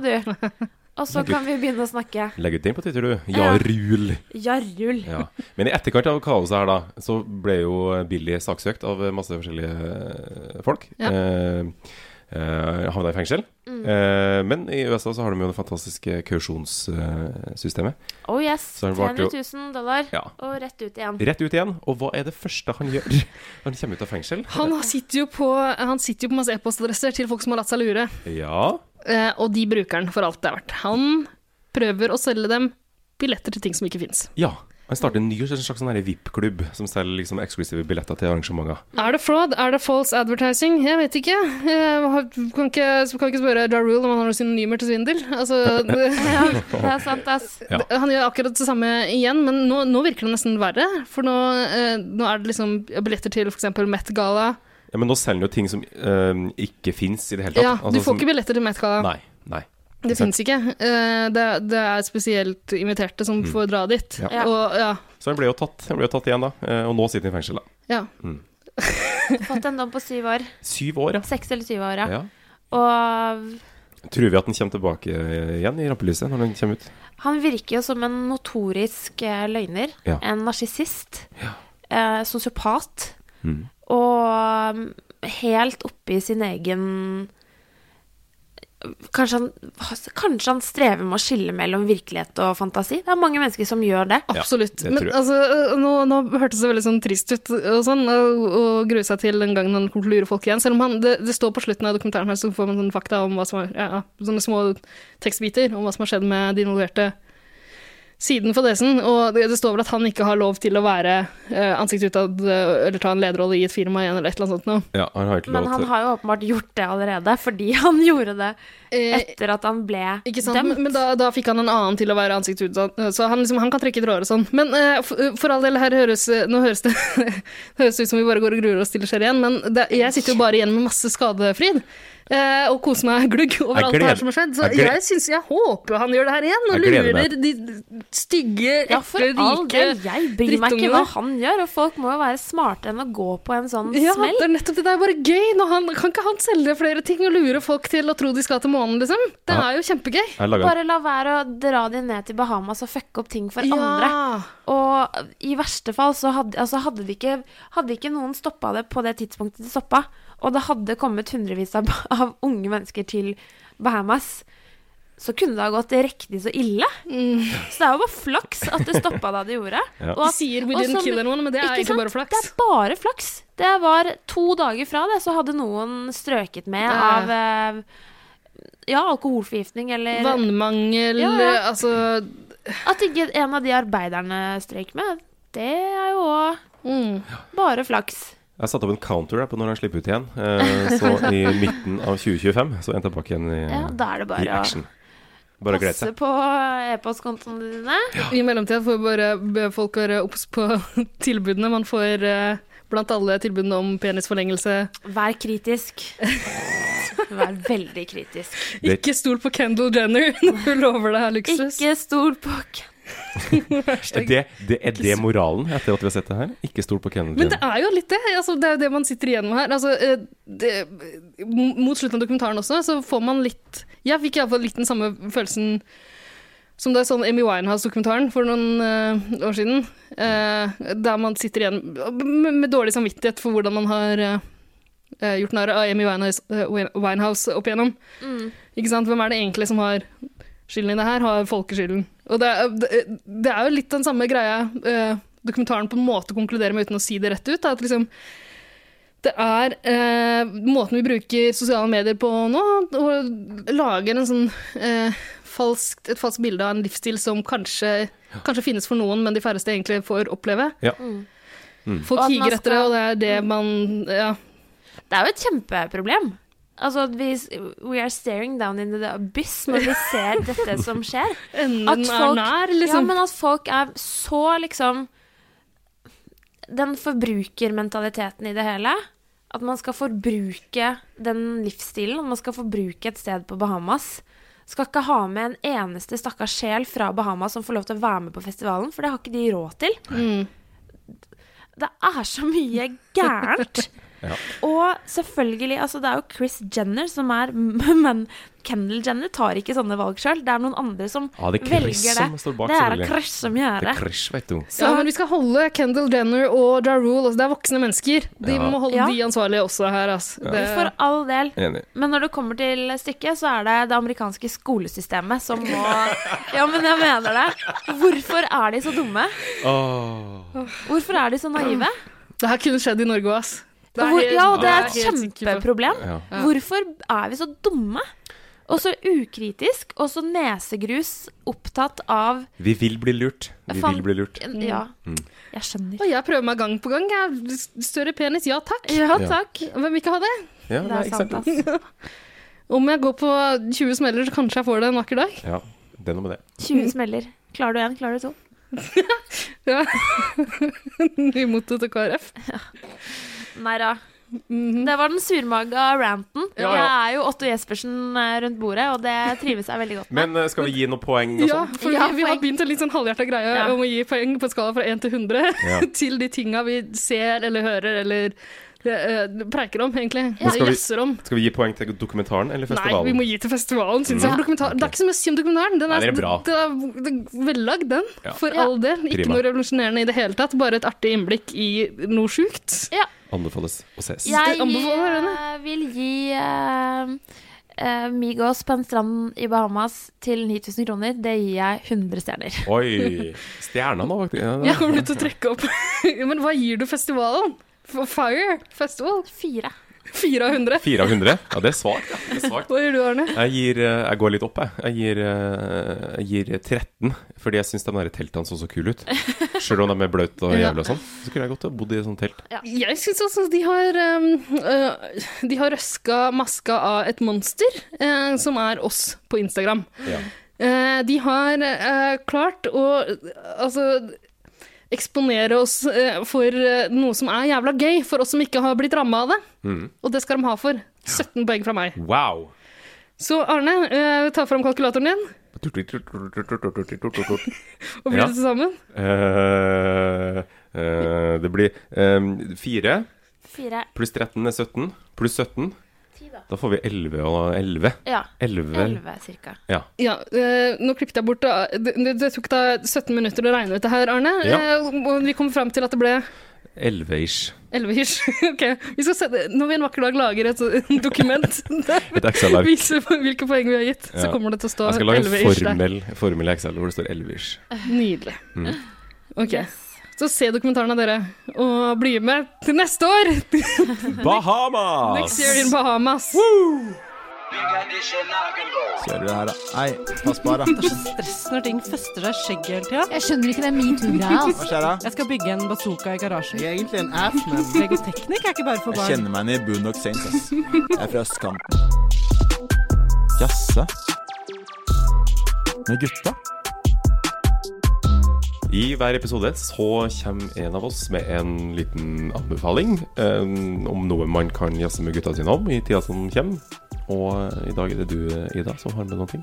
Speaker 3: du! Og så kan vi begynne å snakke.
Speaker 2: Legg ut den på Twitter, du. Ja,
Speaker 3: Ja.
Speaker 2: rul.
Speaker 3: Jarrul.
Speaker 2: Ja. Men i etterkant av kaoset her, da, så ble jo Billy saksøkt av masse forskjellige eh, folk.
Speaker 3: Ja.
Speaker 2: Eh, eh, havna i fengsel.
Speaker 3: Mm.
Speaker 2: Eh, men i USA så har de jo det fantastiske kausjonssystemet.
Speaker 3: Oh yes.
Speaker 2: Så han varte
Speaker 3: 300
Speaker 2: jo-
Speaker 3: 000 dollar,
Speaker 2: Ja.
Speaker 3: og rett ut igjen.
Speaker 2: Rett ut igjen. Og hva er det første han gjør når han kommer ut av fengsel?
Speaker 1: Han sitter jo på, han sitter jo på masse e-postadresser til folk som har latt seg lure.
Speaker 2: Ja.
Speaker 1: Eh, og de bruker den for alt det er verdt. Han prøver å selge dem billetter til ting som ikke fins.
Speaker 2: ja. Han starter en ny en slags sånn her VIP-klubb som selger liksom eksklusive billetter til arrangementer.
Speaker 1: Er det fraud? Er det false advertising? Jeg vet ikke. Jeg har- kan ikke, kan ikke spørre Ja Rule om han har noen synonymer til svindel. Altså, det-
Speaker 3: Det er sant, ass.
Speaker 2: Ja.
Speaker 1: Han gjør akkurat det samme igjen, men nå, nå virker det nesten verre. For nå, eh, nå er det liksom billetter til f.eks. Met-gala.
Speaker 2: Ja, men nå selger han jo ting som eh, ikke fins i det hele tatt.
Speaker 1: Ja, du
Speaker 2: Altså,
Speaker 1: får
Speaker 2: som-
Speaker 1: ikke billetter til Met-gala.
Speaker 2: Nei. Nei.
Speaker 1: Det fins ikke. Eh, Det, det er spesielt inviterte som
Speaker 2: Mm.
Speaker 1: får dra dit.
Speaker 2: Ja.
Speaker 1: Ja. Og, ja,
Speaker 2: Så han ble jo tatt, han ble jo tatt igjen, da. eh, Og nå sitter han i fengsel, da.
Speaker 1: ja.
Speaker 2: Mm.
Speaker 3: Fått en dom på syv år.
Speaker 2: Syv år, ja.
Speaker 3: Seks eller syv år, ja.
Speaker 2: Ja.
Speaker 3: Og
Speaker 2: Tror vi at han kommer tilbake eh, igjen i rampelyset når han kommer ut?
Speaker 3: Han virker jo som en notorisk eh, løgner.
Speaker 2: Ja.
Speaker 3: En narsissist. Eh, sosiopat.
Speaker 2: Mm.
Speaker 3: Og mm, helt oppe i sin egen Kanskje han, kanskje han strever med å skille mellom virkelighet og fantasi? Det er mange mennesker som gjør det.
Speaker 1: Absolutt. Men altså, nå, nå hørtes det veldig sånn trist ut og sånn, og, og grue seg til den gangen han kommer til å lure folk igjen. Selv om han, det, det står på slutten av dokumentaren her, så får man sånne fakta om hva som har, ja, ja, sånne små tekstbiter om hva som har skjedd med de involverte siden fadesen. Og det, det står vel at han ikke har lov til å være eh, ansikt utad eh, eller ta en lederrolle i et firma igjen, eller et eller annet sånt noe.
Speaker 2: Ja, han har ikke
Speaker 3: Men
Speaker 2: lov
Speaker 3: han
Speaker 2: til
Speaker 3: har jo åpenbart gjort det allerede, fordi han gjorde det etter at han ble
Speaker 1: Eh, Ikke sant?
Speaker 3: dømt.
Speaker 1: Men, men da, da fikk han en annen til å være ansikt utad, så han, liksom, han kan trekke tråder og sånn. Men eh, for, for all del, her høres eh, Nå høres det, det høres ut som vi bare går og gruer oss til det skjer igjen, men det, jeg sitter jo bare igjen med masse skadefryd. eh, og koser meg glugg over
Speaker 2: Jeg
Speaker 1: alt det
Speaker 2: gleder-
Speaker 1: her som har skjedd. Så
Speaker 2: jeg gleder-
Speaker 1: jeg, synes, jeg håper han gjør det her igjen, og
Speaker 2: Jeg gleder
Speaker 1: lurer de stygge,
Speaker 3: Ja,
Speaker 1: ekle,
Speaker 3: for all
Speaker 1: rike
Speaker 3: del, jeg bryr meg ikke hva
Speaker 1: drittungene.
Speaker 3: han gjør, og folk må jo være smartere enn å gå på en sånn
Speaker 1: Ja,
Speaker 3: smell.
Speaker 1: det er nettopp det. Det er bare gøy. Når han, kan ikke han selge flere ting og lure folk til å tro de skal til månen, liksom? Det
Speaker 2: Ja.
Speaker 1: er jo kjempegøy.
Speaker 2: Jeg lager-
Speaker 3: Bare la være å dra de ned til Bahamas og fucke opp ting for
Speaker 1: Ja.
Speaker 3: andre. Og i verste fall så hadde, altså hadde, de ikke, hadde ikke noen stoppa det på det tidspunktet de stoppa, og det hadde kommet hundrevis av, av unge mennesker til Bahamas, så kunne det ha gått riktig så ille. Så det er jo bare flaks at det stoppa da det gjorde.
Speaker 1: Ja.
Speaker 3: at-
Speaker 1: Mm. De sier we didn't
Speaker 3: som-
Speaker 1: kill anyone, men det er
Speaker 3: ikke
Speaker 1: egentlig
Speaker 3: sant?
Speaker 1: bare flaks.
Speaker 3: Det er bare flaks. Det var to dager fra det, så hadde noen strøket med
Speaker 1: Ja.
Speaker 3: av eh, ja, alkoholforgiftning eller
Speaker 1: Vannmangel,
Speaker 3: Ja, ja.
Speaker 1: altså
Speaker 3: At ikke en av de arbeiderne strøyk med, det er jo òg
Speaker 1: mm.
Speaker 3: bare flaks.
Speaker 2: Jeg satte opp en counter der på når han slipper ut igjen. eh, Så i midten av 2025 så er han tilbake igjen i,
Speaker 3: Ja, da er det bare
Speaker 2: Mm. i action. Bare å glede
Speaker 3: Passe
Speaker 2: seg.
Speaker 3: på e-postkontoene dine.
Speaker 1: I mellomtida får bare be folk være obs på tilbudene. Man får eh, blant alle tilbudene om penisforlengelse.
Speaker 3: Vær kritisk. Vær veldig kritisk.
Speaker 1: Ikke stol på Kendall Jenner når hun lover deg luksus.
Speaker 3: Ikke stol på
Speaker 2: Er det, det, er det moralen etter at vi har sett det her? Ikke stol på Kennedy.
Speaker 1: Men det er jo litt det. Altså, det er jo det man sitter igjen med her. Altså, eh, det, mot slutten av dokumentaren også, så får man litt Jeg fikk iallfall litt den samme følelsen Som det er sånn Amy Winehouse-dokumentaren for noen eh, år siden, eh, der man sitter igjen med, med dårlig samvittighet for hvordan man har eh, eh, gjort narr av Amy Winehouse, eh, Win- Winehouse opp igjennom.
Speaker 3: Mm.
Speaker 1: Ikke sant? Hvem er det egentlig som har skylden i det her? Har folket skylden? Og det er, det- det er jo litt den samme greia eh, dokumentaren på en måte konkluderer med uten å si det rett ut. er At liksom, det er eh, måten vi bruker sosiale medier på nå, og lager en sånn eh, falskt, et falskt bilde av en livsstil som kanskje, kanskje finnes for noen, men de færreste egentlig får oppleve.
Speaker 2: Ja.
Speaker 1: Folk
Speaker 3: Og at man
Speaker 1: higer etter det,
Speaker 3: skal-
Speaker 1: og det er det man Ja.
Speaker 3: Det er jo et kjempeproblem. Altså, at vi, we are staring down in the abyss når vi ser dette som skjer.
Speaker 1: Enden
Speaker 3: At
Speaker 1: er nær, liksom.
Speaker 3: Ja, men at folk er så liksom Den forbrukermentaliteten i det hele. At man skal forbruke den livsstilen. At man skal forbruke et sted på Bahamas. Skal ikke ha med en eneste stakkars sjel fra Bahamas som får lov til å være med på festivalen, for det har ikke de råd til. Det er så mye gærent.
Speaker 2: Ja.
Speaker 3: Og selvfølgelig, altså det er jo Chris Jenner som er Men Kendal Jenner tar ikke sånne valg sjøl. Det er noen andre som
Speaker 2: Ja, det er
Speaker 3: velger
Speaker 2: Chris
Speaker 3: det.
Speaker 2: som står bak,
Speaker 3: det er
Speaker 2: selvfølgelig.
Speaker 3: Chris som gjør
Speaker 2: Det
Speaker 3: det.
Speaker 2: er crush, vet du.
Speaker 1: ja, men vi skal holde Kendal Jenner og Ja Rule, altså det er voksne mennesker. De
Speaker 2: Ja.
Speaker 1: må holde
Speaker 3: Ja.
Speaker 1: de ansvarlige også her, altså.
Speaker 2: Ja.
Speaker 1: Det,
Speaker 3: For all del.
Speaker 2: Enig.
Speaker 3: Men når det kommer til stykket, så er det det amerikanske skolesystemet som må Ja, men jeg mener det. Hvorfor er de så dumme? Hvorfor er de så naive?
Speaker 1: det her kunne skjedd i Norge òg, ass. Det er
Speaker 3: Hvor,
Speaker 1: helt-
Speaker 3: ja, og det
Speaker 1: jeg
Speaker 3: er et
Speaker 1: helt sikker på.
Speaker 3: kjempeproblem.
Speaker 1: Ja.
Speaker 3: Hvorfor er vi så dumme? Og så ukritisk, og så nesegrus opptatt av
Speaker 2: Vi vil bli lurt. Vi
Speaker 3: Fan-
Speaker 2: vil bli lurt.
Speaker 3: Ja.
Speaker 2: Mm.
Speaker 3: Jeg skjønner.
Speaker 1: Og jeg prøver meg gang på gang. Jeg er større penis, ja takk.
Speaker 2: Ja, Ja. takk.
Speaker 1: Hvem vil ikke ha det?
Speaker 2: Ja, Det er nei, ikke sant, sant.
Speaker 1: Om jeg går på 20 smeller, så kanskje jeg får det en vakker dag.
Speaker 2: Ja, det er noe med det.
Speaker 3: 20 smeller. Klarer du én, klarer du to?
Speaker 1: Ja. Nymotet til KrF.
Speaker 3: Nei da.
Speaker 1: Mhm.
Speaker 3: Det var den surmaga ranten.
Speaker 2: Ja,
Speaker 3: Jeg
Speaker 2: ja.
Speaker 3: er jo Otto Jespersen eh, rundt bordet, og det trives jeg veldig godt med.
Speaker 2: Men eh, skal vi gi noen poeng og
Speaker 1: Ja,
Speaker 2: sånn?
Speaker 1: for
Speaker 3: Ja,
Speaker 1: vi, vi har
Speaker 3: poeng.
Speaker 1: begynt en litt sånn halvhjerta greie
Speaker 3: Ja.
Speaker 1: om å gi poeng på en skala fra 1 til 100
Speaker 2: Ja.
Speaker 1: til de tinga vi ser eller hører eller eh, preiker om, egentlig.
Speaker 2: Men
Speaker 1: Eller
Speaker 2: Skal,
Speaker 1: Jazzer om.
Speaker 2: vi, skal vi gi poeng til dokumentaren eller
Speaker 1: Nei,
Speaker 2: festivalen?
Speaker 1: vi må gi til festivalen, syns jeg.
Speaker 2: Mm.
Speaker 1: For dokumentar, Det er ikke så mye å si om dokumentaren. Den
Speaker 2: Nei,
Speaker 1: er,
Speaker 2: den er bra.
Speaker 1: Den er, den er vellagd, den.
Speaker 2: Ja.
Speaker 1: For
Speaker 2: Ja.
Speaker 1: all del. Ikke
Speaker 2: Prima.
Speaker 1: noe revolusjonerende i det hele tatt. Bare et artig innblikk i noe sjukt.
Speaker 3: Ja.
Speaker 2: Anbefales å ses.
Speaker 3: Jeg
Speaker 1: anbefaler
Speaker 3: eh, vil gi eh, eh, Migos på en strand i Bahamas til 9000 kroner. Det gir jeg 100 stjerner.
Speaker 2: Oi! Stjerna nå, faktisk. Ja,
Speaker 1: Jeg kommer til å trekke opp Men hva gir du festivalen? For Fire Festival?
Speaker 3: Fire.
Speaker 1: Fire av hundre?
Speaker 2: 4 av 100? Ja, det er svakt. ja. Det er svakt.
Speaker 1: Hva gir du, Arne?
Speaker 2: Jeg, gir, eh, jeg går litt opp, jeg. Jeg gir, eh, jeg gir 13, fordi jeg syns de der teltene så så kule ut. Selv om de er bløte og
Speaker 1: Ja.
Speaker 2: jævlig og sånn. Så kunne jeg godt ha bodd i et sånt telt.
Speaker 1: Jeg syns også de har um, øh, De har røska maska av et monster, eh, som er oss på Instagram.
Speaker 2: Ja.
Speaker 1: Eh, de har eh, klart å eh, altså eksponere oss eh, for eh, noe som er jævla gøy, for oss som ikke har blitt ramma av det.
Speaker 2: Mm.
Speaker 1: Og det skal de ha for. 17 poeng fra meg.
Speaker 2: Wow!
Speaker 1: Så Arne, eh, ta fram kalkulatoren din,
Speaker 2: Eh,
Speaker 1: og blir
Speaker 2: Ja.
Speaker 1: det til sammen?
Speaker 2: Eh, eh, det blir eh, 4
Speaker 3: Fire.
Speaker 2: pluss 13 er 17, pluss 17
Speaker 3: Ti, da.
Speaker 2: Da får vi 11 og 11.
Speaker 3: Ja,
Speaker 2: 11.
Speaker 3: elleve cirka.
Speaker 2: Ja.
Speaker 1: Ja, eh, nå klippet jeg bort da. Det, det, det tok deg 17 minutter å regne ut det her, Arne.
Speaker 2: Ja.
Speaker 1: Eh, og vi kom fram til at det ble
Speaker 2: 11-ish.
Speaker 1: 11 hysj. Ok, vi skal sette, Når vi en vakker dag lager et så- dokument der
Speaker 2: Et Excel-ark.
Speaker 1: vi viser hvilke poeng vi har gitt, så
Speaker 2: Ja.
Speaker 1: kommer det til å stå
Speaker 2: Jeg skal lage
Speaker 1: 11
Speaker 2: en
Speaker 1: hysj der.
Speaker 2: formel, formel i Excel hvor det står 11-ish.
Speaker 1: Nydelig.
Speaker 2: Mm.
Speaker 1: Ok, Så se dokumentaren av dere, og bli med til neste år!
Speaker 2: Bahamas!
Speaker 1: Next year in Bahamas.
Speaker 17: Kjører det her, da. Nei, pass på her,
Speaker 18: Det er så stress når ting fester seg i skjegget hele tida. Jeg skjønner ikke den
Speaker 17: Hva skjer da?
Speaker 18: Jeg skal bygge en bazooka i garasjen.
Speaker 17: Jeg er egentlig en ass, men-
Speaker 18: Legoteknikk er ikke bare for
Speaker 17: Jeg
Speaker 18: barn.
Speaker 17: kjenner meg igjen i Boondock Saints, ass. Jeg er fra østkanten. Jasse? Med gutta?
Speaker 2: I hver episode så kommer en av oss med en liten anbefaling eh, om noe man kan jazze med gutta sine om i tida som kommer. Og i dag er det du, Ida, som har med noe.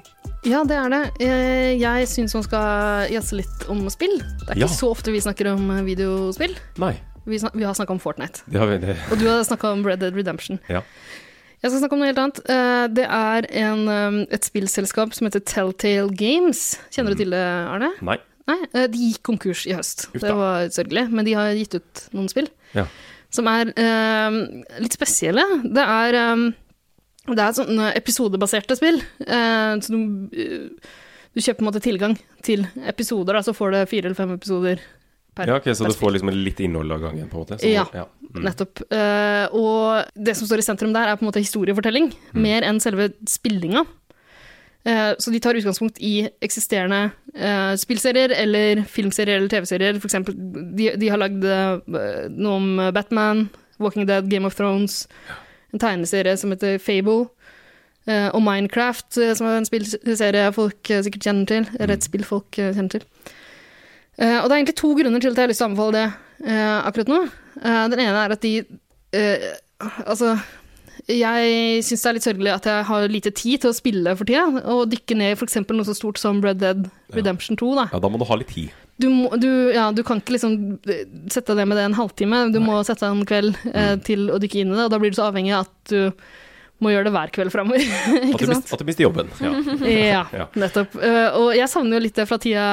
Speaker 1: Ja, det er det. Eh, Jeg syns man skal jazze litt om spill. Det er ikke
Speaker 2: Ja.
Speaker 1: så ofte vi snakker om eh, videospill.
Speaker 2: Nei.
Speaker 1: Vi, snak vi har snakka om Fortnite.
Speaker 2: Det har vi det.
Speaker 1: Og du har snakka om Red Dead Redemption.
Speaker 2: Ja.
Speaker 1: Jeg skal snakke om noe helt annet. Eh, Det er en, eh, et spillselskap som heter Telltale Games. Kjenner du til det, Arne?
Speaker 2: Nei.
Speaker 1: Nei, eh, de gikk konkurs i høst.
Speaker 2: Mm. Uff
Speaker 1: Det
Speaker 2: da.
Speaker 1: var sørgelig. Men de har gitt ut noen spill
Speaker 2: Ja.
Speaker 1: som er eh, litt spesielle. Det er, eh, det er sånne episodebaserte spill. eh, så du, eh, du kjøper på en måte tilgang til episoder, da, så får du fire eller fem episoder per
Speaker 2: ja, ok, Så
Speaker 1: per
Speaker 2: du får liksom litt innhold av gangen, på en måte? Så-
Speaker 1: ja,
Speaker 2: Mm.
Speaker 1: nettopp. Eh, og det som står i sentrum der, er på en måte historiefortelling, mer enn selve spillinga. Eh, så de tar utgangspunkt i eksisterende eh, spillserier eller filmserier eller TV-serier. For eksempel, de, de har lagd eh, noe om Batman, Walking Dead, Game of Thrones, en tegneserie som heter Fable. eh, og Minecraft, eh, som er en spillserie folk eh, sikkert kjenner til. Eller et spill folk eh, kjenner til. Eh, og det er egentlig to grunner til at jeg har lyst til å anbefale det eh, akkurat nå. Eh, den ene er at de eh, Altså, jeg syns det er litt sørgelig at jeg har lite tid til å spille for tida, og dykke ned i f.eks. noe så stort som Red Dead Redemption 2. Da.
Speaker 2: Ja, da må du ha litt tid.
Speaker 1: Du, må, du, ja, du kan ikke liksom sette deg ned med det en halvtime, du må sette deg en kveld eh, til å dykke inn i det, og da blir du så avhengig av at du må gjøre det hver kveld framover.
Speaker 2: At du,
Speaker 1: ikke sant?
Speaker 2: mist, at du mister jobben. Ja.
Speaker 1: ja,
Speaker 2: Ja.
Speaker 1: nettopp. Eh, og jeg savner jo litt det fra tida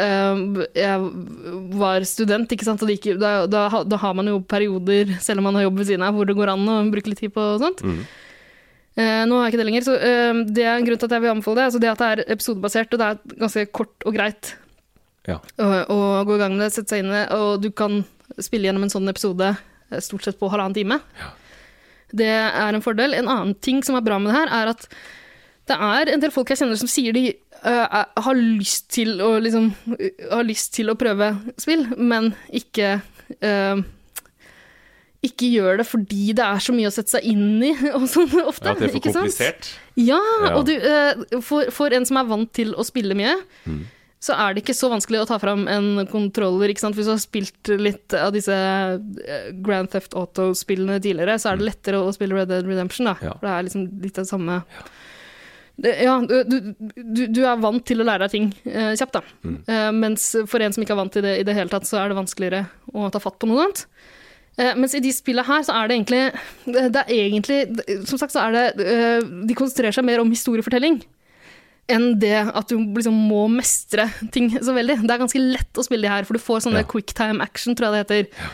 Speaker 1: eh, jeg var student, ikke sant. Og det gikk, jo- da, da, ha- da har man jo perioder, selv om man har jobb ved siden av, hvor det går an å bruke litt tid på og sånt. Eh, nå har jeg ikke det lenger, så eh, det er en grunn til at jeg vil anbefale det. Altså det at det er episodebasert, og det er ganske kort og greit
Speaker 2: Ja.
Speaker 1: å, å gå i gang med det, sette seg inn i det, og du kan spille gjennom en sånn episode eh, stort sett på halvannen time. Det er en fordel. En annen ting som er bra med det her, er at det er en del folk jeg kjenner som sier de øh, er- har, lyst til å, liksom, øh, har lyst til å prøve spill, men ikke øh, ikke gjør det fordi det er så mye å sette seg inn i og sånn ofte.
Speaker 2: Ja, at det er for
Speaker 1: ikke sant?
Speaker 2: komplisert.
Speaker 1: Ja,
Speaker 2: Ja.
Speaker 1: og du, øh, for, for en som er vant til å spille mye, så er det ikke så vanskelig å ta fram en kontroller. ikke sant? Hvis du har spilt litt av disse eh, Grand Theft Auto-spillene tidligere, så er det lettere å spille Red Dead Redemption, da. For det er liksom litt av det samme det, Ja, du, du- du, du er vant til å lære deg ting eh, kjapt, da. Eh, mens for en som ikke er vant til det i det hele tatt, så er det vanskeligere å ta fatt på noe annet. Eh, mens i de spillene her, så er det egentlig Det det er egentlig Som sagt, så er det eh, De konsentrerer seg mer om historiefortelling enn det at du liksom må mestre ting så veldig. Det er ganske lett å spille de her, for du får sånne quick time action, tror jeg det heter.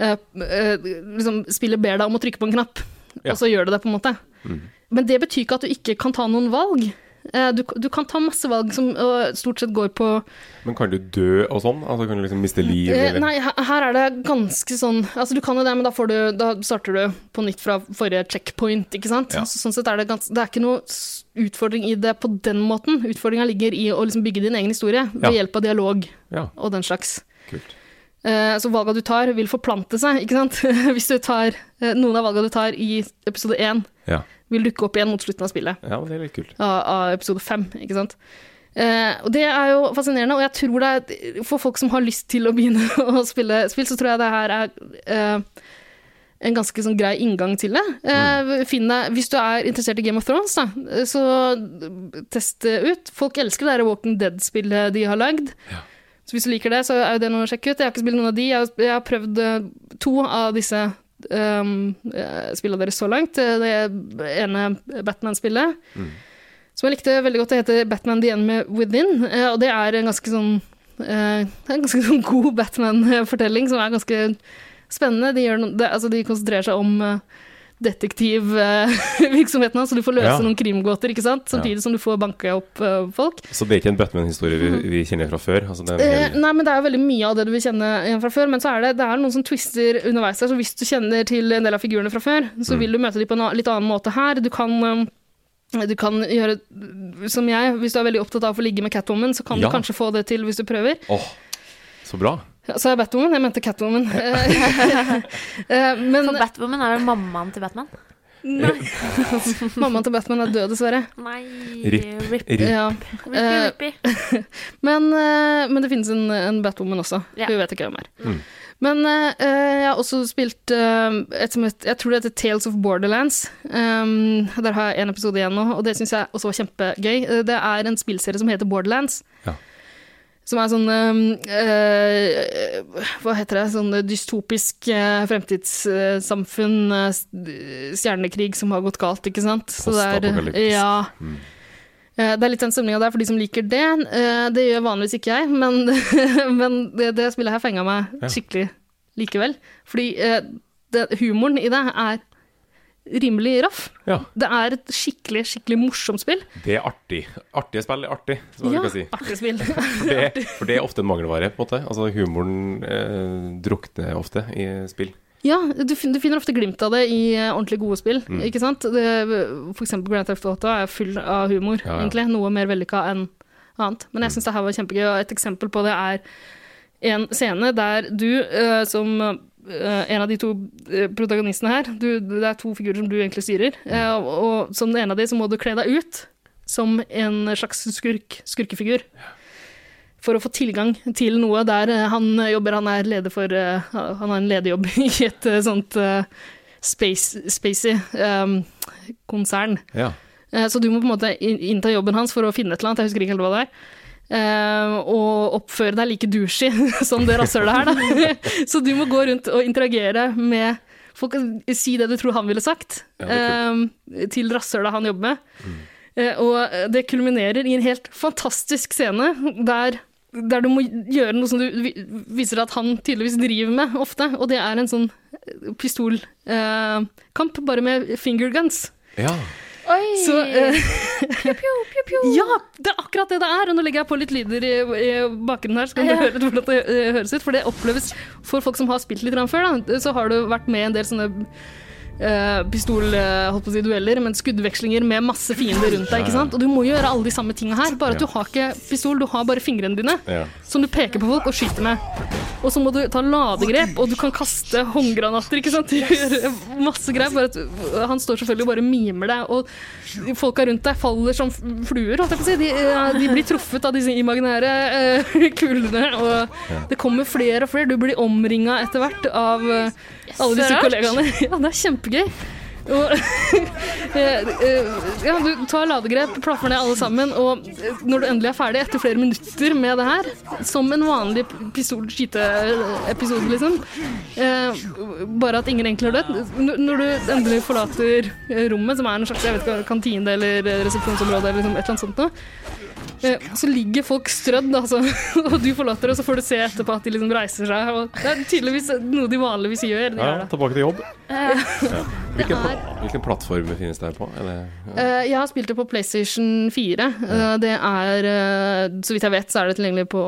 Speaker 1: Eh, eh, liksom, spillet ber deg om å trykke på en knapp,
Speaker 2: Ja.
Speaker 1: og så gjør det det, på en måte. Men det betyr ikke at du ikke kan ta noen valg. Eh, du, du kan ta masse valg som øh, stort sett går på
Speaker 2: Men kan du dø og sånn? Altså Kan du liksom miste liv?
Speaker 1: Eh,
Speaker 2: Eller?
Speaker 1: Nei, her her er det ganske sånn Altså, du kan jo det, men da, får du, da starter du på nytt fra forrige checkpoint, ikke sant?
Speaker 2: Ja.
Speaker 1: Så, sånn sett er det ganske Det er ikke noe s- utfordring i det på den måten. Utfordringa ligger i å liksom bygge din egen historie ved
Speaker 2: Ja.
Speaker 1: hjelp av dialog
Speaker 2: Ja.
Speaker 1: og den slags.
Speaker 2: Kult.
Speaker 1: Eh, så valga du tar, vil forplante seg, ikke sant? Hvis du tar eh, Noen av valga du tar i episode én,
Speaker 2: Ja.
Speaker 1: vil dukke opp igjen mot slutten av spillet
Speaker 2: ja, men det er litt kult.
Speaker 1: av, av episode fem, ikke sant. Eh, og det er jo fascinerende, og jeg tror det er For folk som har lyst til å begynne å spille spill, så tror jeg det her er eh, en ganske sånn grei inngang til det. Eh, finn deg- hvis du er interessert i Game of Thrones, da, eh, så test det ut. Folk elsker det der Walking Dead-spillet de har lagd. Så hvis du liker det, så er jo det noe å sjekke ut. Jeg har ikke spilt noen av de. Jeg har, jeg har prøvd eh, to av disse um, eh, spillene deres så langt. Eh, Det ene Batman-spillet som jeg likte veldig godt. Det heter Batman The Enemy Within, eh, og det er en ganske sånn eh, det er en ganske sånn god Batman-fortelling som er ganske spennende. De, gjør no, det, altså de konsentrerer seg om eh, detektivvirksomheten hans, så du får løse
Speaker 2: Ja.
Speaker 1: noen krimgåter, ikke sant?
Speaker 2: Ja.
Speaker 1: samtidig som du får banka opp eh, folk.
Speaker 2: Så det er ikke en Batman-historie vi, vi kjenner fra før? Altså, det er en
Speaker 1: Eh,
Speaker 2: hel...
Speaker 1: nei, men Det er jo veldig mye av det du vil kjenne igjen fra før, men så er det, det er noen som twister underveis her. Så hvis du kjenner til en del av figurene fra før, så
Speaker 2: Mm.
Speaker 1: vil du møte dem på en a- litt annen måte her. Du kan, eh, du kan gjøre som jeg, hvis du er veldig opptatt av å få ligge med Catwoman, så kan
Speaker 2: Ja.
Speaker 1: du kanskje få det til hvis du prøver.
Speaker 2: Åh, så bra.
Speaker 1: Ja, Sa jeg Batwoman? Jeg mente Catwoman. Eh, men
Speaker 3: For Batwoman er jo mammaen til Batman.
Speaker 1: Nei. Mammaen til Batman er død, dessverre.
Speaker 3: Nei
Speaker 2: Rip. Rip.
Speaker 1: Ja.
Speaker 3: Rippi,
Speaker 1: Eh,
Speaker 3: rippi.
Speaker 1: men, eh, men det finnes en, en Batwoman også.
Speaker 3: Ja.
Speaker 1: Vi vet ikke hvem er.
Speaker 2: Mm.
Speaker 1: Men eh, eh, jeg har også spilt eh, et som het Jeg tror det heter Tales of Borderlands. Um, der har jeg en episode igjen nå, og det syns jeg også var kjempegøy. Eh, Det er en spillserie som heter Borderlands. Som er sånn eh, eh, Hva heter det? Sånn dystopisk eh, fremtidssamfunn. eh, s- Stjernekrig som har gått galt, ikke sant? Så det er-
Speaker 2: Postapokalyptisk. Mm.
Speaker 1: Ja. Eh, Det er litt den stemninga der for de som liker det. Eh, Det gjør vanligvis ikke jeg, men, men det, det spillet her fenga meg
Speaker 2: Ja.
Speaker 1: skikkelig likevel. Fordi eh, det, humoren i det er rimelig raff.
Speaker 2: Ja.
Speaker 1: Det er et skikkelig, skikkelig morsomt spill.
Speaker 2: Det er artig. Artige spill er artig, som man
Speaker 1: Ja,
Speaker 2: bruker å si.
Speaker 1: artig spill.
Speaker 2: For det, for det er ofte en mangelvare, på en måte. Altså Humoren eh, drukner ofte i spill.
Speaker 1: Ja, du, fin- du finner ofte glimt av det i eh, ordentlig gode spill,
Speaker 2: Mm.
Speaker 1: ikke sant? Det, for eksempel Grand Theft Auto er full av humor,
Speaker 2: Ja, Mm. ja.
Speaker 1: egentlig. Noe mer vellykka enn annet. Men jeg syns det her var kjempegøy, og et eksempel på det er en scene der du eh, som eh, en av de to eh, protagonistene her, du, det er to figurer som du egentlig styrer,
Speaker 2: Mm.
Speaker 1: eh, og, og som den ene av de så må du kle deg ut som en slags skurk, skurkefigur for å få tilgang til noe der eh, han jobber, han er leder for eh, Han har en lederjobb i et eh, sånt eh, space, spacey ehm, konsern.
Speaker 2: Ja.
Speaker 1: Eh, Så du må på en måte inn- innta jobben hans for å finne et eller annet, jeg husker ikke helt hva det er. Eh, og oppføre deg like douchey som det rasshølet her, da. Så du må gå rundt og interagere med folk, si det du tror han ville sagt,
Speaker 19: Ja, det er Mm.
Speaker 1: eh, til rasshølet han jobber med. Eh, og det kulminerer i en helt fantastisk scene der der du må gjøre noe som du vi- viser at han tydeligvis driver med ofte, og det er en sånn pistolkamp, kamp bare med finger guns.
Speaker 2: Ja.
Speaker 1: Oi! Så, eh, ja, det er akkurat det det er. Og nå legger jeg på litt lyder i, i bakgrunnen her, så kan
Speaker 3: Ja.
Speaker 1: du høre litt hvordan det eh, høres ut. For det oppleves for folk som har spilt litt grann før, da, så har du vært med i en del sånne eh, pistol, eh, holdt på å si dueller, men skuddvekslinger med masse fiender rundt deg. ikke sant? Og du må gjøre alle de samme tinga her, bare at
Speaker 2: Ja.
Speaker 1: du har ikke pistol, du har bare fingrene dine
Speaker 2: Ja.
Speaker 1: som du peker på folk og skyter med. Og så må du ta ladegrep, og du kan kaste håndgranater, ikke sant? Du gjør masse greier, bare at han står selvfølgelig og bare mimer deg, og folka rundt deg faller som fluer, holdt jeg på å si. De, eh, de blir truffet av disse imaginære eh, kulene, og det kommer flere og flere. Du blir omringet etter hvert av eh, alle
Speaker 3: så
Speaker 1: disse
Speaker 3: rart.
Speaker 1: kollegaene. Ja, det er kjempegøy. Og, eh, eh, ja, du tar ladegrep, plaffer ned alle sammen, og eh, når du endelig er ferdig, etter flere minutter med det her, som en vanlig pistol-skyte-episode, liksom, eh, bare at ingen egentlig har dødd, n- når du endelig forlater eh, rommet, som er en slags jeg vet ikke, hva, kantine eller eh, resepsjonsområde eller liksom et eller annet sånt noe, eh, så ligger folk strødd, altså, og du forlater det, så får du se etterpå at de liksom reiser seg, og det er tydeligvis noe de vanligvis gjør. De
Speaker 2: ja,
Speaker 1: gjør det.
Speaker 2: tilbake til jobb.
Speaker 1: Eh,
Speaker 2: Ja. Hvilken, pla- hvilken plattform finnes det her på? Er det, ja.
Speaker 1: Eh, jeg har spilt det på PlayStation 4. Eh, det er, eh, så vidt jeg vet, så er det tilgjengelig på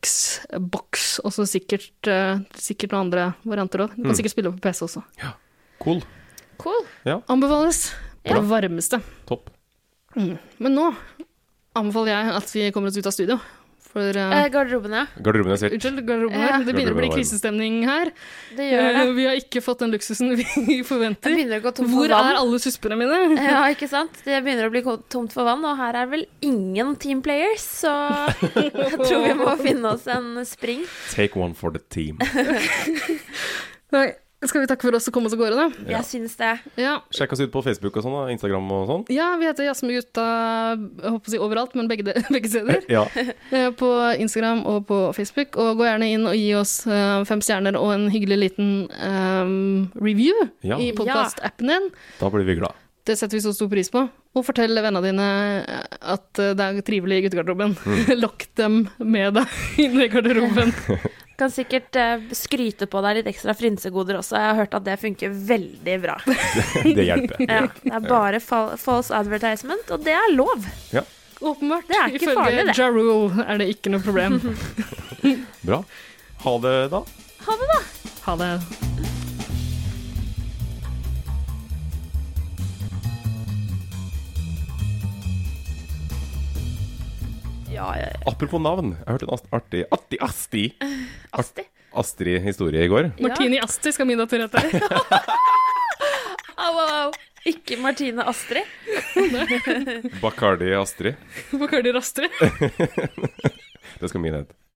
Speaker 1: Xbox, og så sikkert, eh, sikkert noen andre varianter òg. Du kan
Speaker 2: Mm.
Speaker 1: sikkert spille det på PC også.
Speaker 2: Cool.
Speaker 1: Cool.
Speaker 2: Ja.
Speaker 1: Anbefales på
Speaker 2: Bra.
Speaker 1: det varmeste.
Speaker 2: Topp.
Speaker 1: Mm. Men nå anbefaler jeg at vi kommer oss ut av studio. For eh,
Speaker 3: Eh, garderoben, ja.
Speaker 2: Garderoben er sikkert.
Speaker 1: Unnskyld, garderoben.
Speaker 3: Ja.
Speaker 1: Det begynner å bli
Speaker 2: Garderoben er varm.
Speaker 1: krisestemning her.
Speaker 3: Det gjør det.
Speaker 1: Eh, Vi har ikke fått den luksusen vi forventer.
Speaker 3: Jeg begynner å gå tom for
Speaker 1: Hvor
Speaker 3: vann. Eh.
Speaker 1: er alle suspene mine?
Speaker 3: Ja, ikke sant? Det begynner å bli ko- tomt for vann, og her er vel ingen team players, så jeg tror vi må finne oss en spring.
Speaker 2: Take one for the team.
Speaker 1: Nei, skal vi takke for oss og komme oss av gårde, da?
Speaker 2: Ja. Jeg
Speaker 3: syns det.
Speaker 1: Ja.
Speaker 2: Sjekk oss ut på Facebook og sånn, da. Instagram og sånn.
Speaker 1: Ja, vi heter Jazzmegutta jeg håper å si overalt, men begge, de, begge steder.
Speaker 2: Ja.
Speaker 1: Eh, På Instagram og på Facebook. Og gå gjerne inn og gi oss eh, fem stjerner og en hyggelig liten ehm, review
Speaker 2: Ja.
Speaker 1: i podkast-appen din.
Speaker 2: Da blir vi glad.
Speaker 1: Det setter vi så stor pris på. Og fortell vennene dine at eh, det er trivelig i guttegarderoben.
Speaker 2: Mm.
Speaker 1: Lokk dem med deg inn i garderoben.
Speaker 3: Kan sikkert eh, skryte på deg litt ekstra frynsegoder også. Jeg har hørt at det funker veldig bra.
Speaker 2: Det hjelper.
Speaker 3: Ja, det er bare fal false advertisement, og det er lov.
Speaker 2: Ja.
Speaker 1: Åpenbart.
Speaker 3: Det er ikke farlig, det.
Speaker 1: Ja Rule er det ikke noe problem.
Speaker 2: Bra. Ha det, da.
Speaker 3: Ha det, da.
Speaker 1: Ha det.
Speaker 3: Ja, ja, ja.
Speaker 2: Apropos navn, jeg hørte en ast- artig Atti Asti. Asti? Astrid-historie i går.
Speaker 1: Martini Asti skal min datter hete.
Speaker 3: Au, au, au. Ikke Martine Astrid.
Speaker 2: Bacardi Astrid.
Speaker 1: Bacardi Rastri.
Speaker 2: det skal min hete.